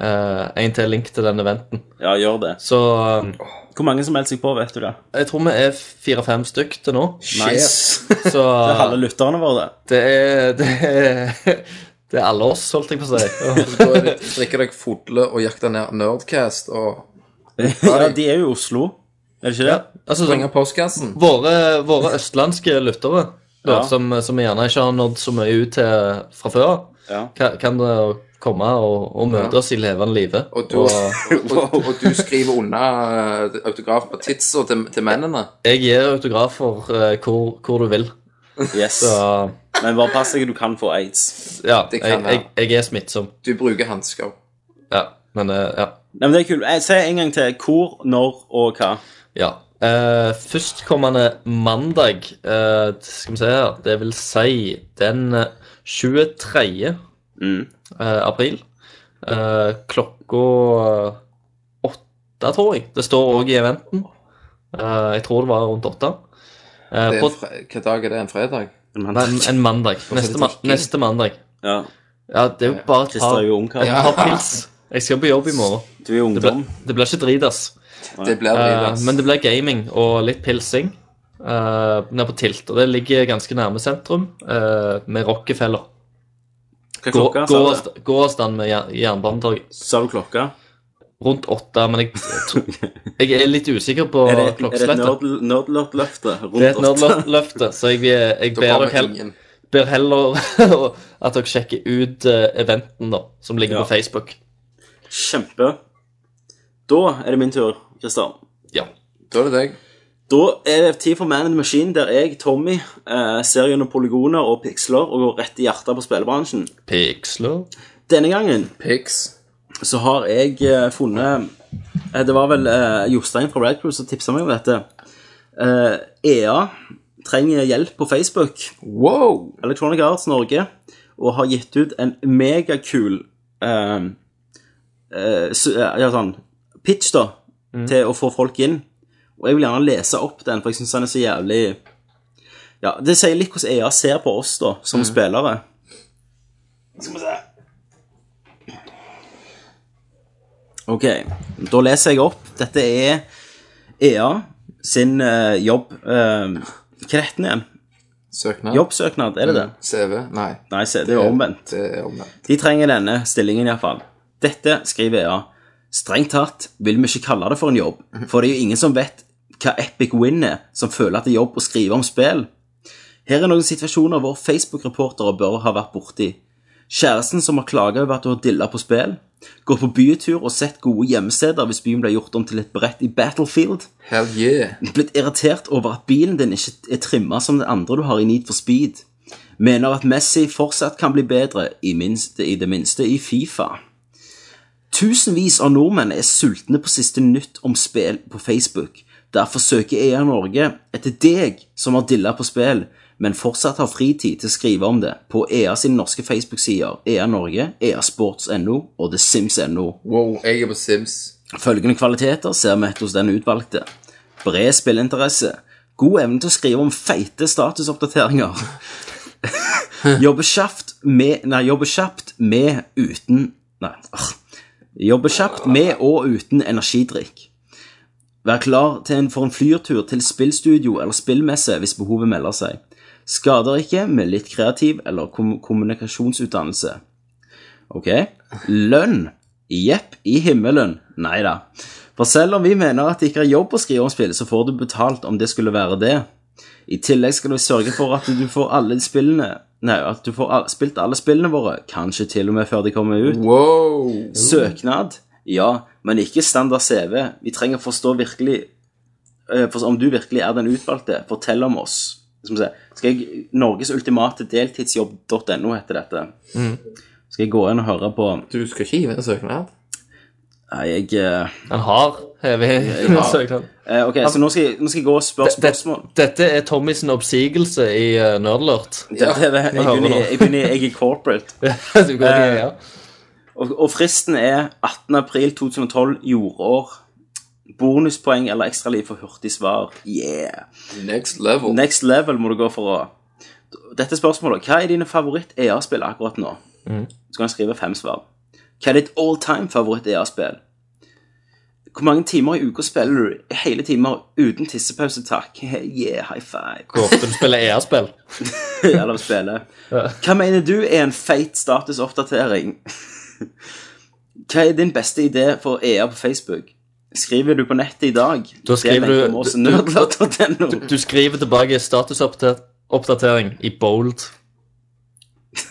S5: eh, En til link til den eventen.
S4: Ja, gjør det.
S5: Så eh,
S4: Hvor mange som melder seg på, vet du det?
S5: jeg tror vi er fire-fem stykk til nå.
S4: *laughs* Nice.
S5: Så
S4: Det er halve lytterne våre, det.
S5: det er *laughs* Det er, det er alle oss, holdt jeg på å si.
S2: Da er det- drikker deg fodle og jakter ned Nerdcast og
S4: Ja, de er jo i Oslo. Er det ikke det?
S5: Altså,
S2: sprenger
S5: sånn,
S2: postkassen.
S5: våre, våre østlandske lyttere
S4: Ja.
S5: da, som, som gjerne ikke har nådd så mye ut til fra før,
S4: Ja.
S5: kan, kan det komme og, og møte
S2: Ja.
S5: oss i levende live.
S2: Og du, *laughs* og, og, og du skriver unna eh, autograf på tidser til, til mennene.
S5: Jeg gir autografer eh, hvor, hvor du vil.
S4: Yes.
S5: Så
S4: Men bare pass deg, du kan få aids.
S5: ja,
S2: Det
S5: jeg,
S2: kan
S5: jeg, jeg er smittsom.
S2: Du bruker hansker.
S5: Ja, men eh, ja.
S4: Nei, men det er kult. Eh, Si en gang til. Hvor, når og hva.
S5: ja. Eh, førstkommende mandag, eh, skal vi se her, det vil si den eh, 23.
S4: Mm.
S5: eh, april. Eh, klokka eh, åtte, tror jeg. Det står òg i eventen. Eh, jeg tror det var rundt åtte. Eh,
S2: Det er
S5: på,
S2: en fre Hva dag er det? En fredag?
S5: nei, en,
S2: *laughs*
S5: en mandag. Neste, ma neste mandag.
S4: Ja.
S5: Ja, det er jo bare et
S4: Christer
S5: par,
S4: er jo ungkar.
S5: et par pils. Jeg skal på jobb i morgen.
S4: Du er jo
S5: Det blir,
S4: ungdom.
S5: det blir ikke drit, ass.
S2: Det blir det.
S5: Eh,
S2: ass.
S5: men det blir gaming og litt pilsing eh, ned på Tilt. Og det ligger ganske nærme sentrum, eh, med Rockefeller.
S4: Hva
S5: Gå-
S4: klokka,
S5: gå
S4: sa du?
S5: avst- Gå avstand med jern- Jernbanetorget.
S4: Sa du klokka?
S5: Rundt åtte, men jeg, tror- jeg er litt usikker på
S4: Er det, er det et
S5: klokkeslettet.
S4: nerd- nerdløfte
S5: Det er et
S4: rundt åtte?
S5: nerdløfte, så jeg, jeg
S2: Da
S5: ber,
S2: kommer
S5: dere hell,
S2: ingen.
S5: ber heller *laughs* at dere sjekker ut eh, eventen da, som ligger
S4: Ja.
S5: på Facebook.
S4: *laughs* Kjempe. Da er det min tur, Christer.
S5: Ja.
S2: Da er det deg.
S4: Da er det tid for Man in the Machine, der jeg, Tommy, eh, ser gjennom polygoner og piksler og går rett i hjertet på spillebransjen.
S5: Pixler.
S4: Denne gangen
S2: Pics.
S4: så har jeg eh, funnet eh, Det var vel eh, Jostein fra Red Crew som tipsa meg om dette. Eh, EA trenger hjelp på Facebook.
S2: Wow!
S4: Electronic Arts Norge og har gitt ut en megakul eh, eh, su- eh, ja, sånn, pitch da, til å få folk inn. Og jeg vil gjerne lese opp den, for jeg syns den er så jævlig ja, Det sier litt hvordan EA ser på oss da, som spillere. Skal vi se OK, da leser jeg opp. Dette er EA sin eh, jobb eh, Hva heter den igjen?
S2: Søknad?
S4: Jobbsøknad, er det det?
S2: CV? Nei.
S4: Nei, se, det er jo omvendt.
S2: Det er omvendt.
S4: De trenger denne stillingen iallfall. Dette skriver EA. Strengt tatt vil vi ikke kalle det for en jobb, for det er jo ingen som vet hva Epic Win er, som føler at det er jobb å skrive om spill. Her er noen situasjoner hvor Facebook-reportere bør ha vært borti. Kjæresten som har klaga over at hun har dilla på spill. Gått på bytur og sett gode gjemmesteder hvis byen ble gjort om til et brett i Battlefield
S2: Hell yeah.
S4: blitt irritert over at bilen din ikke er trimma som den andre du har i Need for Speed. Mener at Messi fortsatt kan bli bedre, i, minste, i det minste i Fifa. Tusenvis av nordmenn er sultne på siste nytt om spill på Facebook. Derfor søker EA Norge etter deg som har dilla på spill, men fortsatt har fritid til å skrive om det på EA sine norske Facebook-sider EA Norge, EA Sports.no og The Sims.no.
S2: Wow, jeg er på Sims.
S4: Følgende kvaliteter ser vi hos den utvalgte. Bred spilleinteresse. God evne til å skrive om feite statusoppdateringer. *laughs* Jobbe kjapt med Nei, jobbe kjapt med uten Nei. ah. Jobbe kjapt med og uten energidrikk. Vær klar til en, for en flyrtur til spillstudio eller spillmesse hvis behovet melder seg. Skader ikke med litt kreativ eller kom kommunikasjonsutdannelse. Ok. Lønn. Jepp, i himmelen. Nei da. For selv om vi mener at det ikke er jobb å skrive om spill, så får du betalt om det skulle være det. I tillegg skal du sørge for at du får alle spillene Nei, at du får al- spilt alle spillene våre, kanskje til og med før de kommer ut.
S2: Wow!
S4: Søknad? Ja, men ikke standard CV. Vi trenger å forstå virkelig eh, for Om du virkelig er den utvalgte, fortell om oss. Skal, vi se. skal jeg Norges ultimate deltidsjobb.no heter dette.
S5: Mm.
S4: Skal jeg gå inn og høre på
S2: Du skal ikke gi meg en søknad?
S4: Nei, jeg eh,
S5: Han har hevet *laughs* søknad.
S4: eh, OK, så nå skal jeg, nå skal jeg gå og spørre
S5: Det- det-
S4: spørsmål.
S5: Dette er Tommys oppsigelse i uh, Nerdlurt.
S4: Dette er det- Jeg
S5: hører
S4: begynner
S5: nå.
S4: i- jeg begynner i- jeg er corporate.
S5: *laughs* Du går
S4: Eh,
S5: i- E ja.
S4: Og, og fristen er 18. april 2012, jordår. Bonuspoeng eller ekstraliv for hurtig svar. Yeah.
S2: Next
S5: Oh.
S2: level.
S4: Next level må du gå for å Dette spørsmålet Hva er dine favoritt-EA-spill akkurat nå?
S5: Mm.
S4: Så kan du skrive fem svar. Hva er ditt all time favoritt-EA-spill? Hvor mange timer i uka spiller du? Hele timer uten tissepause, takk. *laughs* Yeah, high five. *laughs*
S5: Hvor ofte du spiller E EA-spill.
S4: Eller spille. Hva mener du er en feit statusoppdatering? *laughs* Hva er din beste idé for EA på Facebook? Skriver du på nettet i dag?
S5: Da
S4: Det er
S5: skriver du-
S4: lenken vår, så
S5: du-
S4: nerdlert.no.
S5: Du skriver tilbake statusoppdatering oppdatering i bold.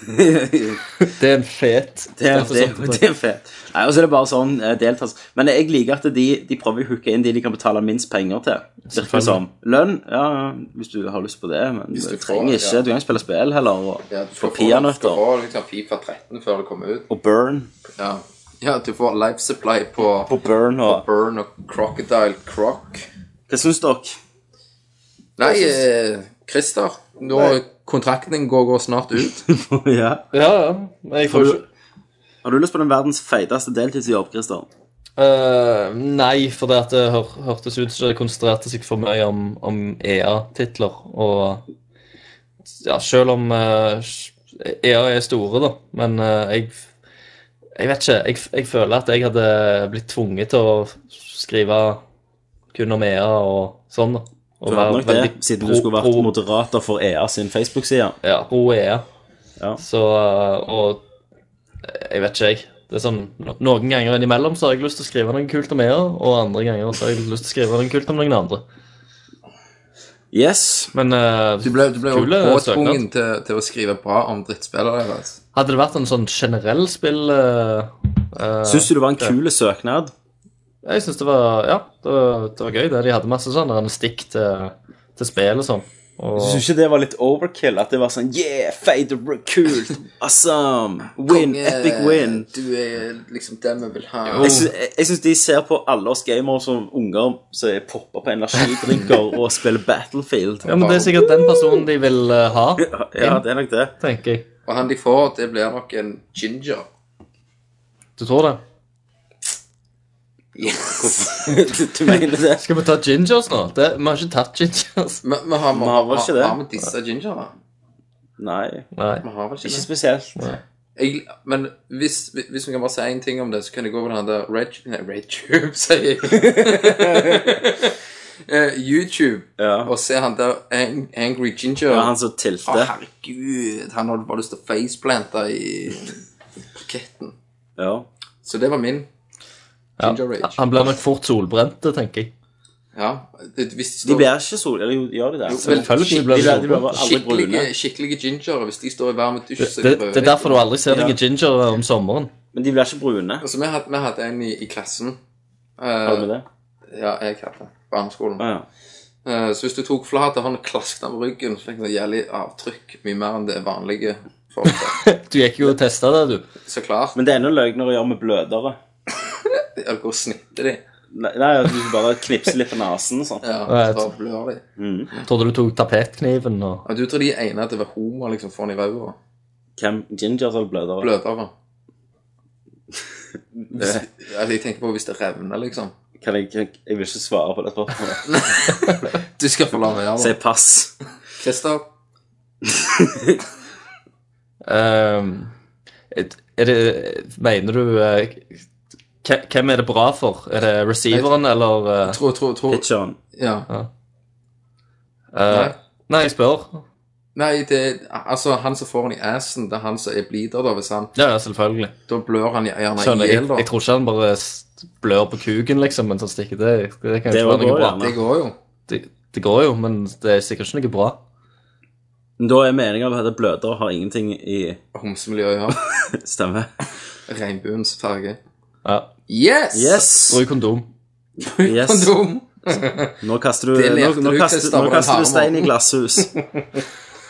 S5: Det er en fet
S4: Det er, sånn det,
S5: statusoppdatering.
S4: det er fett. Nei, og så er det bare sånn eh, deltas. Men jeg liker at de, de prøver å hooke inn de de kan betale minst penger til. Virker det som. Lønn, ja, hvis du har lyst på det, men
S2: Hvis
S4: du,
S2: du
S4: trenger
S2: får,
S4: ikke.
S2: ja.
S4: Du kan ikke spille spill heller. Og,
S2: Ja, du skal
S4: og
S2: få- Du
S4: peanøtter.
S2: skal få liksom Fifa 13 før det kommer ut.
S4: Og burn.
S2: Ja, ja du får life supply på,
S4: På burn og
S2: Burn og Crocodile Croc.
S4: Hva syns dere?
S2: Nei, eh, Christer, nå kontrakten din går, går snart
S4: *laughs*
S2: ut.
S4: *laughs* ja.
S5: Ja, ja. Men jeg får
S4: Har
S5: ikke
S4: du, har du lyst på den verdens feiteste deltidsjobb, Christer?
S5: Eh, nei, for det, at det hør, hørtes ut som det konsentrerte seg for mye om, om EA-titler. Og ja, selv om eh, EA er store, da, men eh, jeg Jeg vet ikke. Jeg, jeg føler at jeg hadde blitt tvunget til å skrive kun om EA og sånn, da. Og
S4: Du hadde nok det,
S5: veldig
S4: siden du
S5: pro-
S4: skulle vært
S5: pro-
S4: moderater for EA sin Facebook-side.
S5: ja, ro er
S4: Ja.
S5: Så, og jeg vet ikke, jeg. Det er sånn, no- Noen ganger innimellom så har jeg lyst til å skrive noe kult om EA, og andre ganger så har jeg lyst til å skrive noe kult om noen andre.
S4: Yes.
S5: Men eh,
S2: Du ble, du ble jo
S5: Kule
S2: påtvungen til, til å skrive bra om drittspillere deres.
S5: hadde det vært en sånn generell spill eh, eh,
S4: Syns du det var en kul søknad?
S5: Jeg syns det var Ja, det var, det var gøy. det. De hadde masse sånn der, en stikk til, til spill og sånn. Og
S4: Syns ikke det var litt overkill? At det var sånn Yeah, fader,
S2: *laughs*
S4: kult, awesome, win,
S2: Konge,
S4: epic win.
S2: Du er liksom den vi vil ha.
S5: Jo.
S4: Jeg sy-
S2: Oh.
S4: jeg- jeg syns de ser på alle oss gamere som unger som er popper på energidrinker og spiller Battlefield.
S5: ja, men det er sikkert den personen de vil eh, ha,
S4: Ja, det er nok det.
S5: tenker jeg.
S2: Og han de får, det blir nok en ginger.
S5: Du tror det?
S4: *laughs* Du mener det?
S5: Skal vi ta gingers nå? Det, vi har ikke tatt gingers.
S2: Vi vi har
S4: Vi har vel ikke det?
S2: Har vi disse gingerne?
S4: Nei,
S5: Nei.
S2: Vi har vel ikke
S4: ikke
S2: det?
S4: spesielt.
S2: Jeg, men hvis, hvis vi kan bare si en ting om det, så kan det gå på den der Red, nei, Red Tube, *laughs*
S4: *laughs*
S2: sier jeg. Eh, YouTube,
S4: Ja.
S2: og se han der Ang Angry Ginger.
S4: Det var han som
S2: Å,
S4: tilte.
S2: herregud, han hadde bare lyst til å faceplante i parketten.
S4: Ja.
S2: Så det var min Ginger
S5: Ja,
S2: Rage.
S5: han blir nok fort solbrent, tenker jeg.
S2: Ja, det- hvis
S4: De
S2: de
S4: blir ikke sol... Eller jo, gjør de det?
S2: Jo, vel,
S5: Selvfølgelig
S2: skikkelig-
S5: blir det
S4: De blir bare alle brune.
S2: Skikkelige, skikkelige gingere, hvis de står i varmet dusj, så
S5: Det,
S2: røde
S5: det er
S2: de.
S5: derfor du aldri ser deg i ginger om sommeren.
S4: Men de blir ikke brune.
S2: Altså, vi hadde, vi hadde en i, i klassen. Eh,
S4: Har du med det?
S2: Ja, jeg hadde det. Barneskolen.
S4: Å ja.
S2: Eh, så hvis du tok flat av hånden og klasket den på ryggen, så fikk du et jævlig avtrykk. Mye mer enn det vanlige
S5: *laughs*
S2: folk har.
S5: Du gikk jo og testa det, du.
S2: Så klart.
S4: Men det er ennå løgner å gjøre med blødere.
S2: det- Eller hvor snitter de?
S4: Nei, nei, at du bare knipser litt på nesen og sånn.
S2: Ja,
S5: Right.
S2: så bare blør de.
S5: Trodde du tok tapetkniven og
S2: Og du tror de ene at det var homo, liksom, foran i røda?
S4: Hvem? Gingers eller blødere?
S2: *laughs* Blødere. Hvis, altså, jeg tenker på hvis det revner, liksom.
S4: Kan jeg, kan, jeg vil ikke svare på det *laughs* spørsmålet.
S2: Du skal få la være.
S4: Si
S2: da.
S4: pass.
S2: Christer,
S5: Ehm, et- er det, Mener du eh, hve- Hvem er det bra for? Er det receiveren eller eh,
S2: tro, tro, tro.
S4: Pitcheren.
S2: Ja.
S5: eh, Nei, jeg spør.
S2: Nei, det Altså, han som får den i assen, det er han som er blider, da, hvis han
S5: Ja, ja, selvfølgelig.
S2: Da blør han gjerne
S5: Skjønner,
S2: i
S5: jeg,
S2: hjel, da.
S5: jeg tror ikke han bare s- blør på kuken, liksom, mens han stikker. Det, det
S4: Det
S5: kan jo ikke være
S4: går
S5: noe bra.
S4: jo,
S2: Det går jo.
S5: Det, det går jo, men det er sikkert ikke noe bra.
S4: Men Da er meninga at blødere har ingenting i
S2: Homsemiljøet ja. *laughs*
S4: stemme.
S2: Regnbuens farge.
S5: Ja.
S2: Yes!
S4: Yes!
S5: Bruk kondom.
S4: yes.
S2: Kondom.
S4: Nå kaster du,
S2: Det
S4: nå,
S2: lærte
S4: nå
S2: du
S4: kaster,
S2: til
S4: nå
S2: Stavran
S4: kaster du
S2: Hammer.
S4: stein i
S2: *laughs*
S4: glasshus.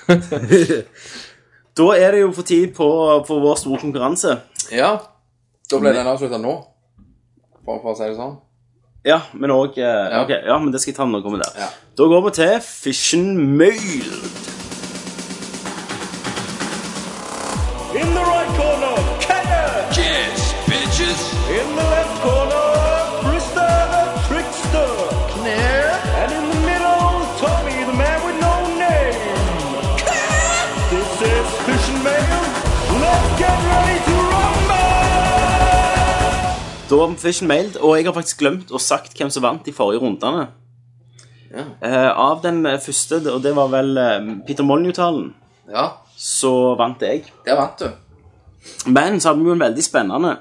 S4: *laughs* da er det jo for tid på, på vår store konkurranse.
S2: Ja. Da ble den avslutta nå, for, for å si det sånn.
S4: Ja, men òg eh, ok, ja, men det skal jeg ta når jeg kommer der. Da går vi til Fission Mail.
S9: In the right corner, Kenneth. Yes, bitches. In the left corner, Brister the trickster. Claire. And in the middle, Tommy, the man with no name. this is Fish and Mail. Let's get ready to rumble!
S4: Da var vi på Fission Mail, og jeg har faktisk glemt å sagt hvem som vant de forrige rundene. Eh, av den eh, første, og det var vel eh, Peter Molyneux-talen,
S2: Ja,
S4: så vant jeg.
S2: der vant du.
S4: Men så hadde vi jo en veldig spennende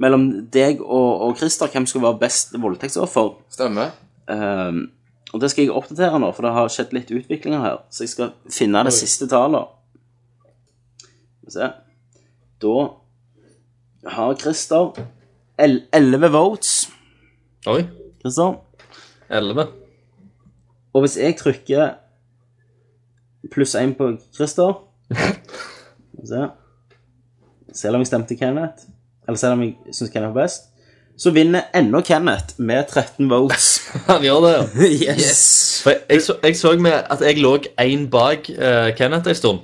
S4: mellom deg og, og Christer, hvem skulle være best voldtektsoffer.
S2: Stemmer.
S4: Ehm, Og det skal jeg oppdatere nå, for det har skjedd litt utviklinger her. Så jeg skal finne det siste tallet. Skal vi se. Da har Christer el- 11 votes.
S5: Oi.
S4: Christer.
S5: 11.
S4: Og hvis jeg trykker pluss én på Christer Skal vi se. Selv om jeg stemte Kenneth, eller selv om jeg syns Kenneth var best, så vinner ennå Kenneth med 13 votes. *laughs*
S5: Han gjør det, ja.
S4: Yes!
S5: For jeg, jeg, så, jeg så med at jeg lå én bak eh, Kenneth en stund.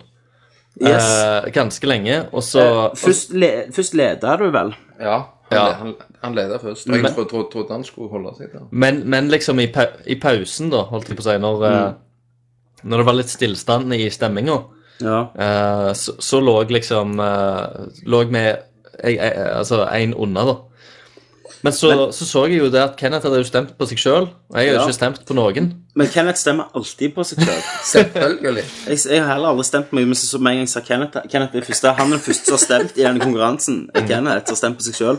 S4: yes.
S5: Eh, ganske lenge, og så
S4: Eh, først, le, først leder du vel?
S2: Ja, han,
S5: Ja.
S2: Han, han leder først. Og jeg trodde, trodde, trodde han skulle holde seg der.
S5: Men, men liksom i, pa i pausen, da, holdt jeg på å si, når, eh,
S4: Mm.
S5: når det var litt stillstand i stemminga,
S4: Ja.
S5: eh, så, så lå jeg liksom eh, Lå jeg med jeg, jeg, Altså én unna, da. Men så, så så jeg jo det at Kenneth hadde jo stemt på seg sjøl, og jeg hadde
S4: Ja.
S5: ikke stemt på noen.
S4: Men Kenneth stemmer alltid på seg sjøl.
S2: Selvfølgelig.
S4: Jeg, jeg har heller aldri stemt på meg, men så, så med en gang sa Kenneth Kenneth er første, Han er den første som har stemt i denne konkurransen. Er Kenneth som har stemt på seg sjøl.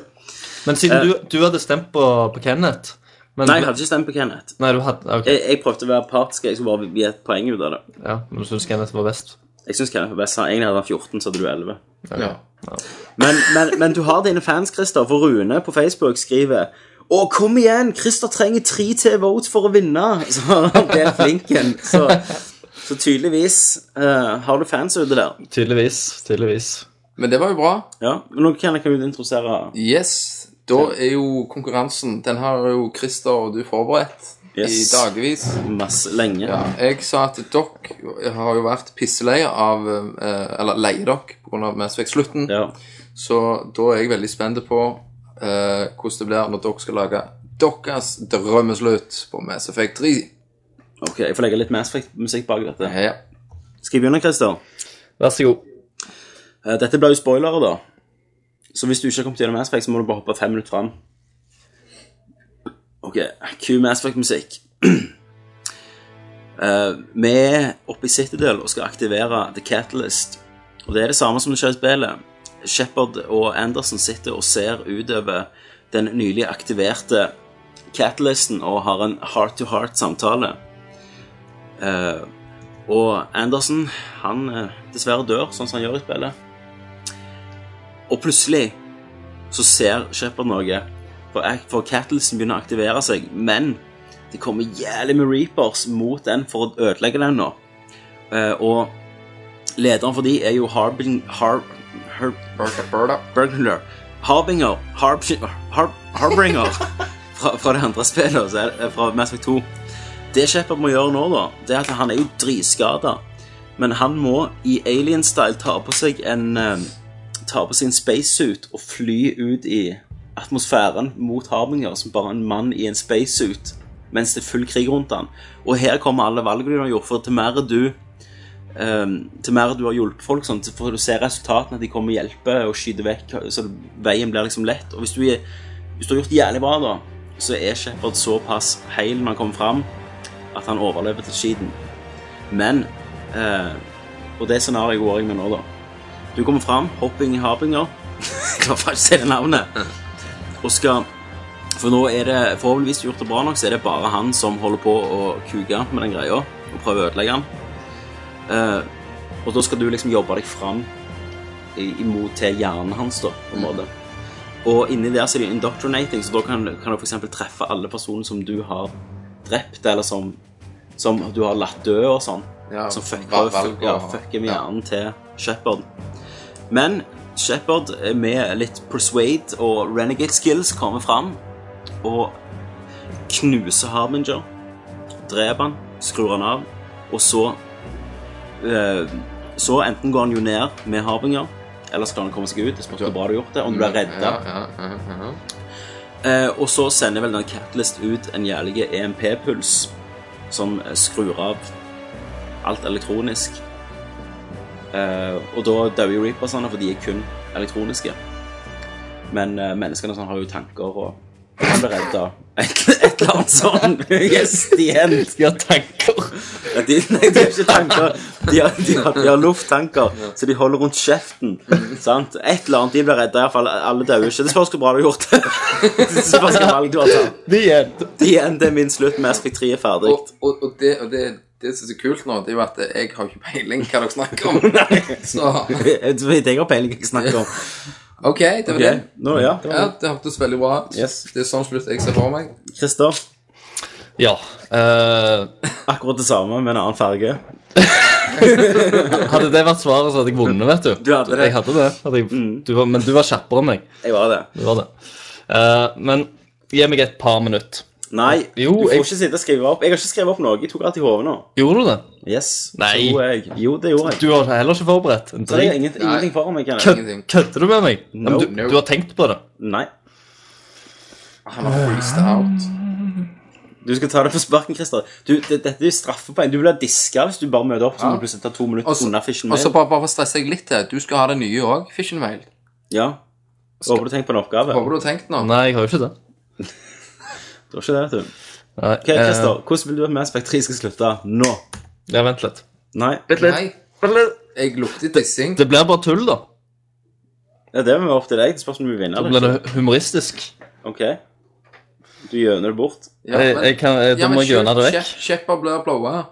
S5: Men siden du, du hadde stemt på, på Kenneth men,
S4: Eh. Nei, jeg hadde ikke stemt på Kenneth.
S5: Nei, du hadde Ok,
S4: Jeg, jeg prøvde å være partisk. Jeg skulle bare gi et poeng ut av det.
S5: ja, men du syns Kenneth var best?
S4: Jeg syns Kenneth var best. Han- Egentlig hadde han 14, så hadde du 11.
S2: Ja.
S4: Men, men, men du har dine fans, Christer. For Rune på Facebook skriver Å, kom igjen! Christer trenger tre til votes for å vinne! Så har han det flinken. Så, så tydeligvis eh, har du fans ute der.
S5: Tydeligvis. Tydeligvis.
S2: Men det var jo bra.
S4: Ja, men Nå kan jeg kan du introdusere
S2: Yes. Da er jo konkurransen Den har jo Christer og du forberedt i
S4: Yes.
S2: dagevis.
S4: masse lenge.
S2: Ja, jeg sa at dere har jo vært pisseleie av eh, Eller leie dere pga. Mass Effect-slutten.
S4: Ja.
S2: Så da er jeg veldig spent på eh, hvordan det blir når dere skal lage deres drømmeslutt på Mass Effect 3.
S4: Ok, jeg får legge litt Mass Effect-musikk bak dette.
S2: Ja.
S4: Skal jeg begynne, Christer?
S5: Vær så god.
S4: Eh, Dette blir jo spoilere, da. Så hvis du ikke har kommet gjennom Mass Effect, så må du bare hoppe fem minutter fram. Ok, Q Mass Effect-musikk. *clears throat* Eh, vi er oppe i Citadel og skal aktivere The Catalyst. Og det er det samme som det skjer i spillet. Shepard og Anderson sitter og ser utover den nylig aktiverte Catalysten og har en heart-to-heart-samtale. Eh, og Anderson, han eh, dessverre dør, sånn som han gjør i spillet. Og plutselig så ser Shepard noe, for, Ac- for Cattlesen begynner å aktivere seg, men det kommer jævlig med Reapers mot den for å ødelegge den nå. Eh, og lederen for de er jo Harbin... Har, har,
S2: Burda, burda.
S4: Burglar. Harbinger. Harbshi- Har, Harbinger. fra, fra det andre spillet, så er det, fra Mass Effect 2. Det Shepard må gjøre nå, da, det er at han er jo dritskada. Men han må i alien-style ta på seg en eh, Ta på seg en spacesuit og fly ut i atmosfæren mot Harbinger som bare en mann i en spacesuit mens det er full krig rundt han. Og her kommer alle valgene du har gjort, for til mer du Ehm, til mer du har hjulpet folk, sånn, så får du se resultatene, at de kommer og hjelper og skyter vekk, så veien blir liksom lett. Og hvis du, er, hvis du har gjort det jævlig bra, da, så er Shepard såpass heil når han kommer fram, at han overlever til skiten. Men eh, Og det scenarioet går jeg med nå, da. Du kommer fram, hopping i Harbinger *laughs* Klarer faktisk å si det navnet. Og skal For nå er det forhåpentligvis gjort det bra nok, så er det bare han som holder på å kuke med den greia og prøver å ødelegge den. Eh, og da skal du liksom jobbe deg fram i- imot til hjernen hans, da, på en
S2: Mm.
S4: måte. Og inni der så er det indoctrinating, så da kan, kan du f.eks. treffe alle personer som du har drept, eller som, som du har latt dø og sånn.
S2: Ja,
S4: som fucker,
S2: val- valg-
S4: ja, fucker med
S2: ja.
S4: hjernen til Shepherd. Men Shepherd eh, med litt persuade og renegade skills kommer fram og knuser Harbinger, dreper han, skrur han av, og så Eh, Så enten går han jo ned med Harbinger, eller så klarer han å komme seg ut. Det spørs hvor bra du har gjort det, om du blir redda.
S2: Ja, ja, ja, ja.
S4: Eh, og så sender vel den Catalyst ut en jævlig EMP-puls som eh, skrur av alt elektronisk. Eh, og da dør jo Reapersene, for de er kun elektroniske. Men eh, menneskene sånn, har jo tanker og Han ble redda. Et, et eller annet sånn. *laughs* Yes, the end.
S5: De har tanker.
S4: Ja, De, *laughs* nei, de har ikke tanker. De har, de har, de har lufttanker, så de holder rundt kjeften. Sant? Et eller annet. De blir redda, iallfall. Alle dør ikke. Det spørs hvor bra du har gjort det. *laughs* Det spørs hvilket valg du har tatt.
S5: De er
S4: Det er en- det er min slutt. Mass Effect 3 er ferdig. *laughs*
S2: Og, og, og det, og det, det som er så kult nå, det er jo at jeg har ikke peiling hva dere snakker
S5: *laughs*
S2: om. Så
S4: Jeg vet jeg har peiling på hva jeg snakker om.
S2: OK, det var
S4: Ok, Nå, ja.
S2: det. Ja, Det hørtes veldig bra ut.
S4: Yes.
S2: Det er sånn slutt jeg ser for meg.
S4: Christer,
S5: Ja. eh,
S4: akkurat det samme med en annen farge.
S5: hadde det vært svaret, så hadde jeg vunnet, vet du.
S4: Du hadde det. Mm.
S5: Jeg hadde det. Hadde jeg, du var, men du var kjappere enn meg.
S4: Jeg var det.
S5: Du var det. Eh, men gi meg et par minutter.
S4: Nei,
S5: Jo,
S4: du får
S5: jeg-
S4: ikke sitte og skrive opp. Jeg har ikke skrevet opp noe. Jeg tok alt i hodet nå.
S5: Gjorde du det?
S4: Yes.
S5: Nei.
S4: tror jeg. Jo, det gjorde jeg.
S5: Du har heller ikke forberedt en
S4: Så det er
S5: dritt.
S4: ingen, ingenting foran meg. Kan jeg.
S2: Ingenting.
S5: Kødder du med meg? Ja, men
S4: No,
S5: du,
S2: no.
S5: du har tenkt på det.
S4: Nei.
S2: Han har freezed out.
S4: Du skal ta det på sparken, Christer. Du, det, dette er straffepoeng. Du blir diska hvis du bare møter opp. Så
S2: Ja.
S4: må du plutselig ta to minutter
S2: Og så
S4: unna Fishen
S2: og så
S4: Mail.
S2: bare, bare for å stresse deg litt til, du skal ha det nye òg, Fission Mail.
S4: Ja. Håper du tenker på en oppgave.
S2: Håper du har tenkt nå.
S5: Nei, jeg har jo ikke det.
S4: Det var ikke det, vet du.
S5: Nei,
S4: Ok,
S2: Eh.
S4: Christer. Hvordan vil du at Mass Effect 3 skal slutte? Nå.
S5: eh, ja, vent litt.
S4: Nei.
S2: Nei, jeg lukter dissing.
S5: Det blir bare tull, da.
S4: Ja, det må være opp til deg. Det spørs om du vinner
S5: Da
S4: eller
S5: blir
S4: ikke.
S5: det humoristisk.
S4: Ok. Du gjøner det bort.
S2: Ja,
S5: jeg,
S2: men-
S5: jeg kan, jeg, da
S2: Ja, men
S5: må jeg gjøne det vekk.
S2: Shep- Shepard blir blowa.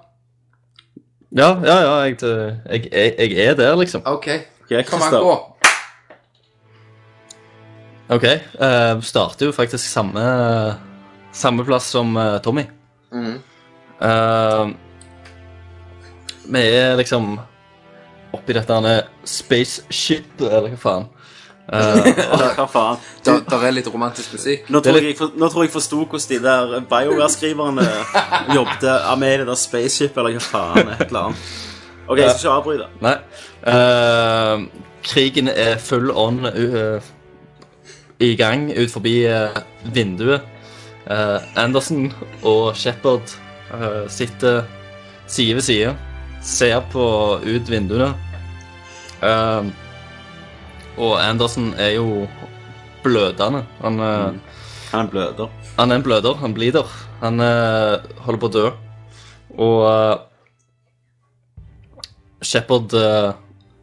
S5: Ja, ja, ja. Jeg, jeg, jeg, jeg er der, liksom.
S2: OK,
S4: Ok,
S2: kom an,
S4: Christer. *laughs*
S2: gå.
S5: Ok, eh, starter jo faktisk samme, samme plass som eh, Tommy.
S2: Mhm.
S5: Eh, vi er liksom oppi dette her spaceship, eller hva faen. Eh,
S4: Hva faen?
S2: Da- Der er litt romantisk musikk.
S4: Nå
S5: Det er
S4: tror, jeg,
S5: litt-
S4: jeg for- nå tror jeg forsto hvordan de der BioWare-skriverne
S2: *laughs*
S4: jobbet ja, med det der spaceship eller hva faen. Et eller annet. Ok, jeg skal ikke avbryte.
S5: nei. Eh, krigen er full on eh, i gang ut forbi eh, vinduet. Eh, Anderson og Shepard eh, sitter side ved side, ser på ut vinduene. Eh, og Anderson er jo blødende. Han, eh,
S4: Han bløder.
S5: han er en bløder, han blider. Han eh, holder på å dø. Og eh, Shepard eh,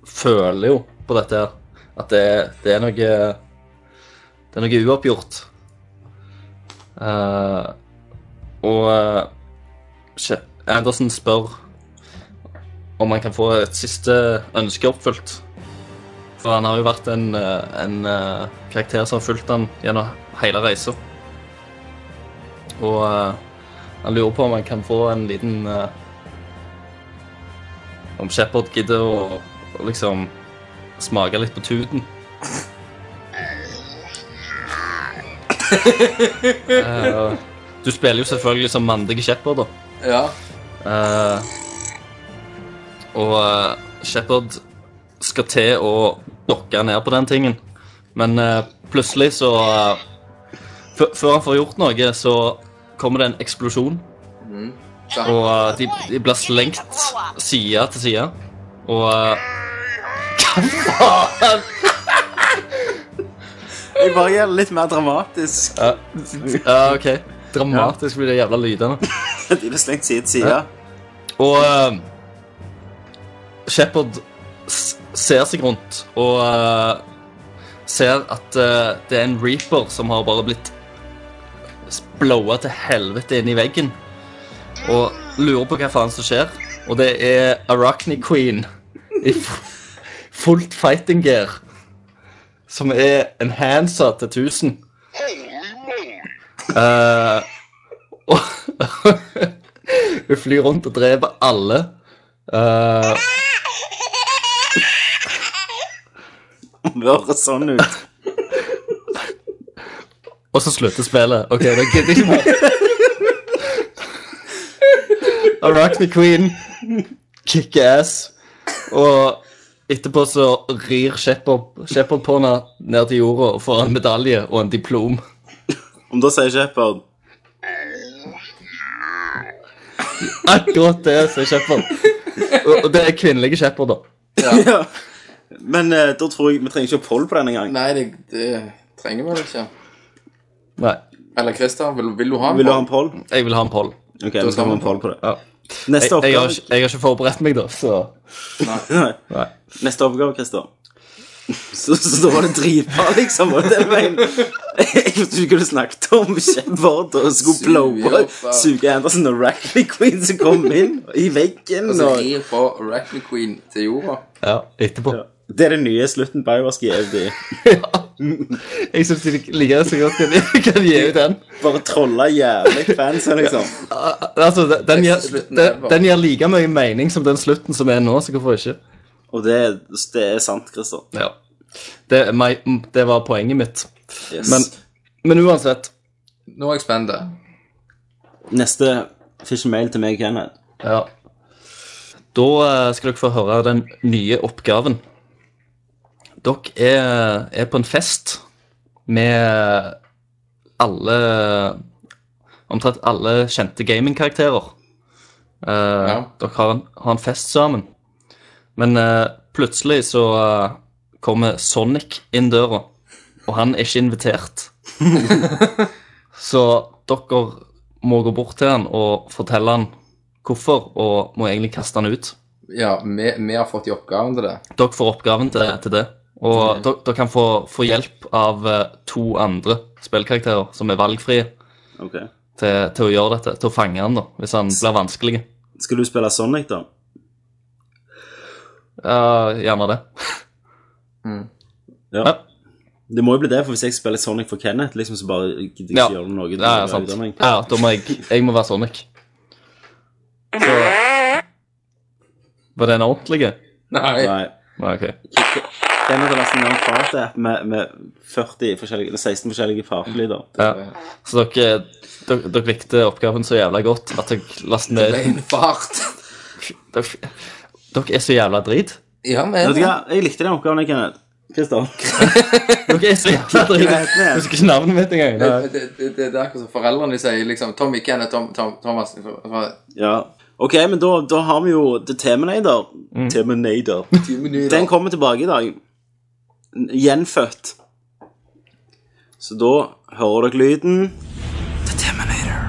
S5: føler jo på dette her at det, det er noe Det er noe uoppgjort. Eh, og eh, She- Anderson spør om han kan få et siste ønske oppfylt. For han har jo vært en, eh, en eh, karakter som har fulgt han gjennom hele reisa. Og eh, han lurer på om han kan få en liten eh, Om Shepard gidder å, å liksom smake litt på tuten. Eh, du spiller jo selvfølgelig som mandige Shepard, da.
S2: Ja.
S5: Eh, og eh, Shepard skal til å dokke ned på den tingen. Men eh, plutselig så eh, før- Før han får gjort noe, så kommer det en eksplosjon.
S2: Ja.
S5: Og eh, de, de blir slengt side til side. Og eh,
S4: Jeg bare gjør det litt mer dramatisk.
S5: ja, ja, eh, OK. Dramatisk blir det jævla lydene.
S4: De blir slengt side til side.
S5: Og uh, Shepard s- ser seg rundt og eh, ser at eh, det er en reaper som har bare blitt s- blowa til helvete inn i veggen. Og lurer på hva faen som skjer. Og det er Arachne Queen i f- fullt fighting gear. Som er en handsa til 1000. Eh, og Hun flyr rundt og dreper alle. Eh,
S4: Det høres sånn ut.
S5: og så slutter spillet. OK, da gidder jeg ikke mer. *laughs* Arachne Queen kicker ass. Og etterpå så rir Shepard Shepard på henne ned til jorda og får en medalje og en diplom.
S4: Om da sier Shepard
S5: Akkurat det som er Shepard. Og- Og det er kvinnelige Shepard, da.
S4: ja. Men eh, da tror jeg vi trenger ikke å poll på den engang.
S2: Nei, det, det trenger man ikke.
S5: Nei.
S2: Eller Christer, vil, vil du ha en
S4: Vil du ha
S2: poll?
S4: en poll?
S5: Jeg vil ha en poll.
S4: Ok, da skal vi ha en poll på det.
S5: Ja. Jeg,
S4: Neste
S5: jeg, har,
S4: oppgave,
S5: ikke- jeg har ikke forberedt meg, da, så
S4: Nei.
S5: Nei.
S4: Neste oppgave, Christer. *laughs* Så, så da var det dritbra, liksom. Og det var en, jeg vet ikke hva du snakket om. Shepard og skulle
S2: Suge
S4: blowe
S2: opp, altså. ja.
S4: Suge Andersen og Rackley Queen som kom inn i veggen.
S2: Altså,
S4: Og,
S2: rir fra Arachne Queen til jorda.
S5: ja, etterpå.
S4: det er det nye slutten Biowasky er i.
S5: *laughs* Jeg syns de liker det så godt. Kan de kan gi ut den?
S4: Bare trolla jævlig fansen, liksom.
S5: Altså, den, den, gir,
S2: Beste slutten
S5: den,
S2: ever.
S5: den gir like mye mening som den slutten som er nå, så hvorfor ikke?
S4: Og det, det er sant, Christer.
S5: Ja. Det, er meg- mm, det var poenget mitt.
S4: Yes.
S5: Men, men uansett
S2: Nå er jeg spent.
S4: neste fish and mail til meg, Kenneth.
S5: ja. Da eh, skal dere få høre den nye oppgaven. Dere er, er på en fest med alle Omtrent alle kjente gamingkarakterer. Eh, Dere har en, har en fest sammen. Men eh, plutselig så eh, kommer Sonic inn døra, og han er ikke invitert. så dere må gå bort til han og fortelle han hvorfor, og må egentlig kaste han ut.
S2: Ja, vi, vi har fått i oppgaven til det.
S5: Dere får oppgaven til, til det, og dere, dere kan få, få hjelp av eh, to andre spillkarakterer som er valgfrie
S4: Ok.
S5: til, til å gjøre dette, til å fange han da, hvis han blir vanskelig.
S4: Skal du spille Sonic, da?
S5: Ja, gjerne det.
S4: Ja.
S5: Ja.
S4: Det må jo bli det, for hvis jeg spiller Sonic for Kenneth, liksom, så bare gidder jeg
S5: Ja.
S4: ikke gjøre noe.
S5: Ja, ja, sant.
S4: ut av meg.
S5: Ja, da må jeg, jeg må være Sonic. Så, var det en ordentlig?
S2: Nei.
S4: Nei.
S5: Nei, ok.
S4: Kenneth har nesten en fart med, med 40 forskjellige, 16 forskjellige fartelyder.
S5: Ja. Så dere, dere, dere likte oppgaven så jævla godt at dere lastet
S2: Det er
S5: ned
S2: en fart.
S5: dere, dere er så jævla drit.
S2: Ja, vi
S4: Vet
S2: er
S4: du
S2: det.
S4: hva? Jeg likte den oppgaven, jeg, Kenneth. Kristian.
S5: Dere er så jævla drit. Jeg husker ikke navnet mitt engang.
S2: Det, det, det, det er akkurat som foreldrene sier liksom Tommy, Kenneth, Tom, Tom, Thomas for- for-
S4: Ja. Ok, men da, da har vi jo The Terminator.
S5: Mm.
S4: Terminator. Den kommer tilbake i dag. Gjenfødt. Så da hører dere lyden. The Terminator.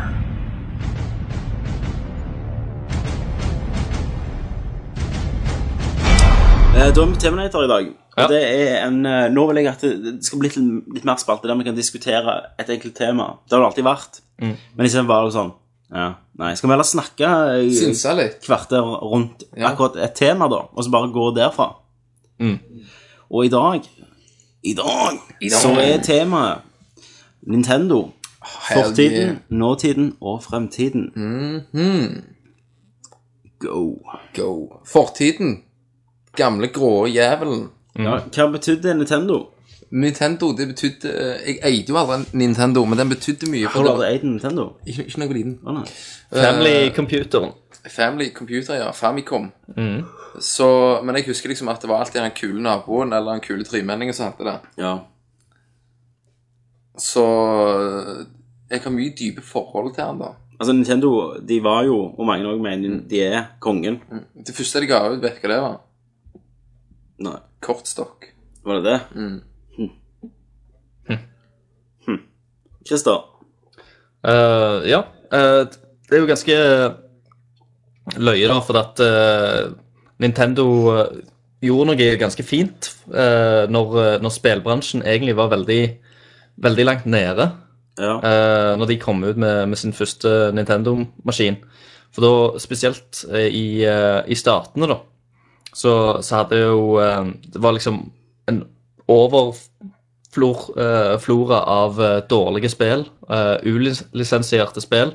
S4: Eh, Da er vi Terminator i dag. Og
S5: Ja.
S4: det er en, eh, nå vil jeg at det det skal bli litt, litt mer spalte der vi kan diskutere et enkelt tema. Det har det alltid vært. Men liksom bare sånn ja, Nei, skal vi heller snakke eh,
S2: Synsa litt.
S4: kvarter rundt
S2: Ja.
S4: akkurat et tema, da, og så bare gå derfra.
S5: Mm.
S4: Og i dag I dag så er temaet Nintendo. Fortiden,
S2: yeah.
S4: nåtiden og fremtiden. Go.
S2: Mhm. Go. Fortiden. Gamle grå jævelen.
S4: Ja, hva betydde Nintendo?
S2: Nintendo, det betydde eh, Jeg eide jo aldri en Nintendo, men den betydde mye.
S4: Har
S2: For
S4: du
S2: det var
S4: aldri eid en Nintendo?
S2: ikke, ikke noe liten.
S4: Å, nei.
S5: Eh, Family-computeren.
S2: Family Computer, ja. Famicom. Så, men jeg husker liksom at det var alltid den kule naboen eller den kule tremenningen som hadde det.
S4: Ja.
S2: Så jeg har mye dype forhold til han da.
S4: Altså, Nintendo de var jo, og mange også mener de er, kongen.
S2: Det første de ga ut, vet du hva det var?
S4: Nei,
S2: Kortstokk.
S4: var det det?
S2: Mm.
S4: Hm. Hm. Christer,
S5: Eh, ja. eh, det er jo ganske løye, da, for at eh, Nintendo eh, gjorde noe ganske fint eh, når, eh, når spillbransjen egentlig var veldig, veldig langt nede.
S4: ja.
S5: eh, når de kom ut med, med sin første Nintendo-maskin. For da, spesielt eh, i, eh, i statene, da, så, så hadde jo eh, Det var liksom en overflor eh, flora av eh, dårlige spill, eh, ulisensierte spill,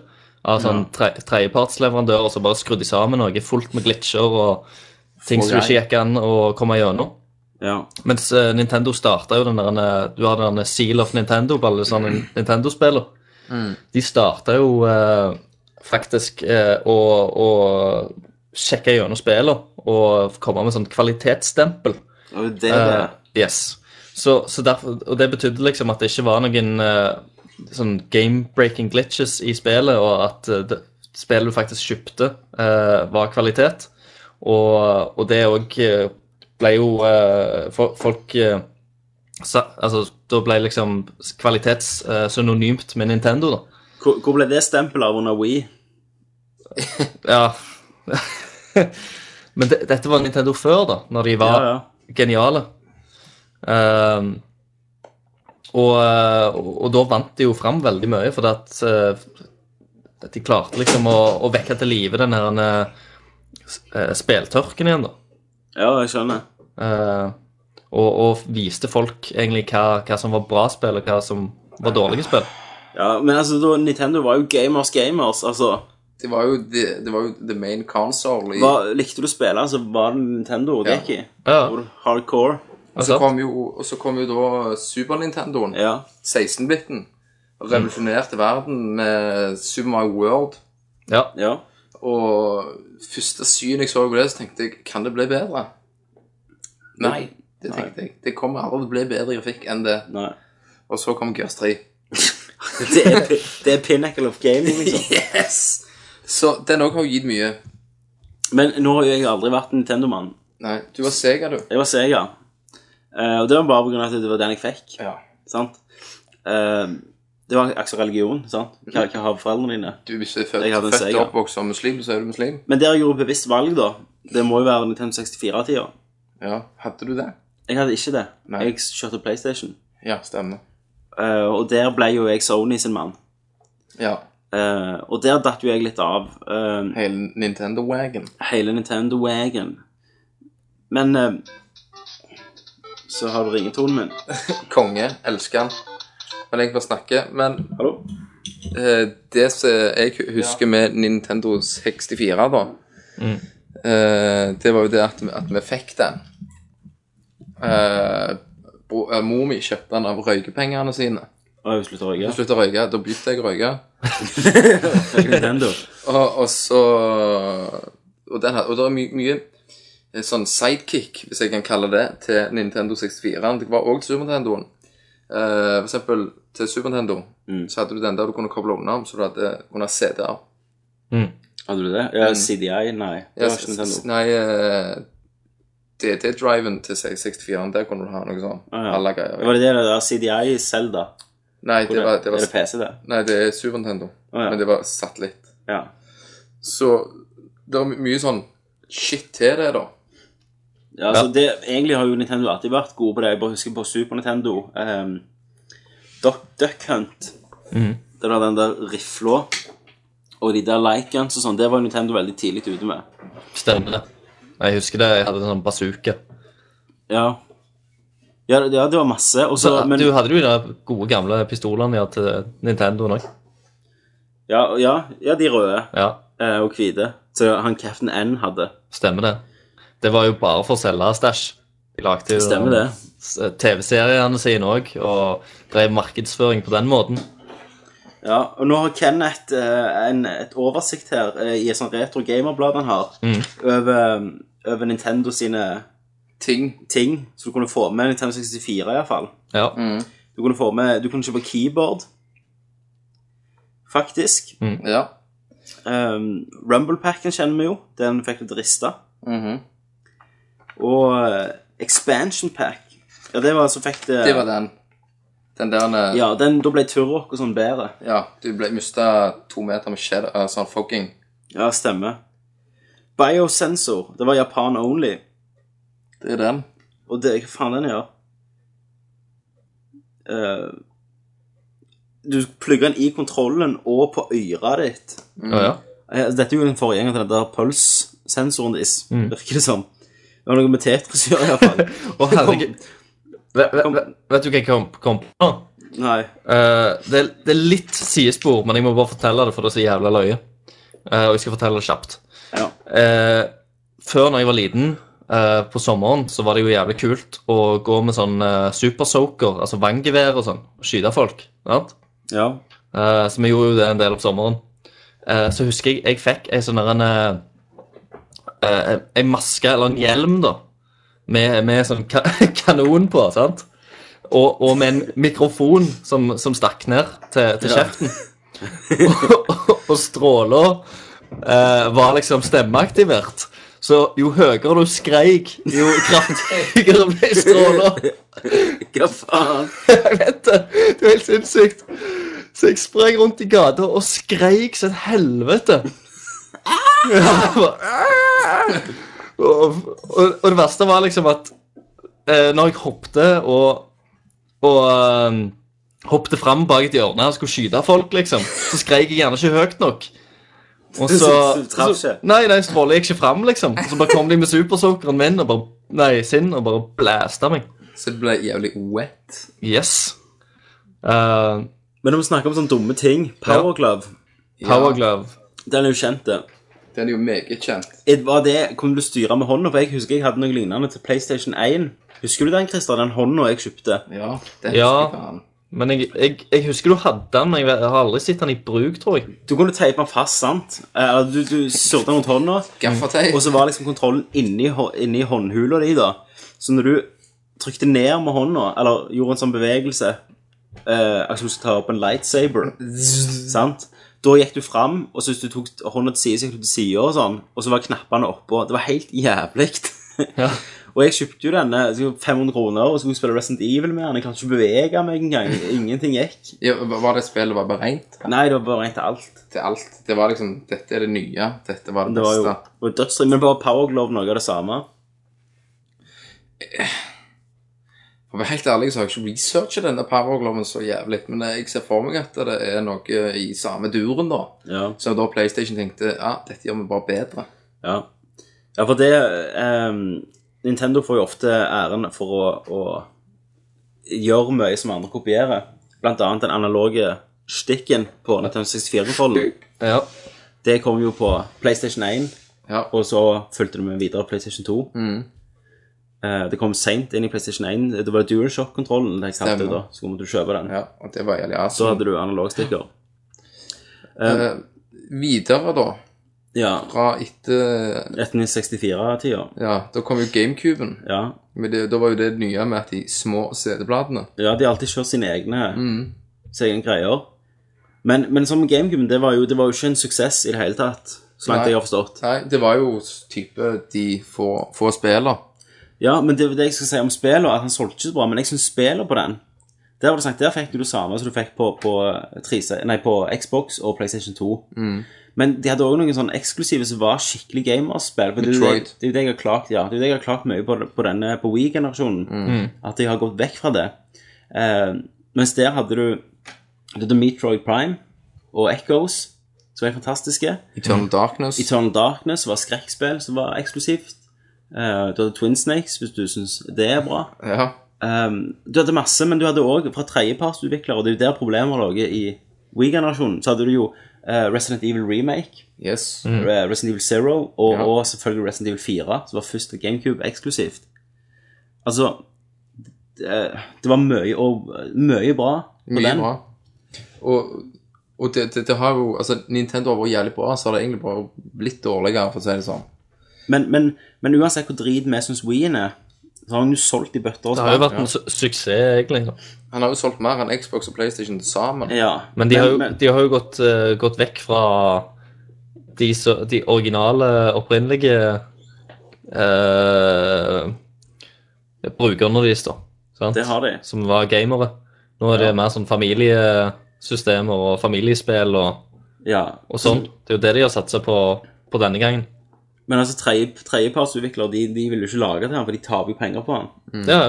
S5: av sånn tre, tredjepartsleverandører som bare skrudde sammen noe fullt med glitcher og ting som ikke gikk an å komme gjennom.
S4: ja.
S5: Mens eh, Nintendo starta jo den der eh, Du har den der Seal of Nintendo på alle sånne Nintendo-spiller. De starta jo eh, faktisk eh, å, å sjekke gjennom spillene og komme med sånn kvalitetsstempel.
S4: Og det er det.
S5: Eh, yes. Så, så derfor, og det betydde liksom at det ikke var noen eh, sånn game-breaking glitches i spillet, og at eh, det, spillet du faktisk kjøpte, eh, var kvalitet. Og, og det òg ble jo eh, fo- Folk eh, sa, altså, da ble liksom kvalitets eh, synonymt med Nintendo, da.
S4: Hvor, hvor ble det stempelet av under Wii?
S5: Ja. *laughs* Men det, dette var Nintendo før, da, når de var
S4: Ja,
S5: geniale. Ehm, og, eh, og, og da vant de jo fram veldig mye, fordi at eh, de klarte liksom å, å vekke til live den her eh, s- eh, speltørken igjen, da.
S4: Ja, jeg skjønner.
S5: Eh, og, og viste folk egentlig hva, hva som var bra spill, og hva som var dårlige spill.
S4: Ja, Men altså, da, Nintendo var jo gamers gamers. altså.
S2: Det var jo, det, det var jo the main console. I,
S4: Hva, likte du å spille, så var det Nintendo
S2: Ja.
S4: det gikk i.
S5: Ja,
S4: Hvor Hardcore.
S5: og
S2: så
S5: så-
S2: kom jo, og så kom jo da Super Nintendoen,
S4: Ja.
S2: 16-biten, og revolusjonerte verden med Super Mario World.
S5: ja.
S4: ja.
S2: Og første syn jeg så på det, så tenkte jeg Kan det bli bedre? Nei, det tenkte jeg. Det kommer aldri til å bli bedre grafikk enn det.
S4: Nei.
S2: Og så kom Gears 3.
S4: Det er, pi- det er pinnacle of gaming, liksom.
S2: Yes! Så den òg har jo gitt mye.
S4: Men nå har jo jeg aldri vært Nintendo-mann.
S2: Nei, du var Sega, du.
S4: Jeg var Sega. Eh, og det var bare på grunn av at det var den jeg fikk.
S2: Ja.
S4: sant? Eh, det var akkurat religion, sant? Hva, hva har foreldrene dine?
S2: Du hvis du er født,
S4: Jeg hadde en
S2: født
S4: Sega.
S2: og oppvokst som muslim, så er du muslim.
S4: Men der jeg gjorde bevisst valg, da, det må jo være Nintendo 64-tida.
S2: Ja, Hadde du det?
S4: Jeg hadde ikke det.
S2: Nei.
S4: Jeg kjørte PlayStation.
S2: Ja, stemmer.
S4: Eh, og der ble jo jeg Sony sin mann.
S2: Ja.
S4: Eh, og der datt jo jeg litt av eh,
S2: Hele Nintendo Wagon.
S4: hele Nintendo-wagon. Men eh, så har du ringetonen min.
S2: Konge. Elsker han. Men jeg bare snakker. Men
S4: Hallo?
S2: Eh, det som jeg husker med Nintendo 64, da, eh, det var jo det at, vi- at vi fikk den. Eh, bro- eh, mor mi kjøpte den av røykepengene sine.
S4: Å, jeg slutter å
S2: Jeg
S4: røyke.
S2: sluttet å røyke, da begynte jeg å røyke.
S4: Nintendo.
S2: Og, og så Og, den, her- og det er mye, mye eh, sånn sidekick, hvis jeg kan kalle det, til Nintendo 64. Det var òg til Super Nintendoen. Eh, for eksempel til Super Nintendo så hadde du den der du kunne koble unna, så du hadde, kunne ha CD-er.
S4: Hadde du det? Ja, CDI? Nei.
S2: Mm. Ja,
S4: Det var
S2: s-
S4: ikke
S2: s-
S4: Nintendo.
S2: Nei, eh, DD-driven til 64-en, der kunne du ha noe sånn.
S4: Ah, ja.
S2: Alle greier.
S4: Var det det der CDI i Zelda?
S2: Nei, det var, det var,
S4: Er det PC, det?
S2: nei, det er Super Nintendo,
S4: Å, Ah, ja.
S2: men det var satellitt.
S4: Ja.
S2: Så det er my- mye sånn shit til det, da.
S4: Ja, altså det, Egentlig har jo Nintendo alltid vært gode på det. Jeg bare husker på Super Nintendo. ehm, Duck, Duck Hunt.
S5: Mhm.
S4: Det var den der rifla og de der light guns og sånn. Det var jo Nintendo veldig tidlig ute med.
S5: Stemmer det. Jeg husker det, jeg hadde en sånn bazooka.
S4: Ja, ja, det- ja det var masse. Og så,
S5: Så,
S4: men,
S5: Du hadde jo de gode gamle pistolene ja, til Nintendo òg.
S4: ja, ja, ja, de røde
S5: Ja,
S4: eh, og hvite. Så han Captain N hadde.
S5: stemmer det. Det var jo bare for å selge stæsj. De lagde jo
S4: Stemmer det.
S5: s- eh, TV-seriene sine òg, og drev markedsføring på den måten.
S4: Ja, og nå har Kenneth eh, en, et oversikt her eh, i et sånt retro gamerblad han har,
S5: Mhm.
S4: over, over Nintendo sine
S2: Ting.
S4: ting. Så du kunne få med Nintendo 64 iallfall.
S5: Ja,
S4: Du kunne få med Du kunne kjøpe keyboard, faktisk.
S2: Ja.
S4: Um, Rumblepacken kjenner vi jo. Den fikk litt rista. Mhm. Og eh, Expansion Pack. Ja, det var altså fikk det,
S2: Det var den. Den der eh, ja.
S4: Ja, den, da ble Turok og sånn bedre.
S2: du ble mista to meter med shed, eh, sånn fogging.
S4: Ja, stemmer. Biosensor. Det var Japan only.
S2: Det er den.
S4: Og det, hva faen den gjør? Eh, du plugger den i kontrollen og på øra ditt.
S5: ja. ja.
S4: Eh, altså, Dette er jo den forrige gangen til den der pulssensoren deres, virker det som. Det var noe med Tetris å gjøre, iallfall.
S5: Å, herregud. Vet, vet, vet- vet du hva jeg kom, kom på? nå?
S4: Nei.
S5: Eh, det, er- det er litt sidespor, men jeg må bare fortelle det, for det er så jævla løye. Eh, og jeg skal fortelle det kjapt.
S4: Ja.
S5: Eh, før når jeg var liten, eh, på sommeren, så var det jo jævlig kult å gå med sånn eh, supersoaker, altså vanngevær og sånn, og skyte folk. Sant?
S4: ja.
S5: Eh, så vi gjorde jo det en del om sommeren. Eh, så husker jeg jeg fikk ei sånn der en eh, eh, Ei maske, eller en hjelm, da, med, med sånn ka *laughs* kanon på, sant? Og, og med en mikrofon som, som stakk ned til, til kjeften. og, og, og stråla eh, var liksom stemmeaktivert. Så jo høyere du skreik, jo kraftigere ble stråla.
S2: Hva faen?
S5: Jeg vet det. Det er helt sinnssykt. Så jeg sprang rundt i gata og skreik som et helvete. Ja, jeg bare, og, og, og det verste var liksom at eh, når jeg hoppte og, og eh, hoppte fram bak et hjørne og skulle skyte folk, liksom, så skreik jeg gjerne ikke høyt nok. Og så,
S4: Så du traff ikke?
S5: Nei, nei, stråler jeg ikke fram, liksom. Og så bare kom de med supersokeren min og bare, nei, sin og bare blæsta meg.
S2: Så det ble jævlig wet.
S5: Yes. Eh,
S4: Men når vi snakker om sånne dumme ting Powerglove,
S5: Power glove.
S4: den er jo kjent, det.
S2: Den er jo meget kjent.
S4: Et- Var det, Kunne du styre med hånda? For jeg husker jeg hadde noe lignende til PlayStation 1. Husker du den, Christer? Den hånda jeg kjøpte?
S2: Ja. Den
S5: Ja.
S2: husker jeg faen.
S5: Men jeg, jeg, jeg husker du hadde den, men jeg vet- jeg har aldri sett den i bruk, tror jeg.
S4: Du kunne teipe den fast, sant? Eh, Du, du surret den rundt hånda,
S2: Gaffateip.
S4: og så var liksom kontrollen inni, hå- inni håndhula di, da. Så når du trykte ned med hånda, eller gjorde en sånn bevegelse eh, Akkurat som du skal ta opp en lightsaber, sant? Da gikk du fram, og så hvis du tok hånda til side, så gikk du til sida og sånn, og så var knappene oppå. Det var helt jævlig.
S5: Ja.
S4: *laughs* Og jeg kjøpte jo denne så 500 kroner og skulle spille Resident Evil med den. Jeg klarte ikke å bevege meg engang. Ingenting gikk.
S2: Ja, var det spillet var beregnet
S4: Nei, det var bare rent alt.
S2: til alt? Det var liksom Dette er det nye. Dette var det
S4: Det var jo
S2: beste.
S4: det var dødsdritt, men bare Powerglove noe av det samme.
S2: For å være helt ærlig så har jeg ikke researchet denne powergloven så jævlig, men jeg ser for meg at det er noe i samme duren, da.
S4: Ja.
S2: Så da PlayStation tenkte ja, dette gjør vi bare bedre.
S4: Ja, ja for det ehm, Nintendo får jo ofte æren for å, å gjøre mye som andre kopierer. Blant annet den analoge stikken på Nintendo 64-kontrollen.
S5: Ja.
S4: Det kom jo på PlayStation 1,
S2: Ja.
S4: og så fulgte det med videre PlayStation 2.
S2: Mm.
S4: Eh, det kom seint inn i PlayStation 1. Det var DualShock-kontrollen jeg kalte det
S2: Stemmer.
S4: da, så måtte du kjøpe den.
S2: ja og det var jævlig
S4: Så
S2: awesome.
S4: hadde du analogstikker.
S2: Eh, videre, da,
S4: Ja,
S2: fra etter
S4: 1964-tida.
S2: Ja, da kom jo GameCuben.
S4: Ja.
S2: Men det, da var jo det nye med at de små CD-bladene
S4: Ja, de har alltid kjørt sine egne, sine egne greier. Men, men som GameCube, det var, jo, det var jo ikke en suksess i det hele tatt, så langt
S2: Nei.
S4: jeg har forstått.
S2: Nei, det var jo type de få, få spiller.
S4: Ja, men det, det jeg skal si om spillene, at han solgte ikke så bra, men jeg syns spillene på den der, var det snakk, der fikk du det samme som du fikk på, på, 3, nei, på Xbox og PlayStation 2. Men de hadde òg noen sånne eksklusive som var skikkelig gamerspill. for Det er jo det-
S2: Metroid.
S4: det er jo det jeg har klagt ja, det er jo det jeg har klagt mye på, på denne på Wii-generasjonen. At jeg har gått vekk fra det. Eh, mens der hadde du Du hadde Metroid Prime og Echoes, som er fantastiske. Mm.
S2: Eternal Darkness.
S4: Eternal Darkness var skrekkspill som var eksklusivt. Eh, du hadde Twin Snakes, hvis du syns det er bra.
S2: Ja.
S4: Um, du hadde masse, men du hadde òg fra tredjepartsutviklere, og det er jo der problemet lå i We-generasjonen. Så hadde du jo eh, Resident Evil Remake,
S2: Yes.
S4: eh, Resident Evil Zero og,
S2: Ja.
S4: og selvfølgelig Resident Evil 4, som var først til GameCube eksklusivt. Altså det, det var mye, og, mye bra på
S2: Mye
S4: den.
S2: bra. Og, og det, det, det har jo Altså, Nintendo har vært jævlig bra, så har det egentlig bare blitt dårligere, for å si det sånn.
S4: Men, men, men uansett hvor drit vi syns Ween er, så har han jo solgt i bøtter og sånn.
S5: Det har jo
S4: spann.
S5: vært en su suksess, egentlig.
S2: Han har jo solgt mer enn Xbox og PlayStation til sammen.
S4: Ja.
S5: Men de har jo,
S4: men-
S5: de har jo gått, eh, gått vekk fra de, så, de originale, opprinnelige eh, brukerne deres, da. Sant?
S4: Det har de.
S5: Som var gamere. Nå er det mer sånn familiesystemer og familiespill og,
S4: ja.
S5: og sånn.
S4: Mm.
S5: Det er jo det de har satsa på, på denne gangen.
S4: Men altså, tredje- tredjepartsutviklere de, de vil jo ikke lage til han, for de taper jo penger på han.
S5: Ja, ja.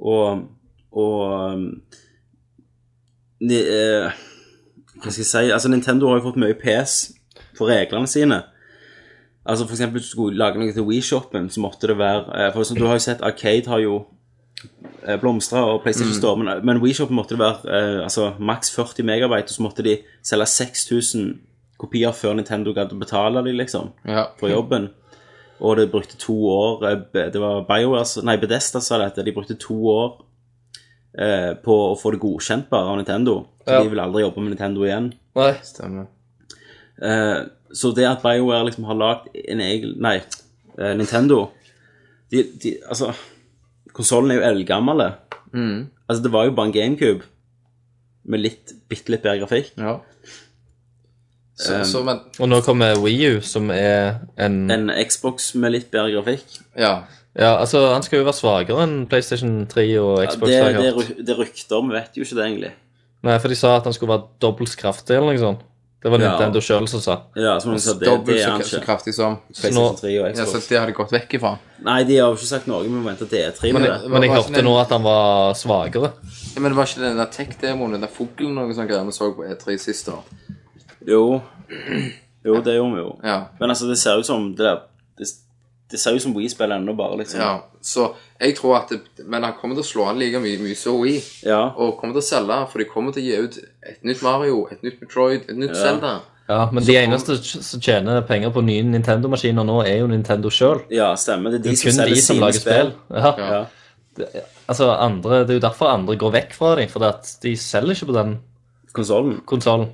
S4: Og, og um, ni, eh, Hva skal jeg si? Altså, Nintendo har jo fått mye pes for reglene sine. Altså, for eksempel, hvis du skulle lage noe til WeShoppen, så måtte det være eh, For som du har jo sett, Arcade har jo eh, blomstra, og PlayStation
S5: Mm.
S4: Store, men, men WeShoppen måtte det være eh, altså, maks 40 megabyte, og så måtte de selge 6000 kopier før Nintendo gadd å betale dem, liksom
S2: Ja.
S4: for jobben. Og det brukte to år eh, Be- Det var BioWare, som- nei, Bedesta sa dette. De brukte to år eh, på å få det godkjent bare av Nintendo. Så
S5: Ja.
S4: de vil aldri jobbe med Nintendo igjen.
S5: Nei.
S2: Stemmer.
S4: Eh, så det at BioWare liksom har lagd en egen Nei, eh, Nintendo de, de, Altså, konsollen er jo eldgammel. Altså, det var jo bare en GameCube med litt, bitte litt bedre grafikk.
S2: Ja. Så, så, men
S5: Og nå kommer Wii U, som er en
S4: En Xbox med litt bedre grafikk.
S2: Ja.
S5: Ja, altså, han skal jo være svakere enn PlayStation 3 og
S4: Ja,
S5: Xbox.
S4: det,
S5: har jeg
S4: det,
S5: hørt.
S4: ru- det er rykter, vi vet jo ikke det egentlig.
S5: Nei, for de sa at han skulle være dobbelt så kraftig, eller noe sånt. Det var
S4: Ja.
S5: Nintendo selv som sa.
S4: Ja, som noen sa, det, det
S2: Dobbelt
S4: er
S2: så,
S4: han
S2: så
S4: ikke.
S2: kraftig som
S5: Nå,
S4: PlayStation 3 og
S2: Ja, så
S4: Xbox.
S2: det har de gått vekk ifra.
S4: Nei, de har jo ikke sagt noe, men vi venter til E3 med det.
S5: men jeg
S2: Var ikke
S5: hørte
S2: den-
S5: nå at han var svakere.
S2: Ja, men det var ikke den der tech-demoen, den der fuglen og noe sånt greier vi så på E3 sist år?
S4: Jo. Jo, det gjorde vi jo.
S2: Ja.
S4: Men altså, det ser ut som det der Det, det ser ut som Wii spiller ennå, bare, liksom.
S2: ja. Så jeg tror at det, Men han kommer til å slå an like mye, mye som Wii,
S4: Ja.
S2: og kommer til å selge, for de kommer til å gi ut et nytt Mario, et nytt Metroid, et nytt Zelda.
S5: Ja, men de eneste som tjener penger på nye Nintendo-maskiner nå, er jo Nintendo sjøl.
S4: ja, stemmer. Det er
S5: Det
S4: de
S5: er
S4: som
S5: kun
S4: selger
S5: de som
S4: sine
S5: lager spill.
S4: spill.
S5: Ja.
S4: Ja.
S5: Altså, andre, det er jo derfor andre går vekk fra dem, for at de selger ikke på den
S4: Konsollen.
S5: konsollen.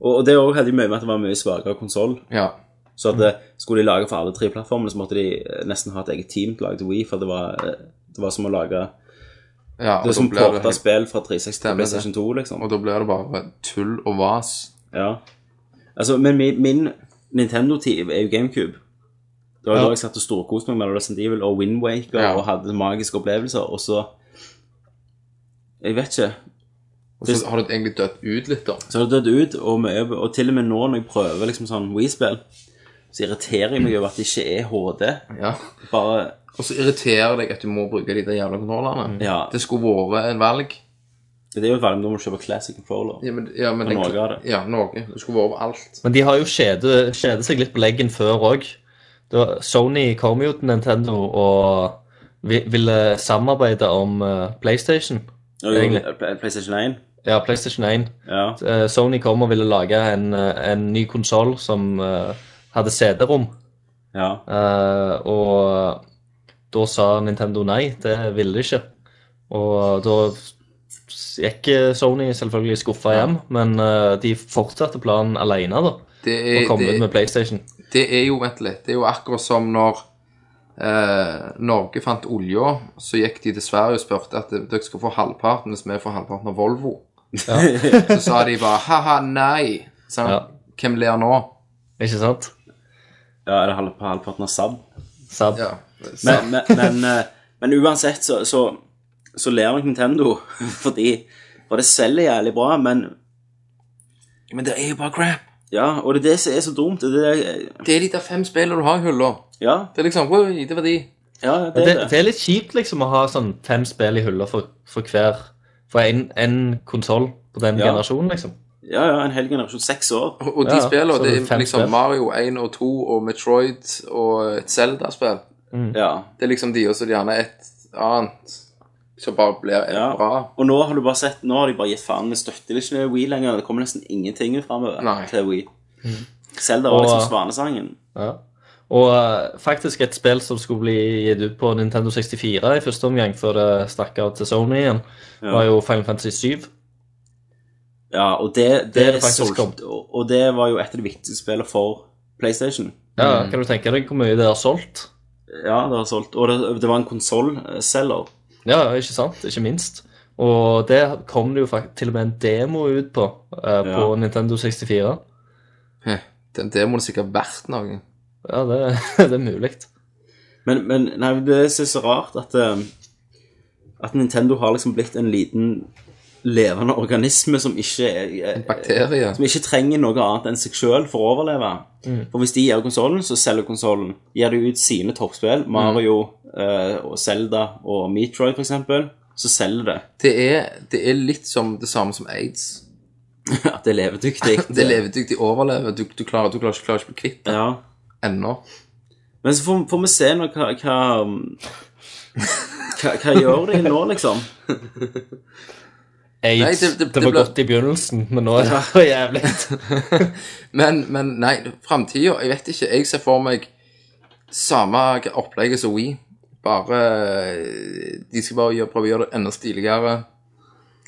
S4: Og, og det òg hadde jo mye med at det var en mye svakere konsoll.
S2: Mhm. Ja.
S4: Så at eh, skulle de lage for alle tre plattformene, så måtte de eh, nesten ha et eget team til å lage til Wii, for det var, eh, det var som å lage
S2: ja og,
S4: Det er som
S2: da blir
S4: porta
S2: det,
S4: spill fra 360
S2: Stemmer
S4: til
S2: det.
S4: PlayStation 2, liksom.
S2: og da blir det bare tull og vas.
S4: Ja. Altså, men min, min Nintendo-tid er jo GameCube. Det var jo
S5: Ja.
S4: da jeg satt og storkoste meg med Resident Evil og Wind Waker
S2: Ja.
S4: og hadde magiske opplevelser, og så Jeg vet ikke.
S2: Og så
S4: Hvis-
S2: har det egentlig dødd ut litt, da.
S4: Så har det dødd ut, og, mye, og til og med nå når jeg prøver liksom sånn Wii-spill, så irriterer jeg meg over at det ikke er HD.
S2: Ja.
S4: Bare
S2: Og så irriterer det deg at du må bruke de der jævla kontrollerne.
S4: Ja.
S2: Det skulle vært en valg.
S4: Det er jo et valg om du må kjøpe classic controller.
S2: Ja, men, ja, men
S4: Og noe av det.
S2: Ja, Norge. Det skulle vært alt.
S5: Men de har jo kjedet, kjedet seg litt på leggen før òg. Sony kom jo til Nintendo og vi, ville samarbeide om eh, PlayStation.
S4: Og jo,
S5: Egentlig.
S4: Play- PlayStation 1.
S5: Ja, PlayStation 1.
S4: Ja.
S5: Eh, Sony kom og ville lage en, eh, en ny konsoll som eh, hadde CD-rom.
S4: ja.
S5: Eh, og da sa Nintendo nei, det ville de ikke. Og eh, da gikk eh, Sony selvfølgelig skuffa hjem, men eh, de fortsatte planen alene da,
S2: Det
S5: og
S2: er,
S5: kom ut
S2: det,
S5: med PlayStation.
S2: det er jo Vent litt. Det er jo akkurat som når eh, Norge fant olja, så gikk de til Sverige og spurte at dere skal få halvparten hvis vi får halvparten av Volvo. *laughs* så sa de bare ha-ha, nei. Sant?
S5: Ja.
S2: Hvem ler nå?
S5: Ikke sant?
S4: ja er det halv, på halvparten av SAB?
S5: Sab.
S2: Ja. Så,
S4: Men, men, men, eh, men uansett så, så, så ler nok Nintendo, *laughs* fordi for det selger jævlig bra, men
S2: men det er jo bare crap.
S4: ja, og det er det som er så dumt. Det er, det-
S2: Det er de der fem spillene du har i hylla.
S4: ja,
S2: Det er liksom Oi, det var de.
S4: ja, det
S5: Det,
S4: er det.
S5: det er litt kjipt liksom å ha sånn fem spill i hylla for, for hver For en, en konsoll på den
S4: Ja.
S5: generasjonen, liksom.
S4: Ja, ja, en hel generasjon, seks år.
S2: Og, og de
S5: Ja,
S2: spillene,
S5: så
S2: det
S5: det er
S2: er
S5: fem
S2: liksom
S5: spill.
S2: Mario 1 og 2 og Metroid og et Zelda-spill.
S4: Ja.
S2: Det er liksom de, og så gjerne et annet som bare blir
S4: ja.
S2: bra.
S4: Og nå har du bare sett, nå har de bare gitt faen, vi støtter ikke Wii lenger, det kommer nesten ingenting
S2: Nei.
S4: fremover til Wii. Zelda var
S5: Og-
S4: liksom svanesangen.
S5: Ja. Og eh, faktisk et spill som skulle bli gitt ut på Nintendo 64 i første omgang, før det stakk av til Sony igjen,
S4: Ja.
S5: var jo Final Fantasy 7.
S4: Ja, og det, det,
S5: Det er det faktisk
S4: solgt,
S5: kommet.
S4: og, og det var jo et av de viktigste spillene for PlayStation.
S5: Ja,
S4: Mm.
S5: Kan du tenke deg hvor mye det har solgt?
S4: Ja, det har solgt, og det, det var en konsoll-selger.
S5: Ja, ikke sant? Ikke minst. Og det kom det jo fakt til og med en demo ut på eh, på
S4: Ja.
S5: Nintendo 64.
S2: Den demoen er sikkert verdt noe.
S5: Ja, det, *laughs* det er mulig.
S4: Men, men nei, men det synes jeg er så rart at, eh, at Nintendo har liksom blitt en liten levende organisme som ikke, er-
S2: En bakterie.
S4: som ikke trenger noe annet enn seg selv for å overleve.
S2: Mm.
S4: For hvis de gir konsolen, så selger konsolen. Gir de ut sine toppspill, Mario eh, og Zelda og Metroid for eksempel, så selger det. *laughs*
S2: Det er, det er litt som det samme som aids.
S4: At det er levedyktig.
S2: *laughs* Det er levedyktig, overlever. Du, du, klarer, du klarer, ikke, klarer ikke å bli kvitt
S4: Ja.
S2: det ennå.
S4: Men så får, får vi se nå hva, hva, hva, hva gjør de nå, liksom?
S5: Aids.
S2: det-
S5: det,
S2: det- det
S5: var
S2: ble-
S5: godt i begynnelsen, men nå er det *laughs* for jævlig.
S2: Men, men nei, framtida Jeg vet ikke. Jeg ser for meg samme opplegget som We. Bare eh, De skal bare gjøre, prøve å gjøre det enda stiligere.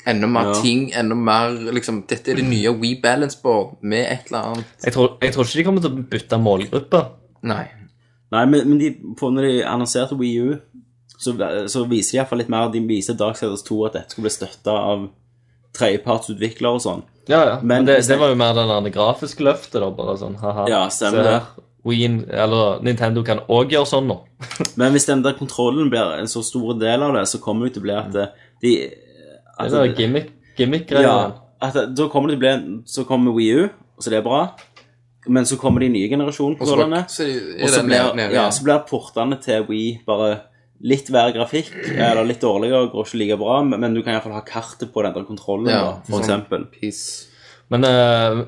S2: Enda mer
S4: Ja.
S2: ting, enda mer liksom Dette er det nye We Balance Board med et eller annet.
S5: Jeg tror, jeg tror ikke de kommer til å bytte målgruppe.
S2: Nei.
S4: Nei, men, men de, på når de annonserte Wii U, så, så viser de iallfall litt mer. De viser Darksiders 2 at dette skulle bli støtta av tredjepartsutvikler og sånn.
S5: Ja, ja. Men,
S4: Men-
S5: det, det var jo mer den der, det grafiske løftet, da. Bare sånn haha.
S4: Ja, stemmer
S5: Se
S4: det.
S5: her, Wien, eller Nintendo kan òg gjøre sånn nå.
S4: Men hvis den der kontrollen blir en så stor del av det, så kommer det jo til å bli at det- de
S5: Det
S4: at
S5: er sånn
S4: det-
S5: gimmick, gimmick-greier.
S4: Altså, ja, at det, Da kommer det til å bli en- Så kommer Wii U, så det er bra. Men så kommer de nye generasjoner.
S2: Og så bare- så er det- er
S4: Og så
S2: den nede-
S4: blir,
S2: nede
S4: ja,
S2: igjen.
S4: så blir portene til Wii bare litt verre grafikk, eller litt dårligere, går ikke like bra, men men du kan iallfall ha kartet på den der kontrollen,
S2: Ja,
S4: da, for
S2: sånn.
S4: eksempel.
S2: Peace.
S5: Men uh,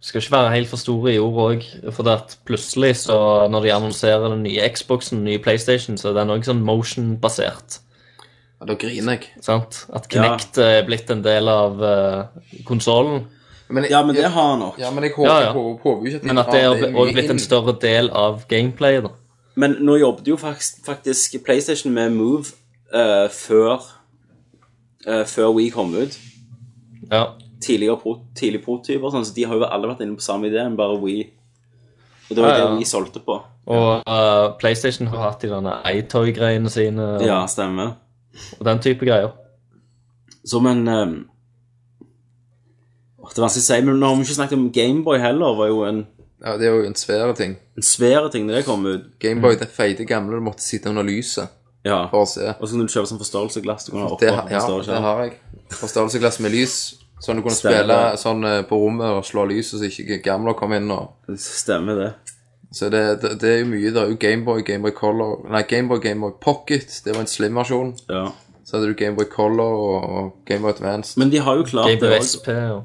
S5: skal ikke være helt for store i ord òg. For det at plutselig, så når de annonserer den nye Xboxen, den nye PlayStation, så er den òg sånn motion-basert.
S2: Ja, da griner jeg.
S5: sant? At Kinect eh, er blitt en del av uh, konsollen.
S2: Men, jeg-
S4: Ja, men det har han nok.
S2: Ja, men jeg håper,
S5: Ja, ja.
S2: jeg håper, håper jo ikke at de
S5: Men at
S2: tar
S5: det er
S2: mye
S5: òg blitt
S2: inn.
S5: en større del av gameplayet, da.
S4: Men nå jobbet jo faktisk, faktisk PlayStation med Move eh, før, eh, før Wii kom ut.
S5: Ja.
S4: Tidligere pro tidlig prototyper, og sånn, så de har jo alle vært inne på samme idé, men bare Wii. Og det var
S5: Ja, ja.
S4: det Wii solgte på.
S5: Og eh, PlayStation har hatt de derne iToy-greiene sine og,
S4: Ja, stemmer.
S5: og den type greier.
S4: Som en um, åh, Det er vanskelig å si, men nå har vi ikke snakket om Gameboy heller. var jo en,
S2: Ja, det er jo en svære ting.
S4: en svær ting når det kom ut.
S2: Gameboy,
S5: Mm.
S2: det feite gamle, du måtte sitte under lyset
S4: Ja.
S2: for å se.
S4: Og så kunne du kjøpe sånn forstørrelsesglass. Du kunne ha oppå
S2: Det, ha- ja,
S4: forstørrelse.
S2: det har jeg. Forstørrelsesglass med lys, sånn du kunne
S4: Stemmer
S2: spille
S4: det.
S2: sånn eh, på rommet og slå lyset så ikke gamle kom inn og
S4: Stemmer det.
S2: Så det, det, det er jo mye. Det er jo Gameboy, Gameboy Color Nei, Gameboy, Gameboy Pocket. Det var en slim-versjon.
S4: Ja.
S2: Så hadde du Gameboy Color og, og Gameboy Advance.
S4: Men de har jo klart det
S5: Gameboy
S4: også.
S5: SP og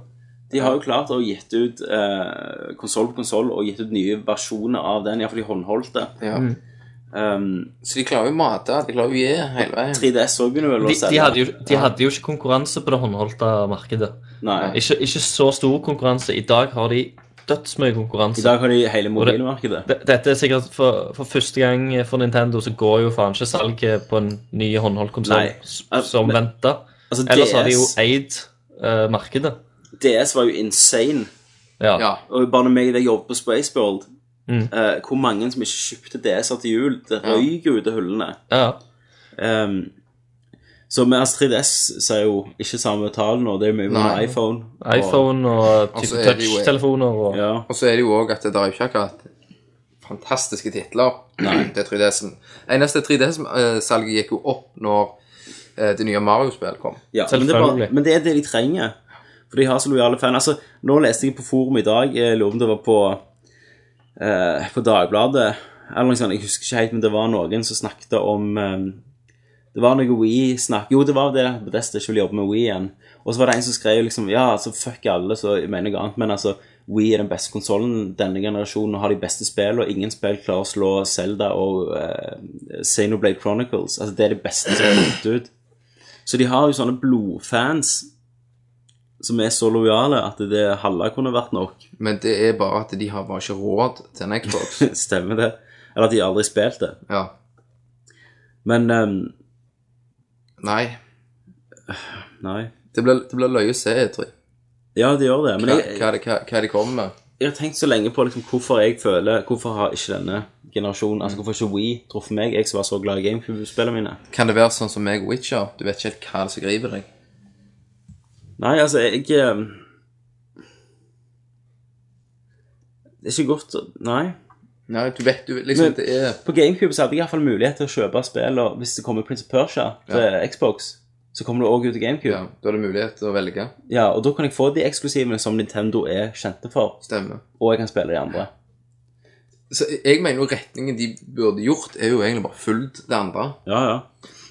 S4: De har jo klart å gitt ut eh, konsoll på konsoll og gitt ut nye versjoner av den, iallfall de håndholdte.
S2: Ja.
S4: Um,
S2: Så de klarer jo å mate. De klarer jo å gi hele veien.
S4: 3DS òg begynner vel å
S5: de, de,
S4: selge.
S5: hadde jo, de hadde jo ikke konkurranse på det håndholdte markedet.
S4: Nei.
S5: Ikke, ikke så stor konkurranse. I dag har de dødsmye
S4: I
S5: konkurranse.
S4: dag har de hele mobilmarkedet.
S5: D- Dette er sikkert for, for første gang for Nintendo, så går jo faen ikke salget på en ny håndholdt konsoll
S4: Nei.
S5: s-
S4: Al-
S5: som
S4: men-
S5: venta.
S4: Altså,
S5: Ellers har de jo
S4: DS,
S5: eid eh, markedet.
S4: DS var jo insane.
S5: Ja.
S2: Ja.
S4: Og bare når jeg jobbet på Spaceworld
S5: Mm.
S4: eh, Hvor mange som ikke kjøpte DS-er til jul Det
S2: Ja.
S4: røyk jo ut av hullene
S5: ja.
S4: Ehm, Så med altså 3DS Så er jo ikke samme tall nå Det er jo mye med
S2: Nei.
S4: iPhone og-
S5: iPhone og
S2: Og så
S5: type
S2: er det jo-
S5: touch-telefoner og
S4: ja.
S2: Og så er det jo òg at det er jo ikke akkurat fantastiske titler. Det er 3DS-en. Eneste 3DS-salget eh, gikk jo opp når eh, det nye Mario-spillet kom.
S4: Ja, men, det er bare,
S5: Selvfølgelig.
S4: men det er det de trenger For de har så lojale fan altså, Nå leste jeg på forum i dag Jeg lurer om det var på eh, På Dagbladet Eller noe sånt, jeg husker ikke helt Men det var noen som snakket om eh, Det var noe Wii-snakk Jo, det var det, Bethesda ikke ville jobbe med Wii igjen Og så var det en som skrev liksom Ja, altså fuck alle, så jeg mener noe annet Men altså, Wii er den beste konsolen Denne generasjonen og har de beste spill Og ingen spill klarer å slå Zelda og eh, Xenoblade Chronicles Altså det er det beste som er gitt ut så de har jo sånne blodfans som er så lojale at det halve kunne vært nok. *laughs*
S2: Men det er bare at de har bare ikke råd til en Xbox.
S4: Stemmer det? Eller at de aldri spilte.
S2: Ja.
S4: Men ehm,
S2: Nei.
S4: nei.
S2: Det blir, det blir løye å se, E3.
S4: Ja, de gjør det. Men
S2: Hva,
S4: jeg,
S2: hva, hva, hva de kommer med.
S4: jeg har tenkt så lenge på liksom, hvorfor jeg føler Hvorfor har ikke denne generasjonen Altså hvorfor har ikke Wii truffet meg, jeg som var så glad i GameCube-spillene mine?
S2: Kan det være sånn som meg og Witcher? Du vet ikke helt hva det er som griper deg.
S4: Nei, altså, jeg ehm, Det er ikke godt å- Nei.
S2: Nei, du vet du liksom
S4: Men-
S2: det er
S4: På GameCube så hadde jeg i hvert fall mulighet til å kjøpe spill, og hvis det kommer Prince of Persia til Xbox, så kommer det også ut til GameCube.
S2: ja, Da er det mulighet til å velge.
S4: Ja. og da kan jeg få de eksklusivene som Nintendo er kjente for,
S2: Stemmer.
S4: og jeg kan spille de andre.
S2: Så jeg mener jo retningen de burde gjort, er jo egentlig bare fulgt det andre.
S4: Ja, ja.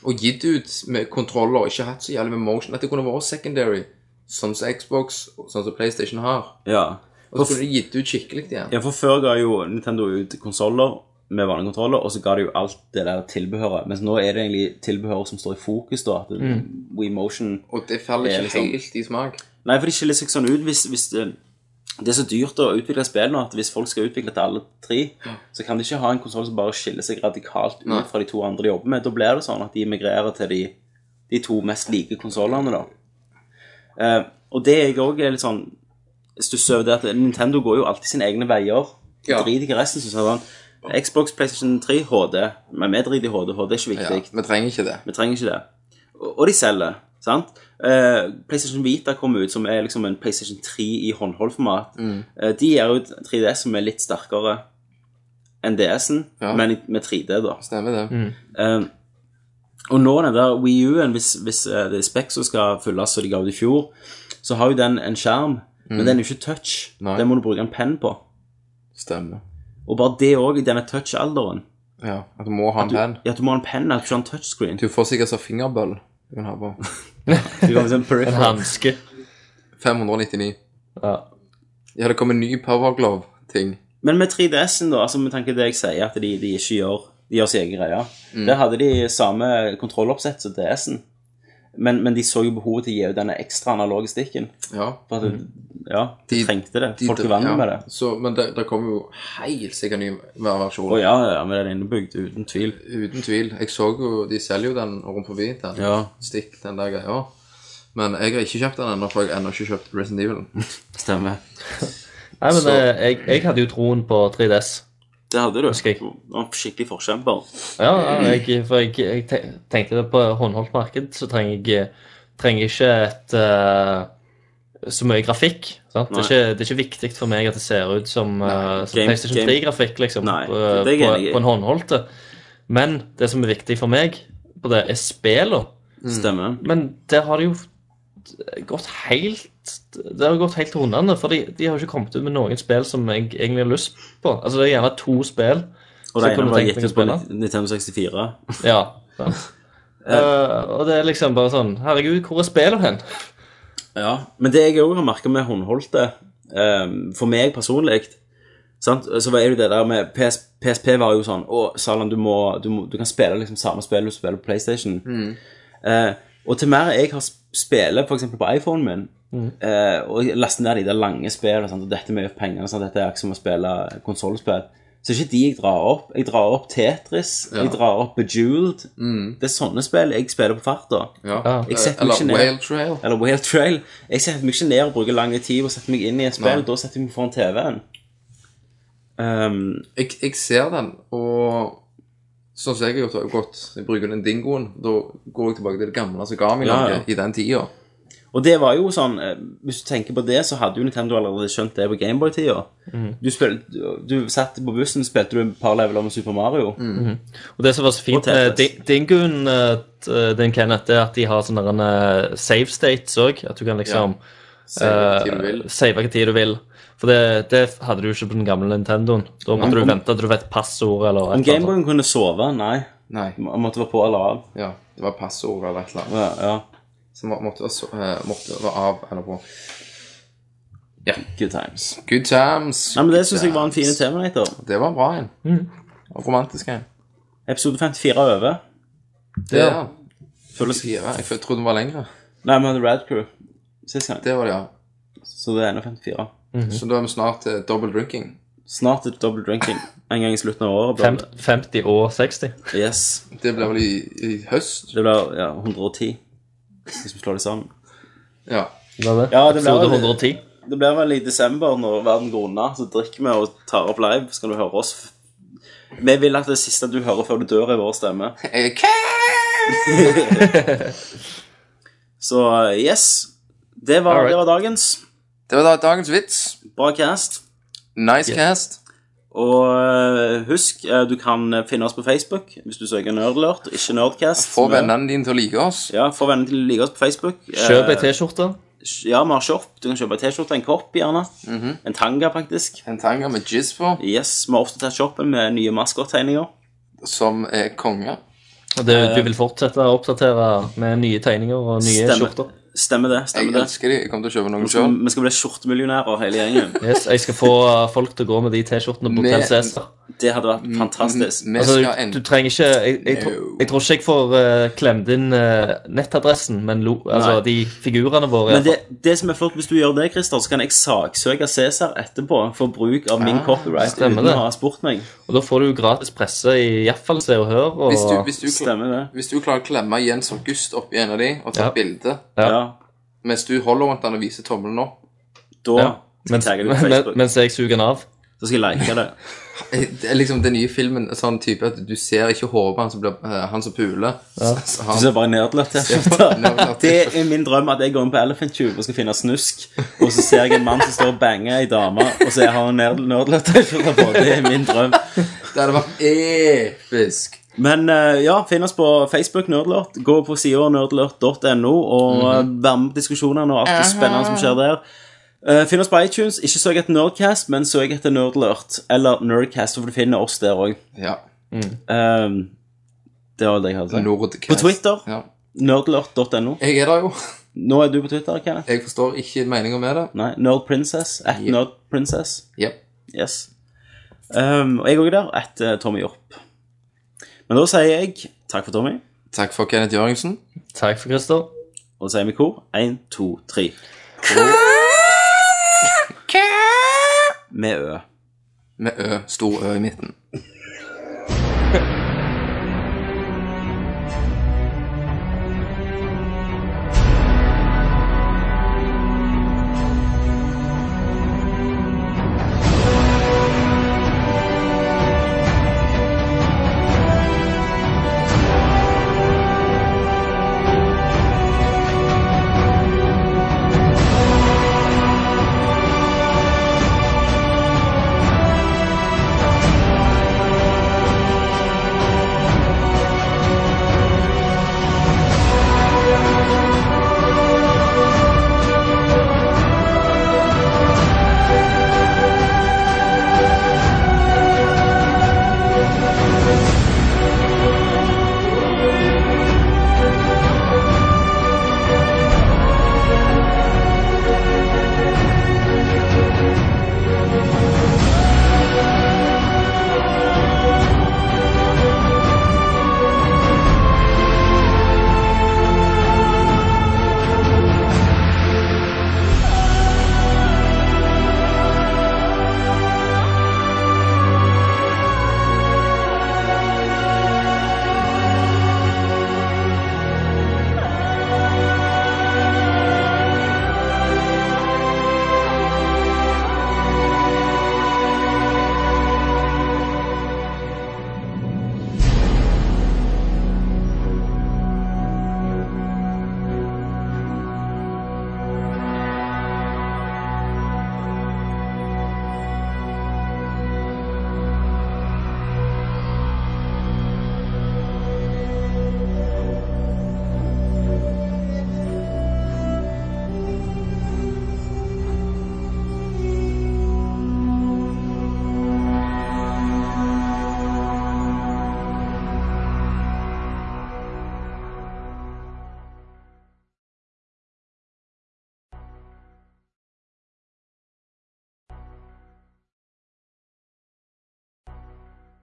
S2: Og gitt ut med kontroller, ikke hatt så jævlig med motion. At det kunne vært secondary, sånn som Xbox, sånn som PlayStation har.
S4: Ja,
S2: Og så kunne de gitt ut skikkelig igjen.
S4: ja for før ga jo Nintendo ut konsoller med vanlige kontroller, og så ga de jo alt det der tilbehøret, mens nå er det egentlig tilbehøret som står i fokus da, at Wii Motion...
S2: Og det faller
S4: Ja,
S2: ikke
S4: liksom.
S2: helt i smak.
S4: Nei, for det skiller seg sånn ut hvis, hvis det, det er så dyrt å utvikle spill nå at hvis folk skal utvikle til alle tre, så kan de ikke ha en konsoll som bare skiller seg radikalt ut
S2: Nei.
S4: fra de to andre de jobber med. Da blir det sånn at de migrerer til de, de to mest like konsollene, da. Eh, og det jeg òg er litt sånn stusser over, det er at Nintendo går jo alltid sine egne veier. De
S2: Ja.
S4: driter ikke i resten. Så sånn, Xbox, PlayStation 3, HD. Men vi driter i HD. HD er ikke
S2: Ja,
S4: viktig.
S2: vi trenger ikke det.
S4: Vi trenger ikke det. Og og de selger, sant? Eh, PlayStation Vita kom ut, som er liksom en PlayStation 3 i håndholdformat. Eh, de gir ut 3DS som er litt sterkere enn DS-en,
S2: Ja.
S4: men med 3D, da.
S2: Stemmer det.
S5: Mm.
S4: Eh, og nå den der Wii U-en, hvis, hvis eh, det er Spek som skal fylles, som de ga ut i fjor, så har jo den en skjerm, men den er jo ikke touch.
S2: Mm. Nei.
S4: Den må du bruke en penn på.
S2: Stemmer.
S4: Og bare det òg, i denne touch-alderen.
S2: Ja, at du må ha en penn.
S4: Ja, du må ha en penn, at du ikke har en touchscreen.
S2: Du får sikkert sånn fingerbøll du kan ha på.
S4: *laughs* Du kan liksom
S5: En
S4: peripheral.
S5: hanske.
S2: 599.
S5: Ja.
S2: Ja, det kom en ny Power Glove-ting.
S4: Men med 3DS-en, da, altså med tanke på det jeg sier, at de, de ikke gjør de gjør sin egen greie
S5: Mm.
S4: Der hadde de samme kontrolloppsett som DS-en, men, men de så jo behovet til å gi ut denne ekstra analoge stikken.
S2: Ja.
S4: For at,
S5: Mm.
S4: Ja, de,
S2: De-
S4: trengte det.
S2: De-
S4: Folk er vant
S2: ja.
S4: med det.
S2: Så, men det, det kommer jo helt sikkert ny versjon.
S4: Å ja, ja, men den er innebygd, uten tvil.
S2: Uten tvil. Jeg så jo, de selger jo den rundt forbi, den stikk, den der greia. Men jeg har ikke kjøpt den ennå, for jeg har ennå ikke kjøpt Resident Evil.
S4: Stemmer.
S5: Nei, men
S2: Så-
S5: eh, jeg, jeg hadde jo troen på 3DS.
S4: Det hadde du.
S5: Husker jeg.
S4: var en skikkelig forkjemper.
S5: Ja, ja, jeg, for jeg, jeg te- tenkte det på håndholdt marked, så trenger jeg trenger jeg ikke et eh, så mye grafikk. Sant? Det, er
S4: Nei.
S5: ikke, det er ikke viktig for meg at det ser ut som, eh, som
S4: Game-
S5: PlayStation
S4: game-
S5: 3-grafikk liksom,
S4: Nei,
S5: på,
S4: det er jeg
S5: på,
S4: enig i.
S5: på en håndholdte. Men det som er viktig for meg på det, er spillene.
S4: Stemmer.
S5: Men der har det jo gått helt Det har gått helt til hundene, for de, de har jo ikke kommet ut med noen spill som jeg egentlig har lyst på. Altså, det er gjerne to spill.
S4: Og
S5: Så
S4: det ene
S5: kunne du
S4: var
S5: tenkt
S4: gitt
S5: deg
S4: ut
S5: å
S4: på
S5: spille?
S4: Nintendo 64.
S5: Ja.
S2: *laughs*
S5: sant. Eh, og det er liksom bare sånn Herregud, hvor er spillet hen?
S4: Ja, men det jeg òg har merka med håndholdte, ehm, for meg personlig sant? Så var det jo det der med PS, PSP var jo sånn Å, Salan, du, må, du, må, du kan spille liksom samme spill du spiller på PlayStation. Eh, og til mer jeg har sp- spiller f.eks. på iPhonen min, eh, og jeg laster ned de der lange spillene sant? og dette med pengene sant? Dette er ikke som å spille konsollspill. Så det er ikke de jeg drar opp. Jeg drar opp Tetris, jeg drar opp Bejeweled. Det er sånne spill jeg spiller på farta.
S2: Ja.
S4: Jeg setter meg
S2: Eh, Eller
S4: ikke ned.
S2: Whale Trail.
S4: Eller Whale Trail. Jeg setter meg ikke ned og bruker lang tid på å sette meg inn i et spill.
S2: Nei.
S4: Da setter jeg meg foran TV-en. Ehm,
S2: Jeg, jeg ser den, og sånn som jeg har gjort, har jeg gått Jeg bruker den dingoen. Da går jeg tilbake til det gamle som ga meg
S4: Ja,
S2: noe
S4: ja.
S2: i den tida.
S4: og det var jo sånn eh, Hvis du tenker på det, så hadde jo Nintendo allerede skjønt det på Gameboy-tida. Du, spil- du- du satt på bussen, spilte du et par leveler med Super Mario.
S5: Og det som var så fint
S4: Og
S5: med
S4: Tetris.
S5: Din- Dingoen, eh, t- den Kenneth, det er at de har sånne eh, save states òg. At du kan liksom
S2: Se hva tid du vil.
S5: eh, save hva tid du vil. For det, det hadde du jo ikke på den gamle Nintendoen. Da måtte du vente til du vet passord eller
S4: Om
S5: et eller annet.
S4: Gameboyen kunne sove, nei.
S2: Nei.
S4: Man måtte være på eller av.
S2: Ja. Det var passord eller et eller annet.
S4: Ja, ja.
S2: Så må- måtte være, så, eh, måtte være av eller på.
S4: Good times.
S2: Good times.
S4: Nei, men Det syns jeg var en fin Terminator.
S2: Det var bra en. Og romantisk en.
S4: Episode 54 er over.
S2: Det, ja.
S4: Føles...
S2: Fire. Jeg f- trodde den var lengre.
S4: Nei, vi hadde Rad Crew sist gang,
S2: Det var det, ja.
S4: så det er ennå 54.
S2: Så da er vi snart til double drinking.
S4: Snart et double drinking. En gang i slutten av året. blir det.
S5: Fem- 50 og 60.
S4: Yes.
S2: Det blir vel i, i høst?
S4: Det blir ja, 110, hvis vi slår det sammen.
S2: Ja.
S5: Det var det.
S4: Ja, det ble
S5: Episode
S4: vel-
S5: 110.
S4: Det blir vel i desember, når verden går unna. Så drikker vi og tar opp live, så kan du høre oss. Vi vil at det siste du hører før du dør, er vår stemme.
S2: Eh, hva?
S4: Så eh, yes. Det var,
S5: Alright.
S4: det var dagens.
S2: Det var da dagens vits.
S4: Bra cast.
S2: Nice cast.
S4: Og eh, husk, eh, du kan finne oss på Facebook hvis du søker Nerdlert, ikke Nerdcast.
S2: Få vennene dine til å like oss.
S4: Ja, Få vennene til å like oss på Facebook.
S5: Kjøp ei
S4: Eh,
S5: T-skjorte.
S4: Ja, vi har shop. Du kan kjøpe en T-skjorte, en kopp gjerne. En tanga, faktisk.
S2: En tanga med jizz på,
S4: Yes, Vi har oppdatert shoppen med nye maskottegninger.
S2: som er konge.
S5: Og det, du vil fortsette å oppdatere med nye tegninger og nye
S4: Stemmer.
S5: skjorter.
S4: Stemmer det.
S2: Jeg
S4: stemmer det.
S2: elsker de. Jeg kommer til å kjøpe noen
S4: Vi skal,
S2: sjøl.
S4: vi skal bli skjortemillionærer, hele gjengen.
S5: Yes, jeg skal få eh, folk til å gå med de T-skjortene på
S2: Med-
S5: Hotell Cæsar.
S4: Det hadde
S2: Mm,
S4: vært fantastisk.
S2: Vi
S5: Altså,
S2: skal
S5: du,
S2: enten
S5: du trenger ikke Jeg, jeg, tro-
S2: No.
S5: jeg tror ikke jeg får eh, klemt inn eh, nettadressen, men lo, altså,
S4: Nei.
S5: de figurene våre.
S4: Men det, det som er flott, hvis du gjør det, Christer, så kan jeg saksøke Cæsar etterpå for bruk av
S2: Ah,
S4: min copyright uten
S5: stemmer det.
S4: å ha spurt meg.
S5: Og da får du jo gratis presse i iallfall Se og Hør. Og,
S2: Hvis du, hvis du, kla-
S4: Stemmer det.
S2: hvis du klarer å klemme Jens August opp i en av de og ta
S5: Ja.
S2: et bilde
S5: Ja.
S4: Ja,
S2: mens du holder rundt den og viser tommelen opp
S4: Da
S5: Ja.
S4: skal jeg
S5: mens,
S4: tagge det på
S5: men,
S4: Facebook.
S5: mens jeg suger den av.
S4: Så skal jeg like det.
S2: Det er Liksom Den nye filmen er sånn type at du ser ikke hodet hans som blir- eh, han som puler. Så- så
S4: Du
S2: han-
S4: ser bare nedlagt
S2: Nedlagt
S4: T-skjorte.
S2: T-skjorte.
S4: *laughs* Det er min drøm at jeg går inn på Elephant Tube og skal finne snusk, og så ser jeg en mann som står og banger ei dame, og så har hun nedlagt T-skjorte på. Det er min drøm.
S2: Det hadde vært episk.
S4: Men eh, ja, finn oss på Facebook Nerdlert. Gå på sida nerdlert.no og eh, vær med på diskusjonene og alt det spennende som skjer der. Eh, finn oss på iTunes. Ikke søk etter Nerdcast, men søk etter Nerdlert eller Nerdcast, for du finner oss der òg.
S2: Ja.
S4: det var det jeg hadde sagt.
S2: Nordcast.
S4: På Twitter,
S2: Ja.
S4: nerdlert.no.
S2: Jeg er der jo.
S4: Nå er du på Twitter, Kenneth.
S2: Jeg forstår ikke meninga med det.
S4: Nei, Nerdprincess. At
S2: Ja.
S4: Nerdprincess.
S2: Ja.
S4: Yes. Um, og jeg òg der. At eh, Tommy Jopp. Men da sier jeg takk for Tommy,
S2: Takk for Kenneth Jørgensen.
S5: Takk for Christer.
S4: og så sier vi kor. Én, to, tre. Med Ø.
S2: Med Ø. Stor Ø i midten.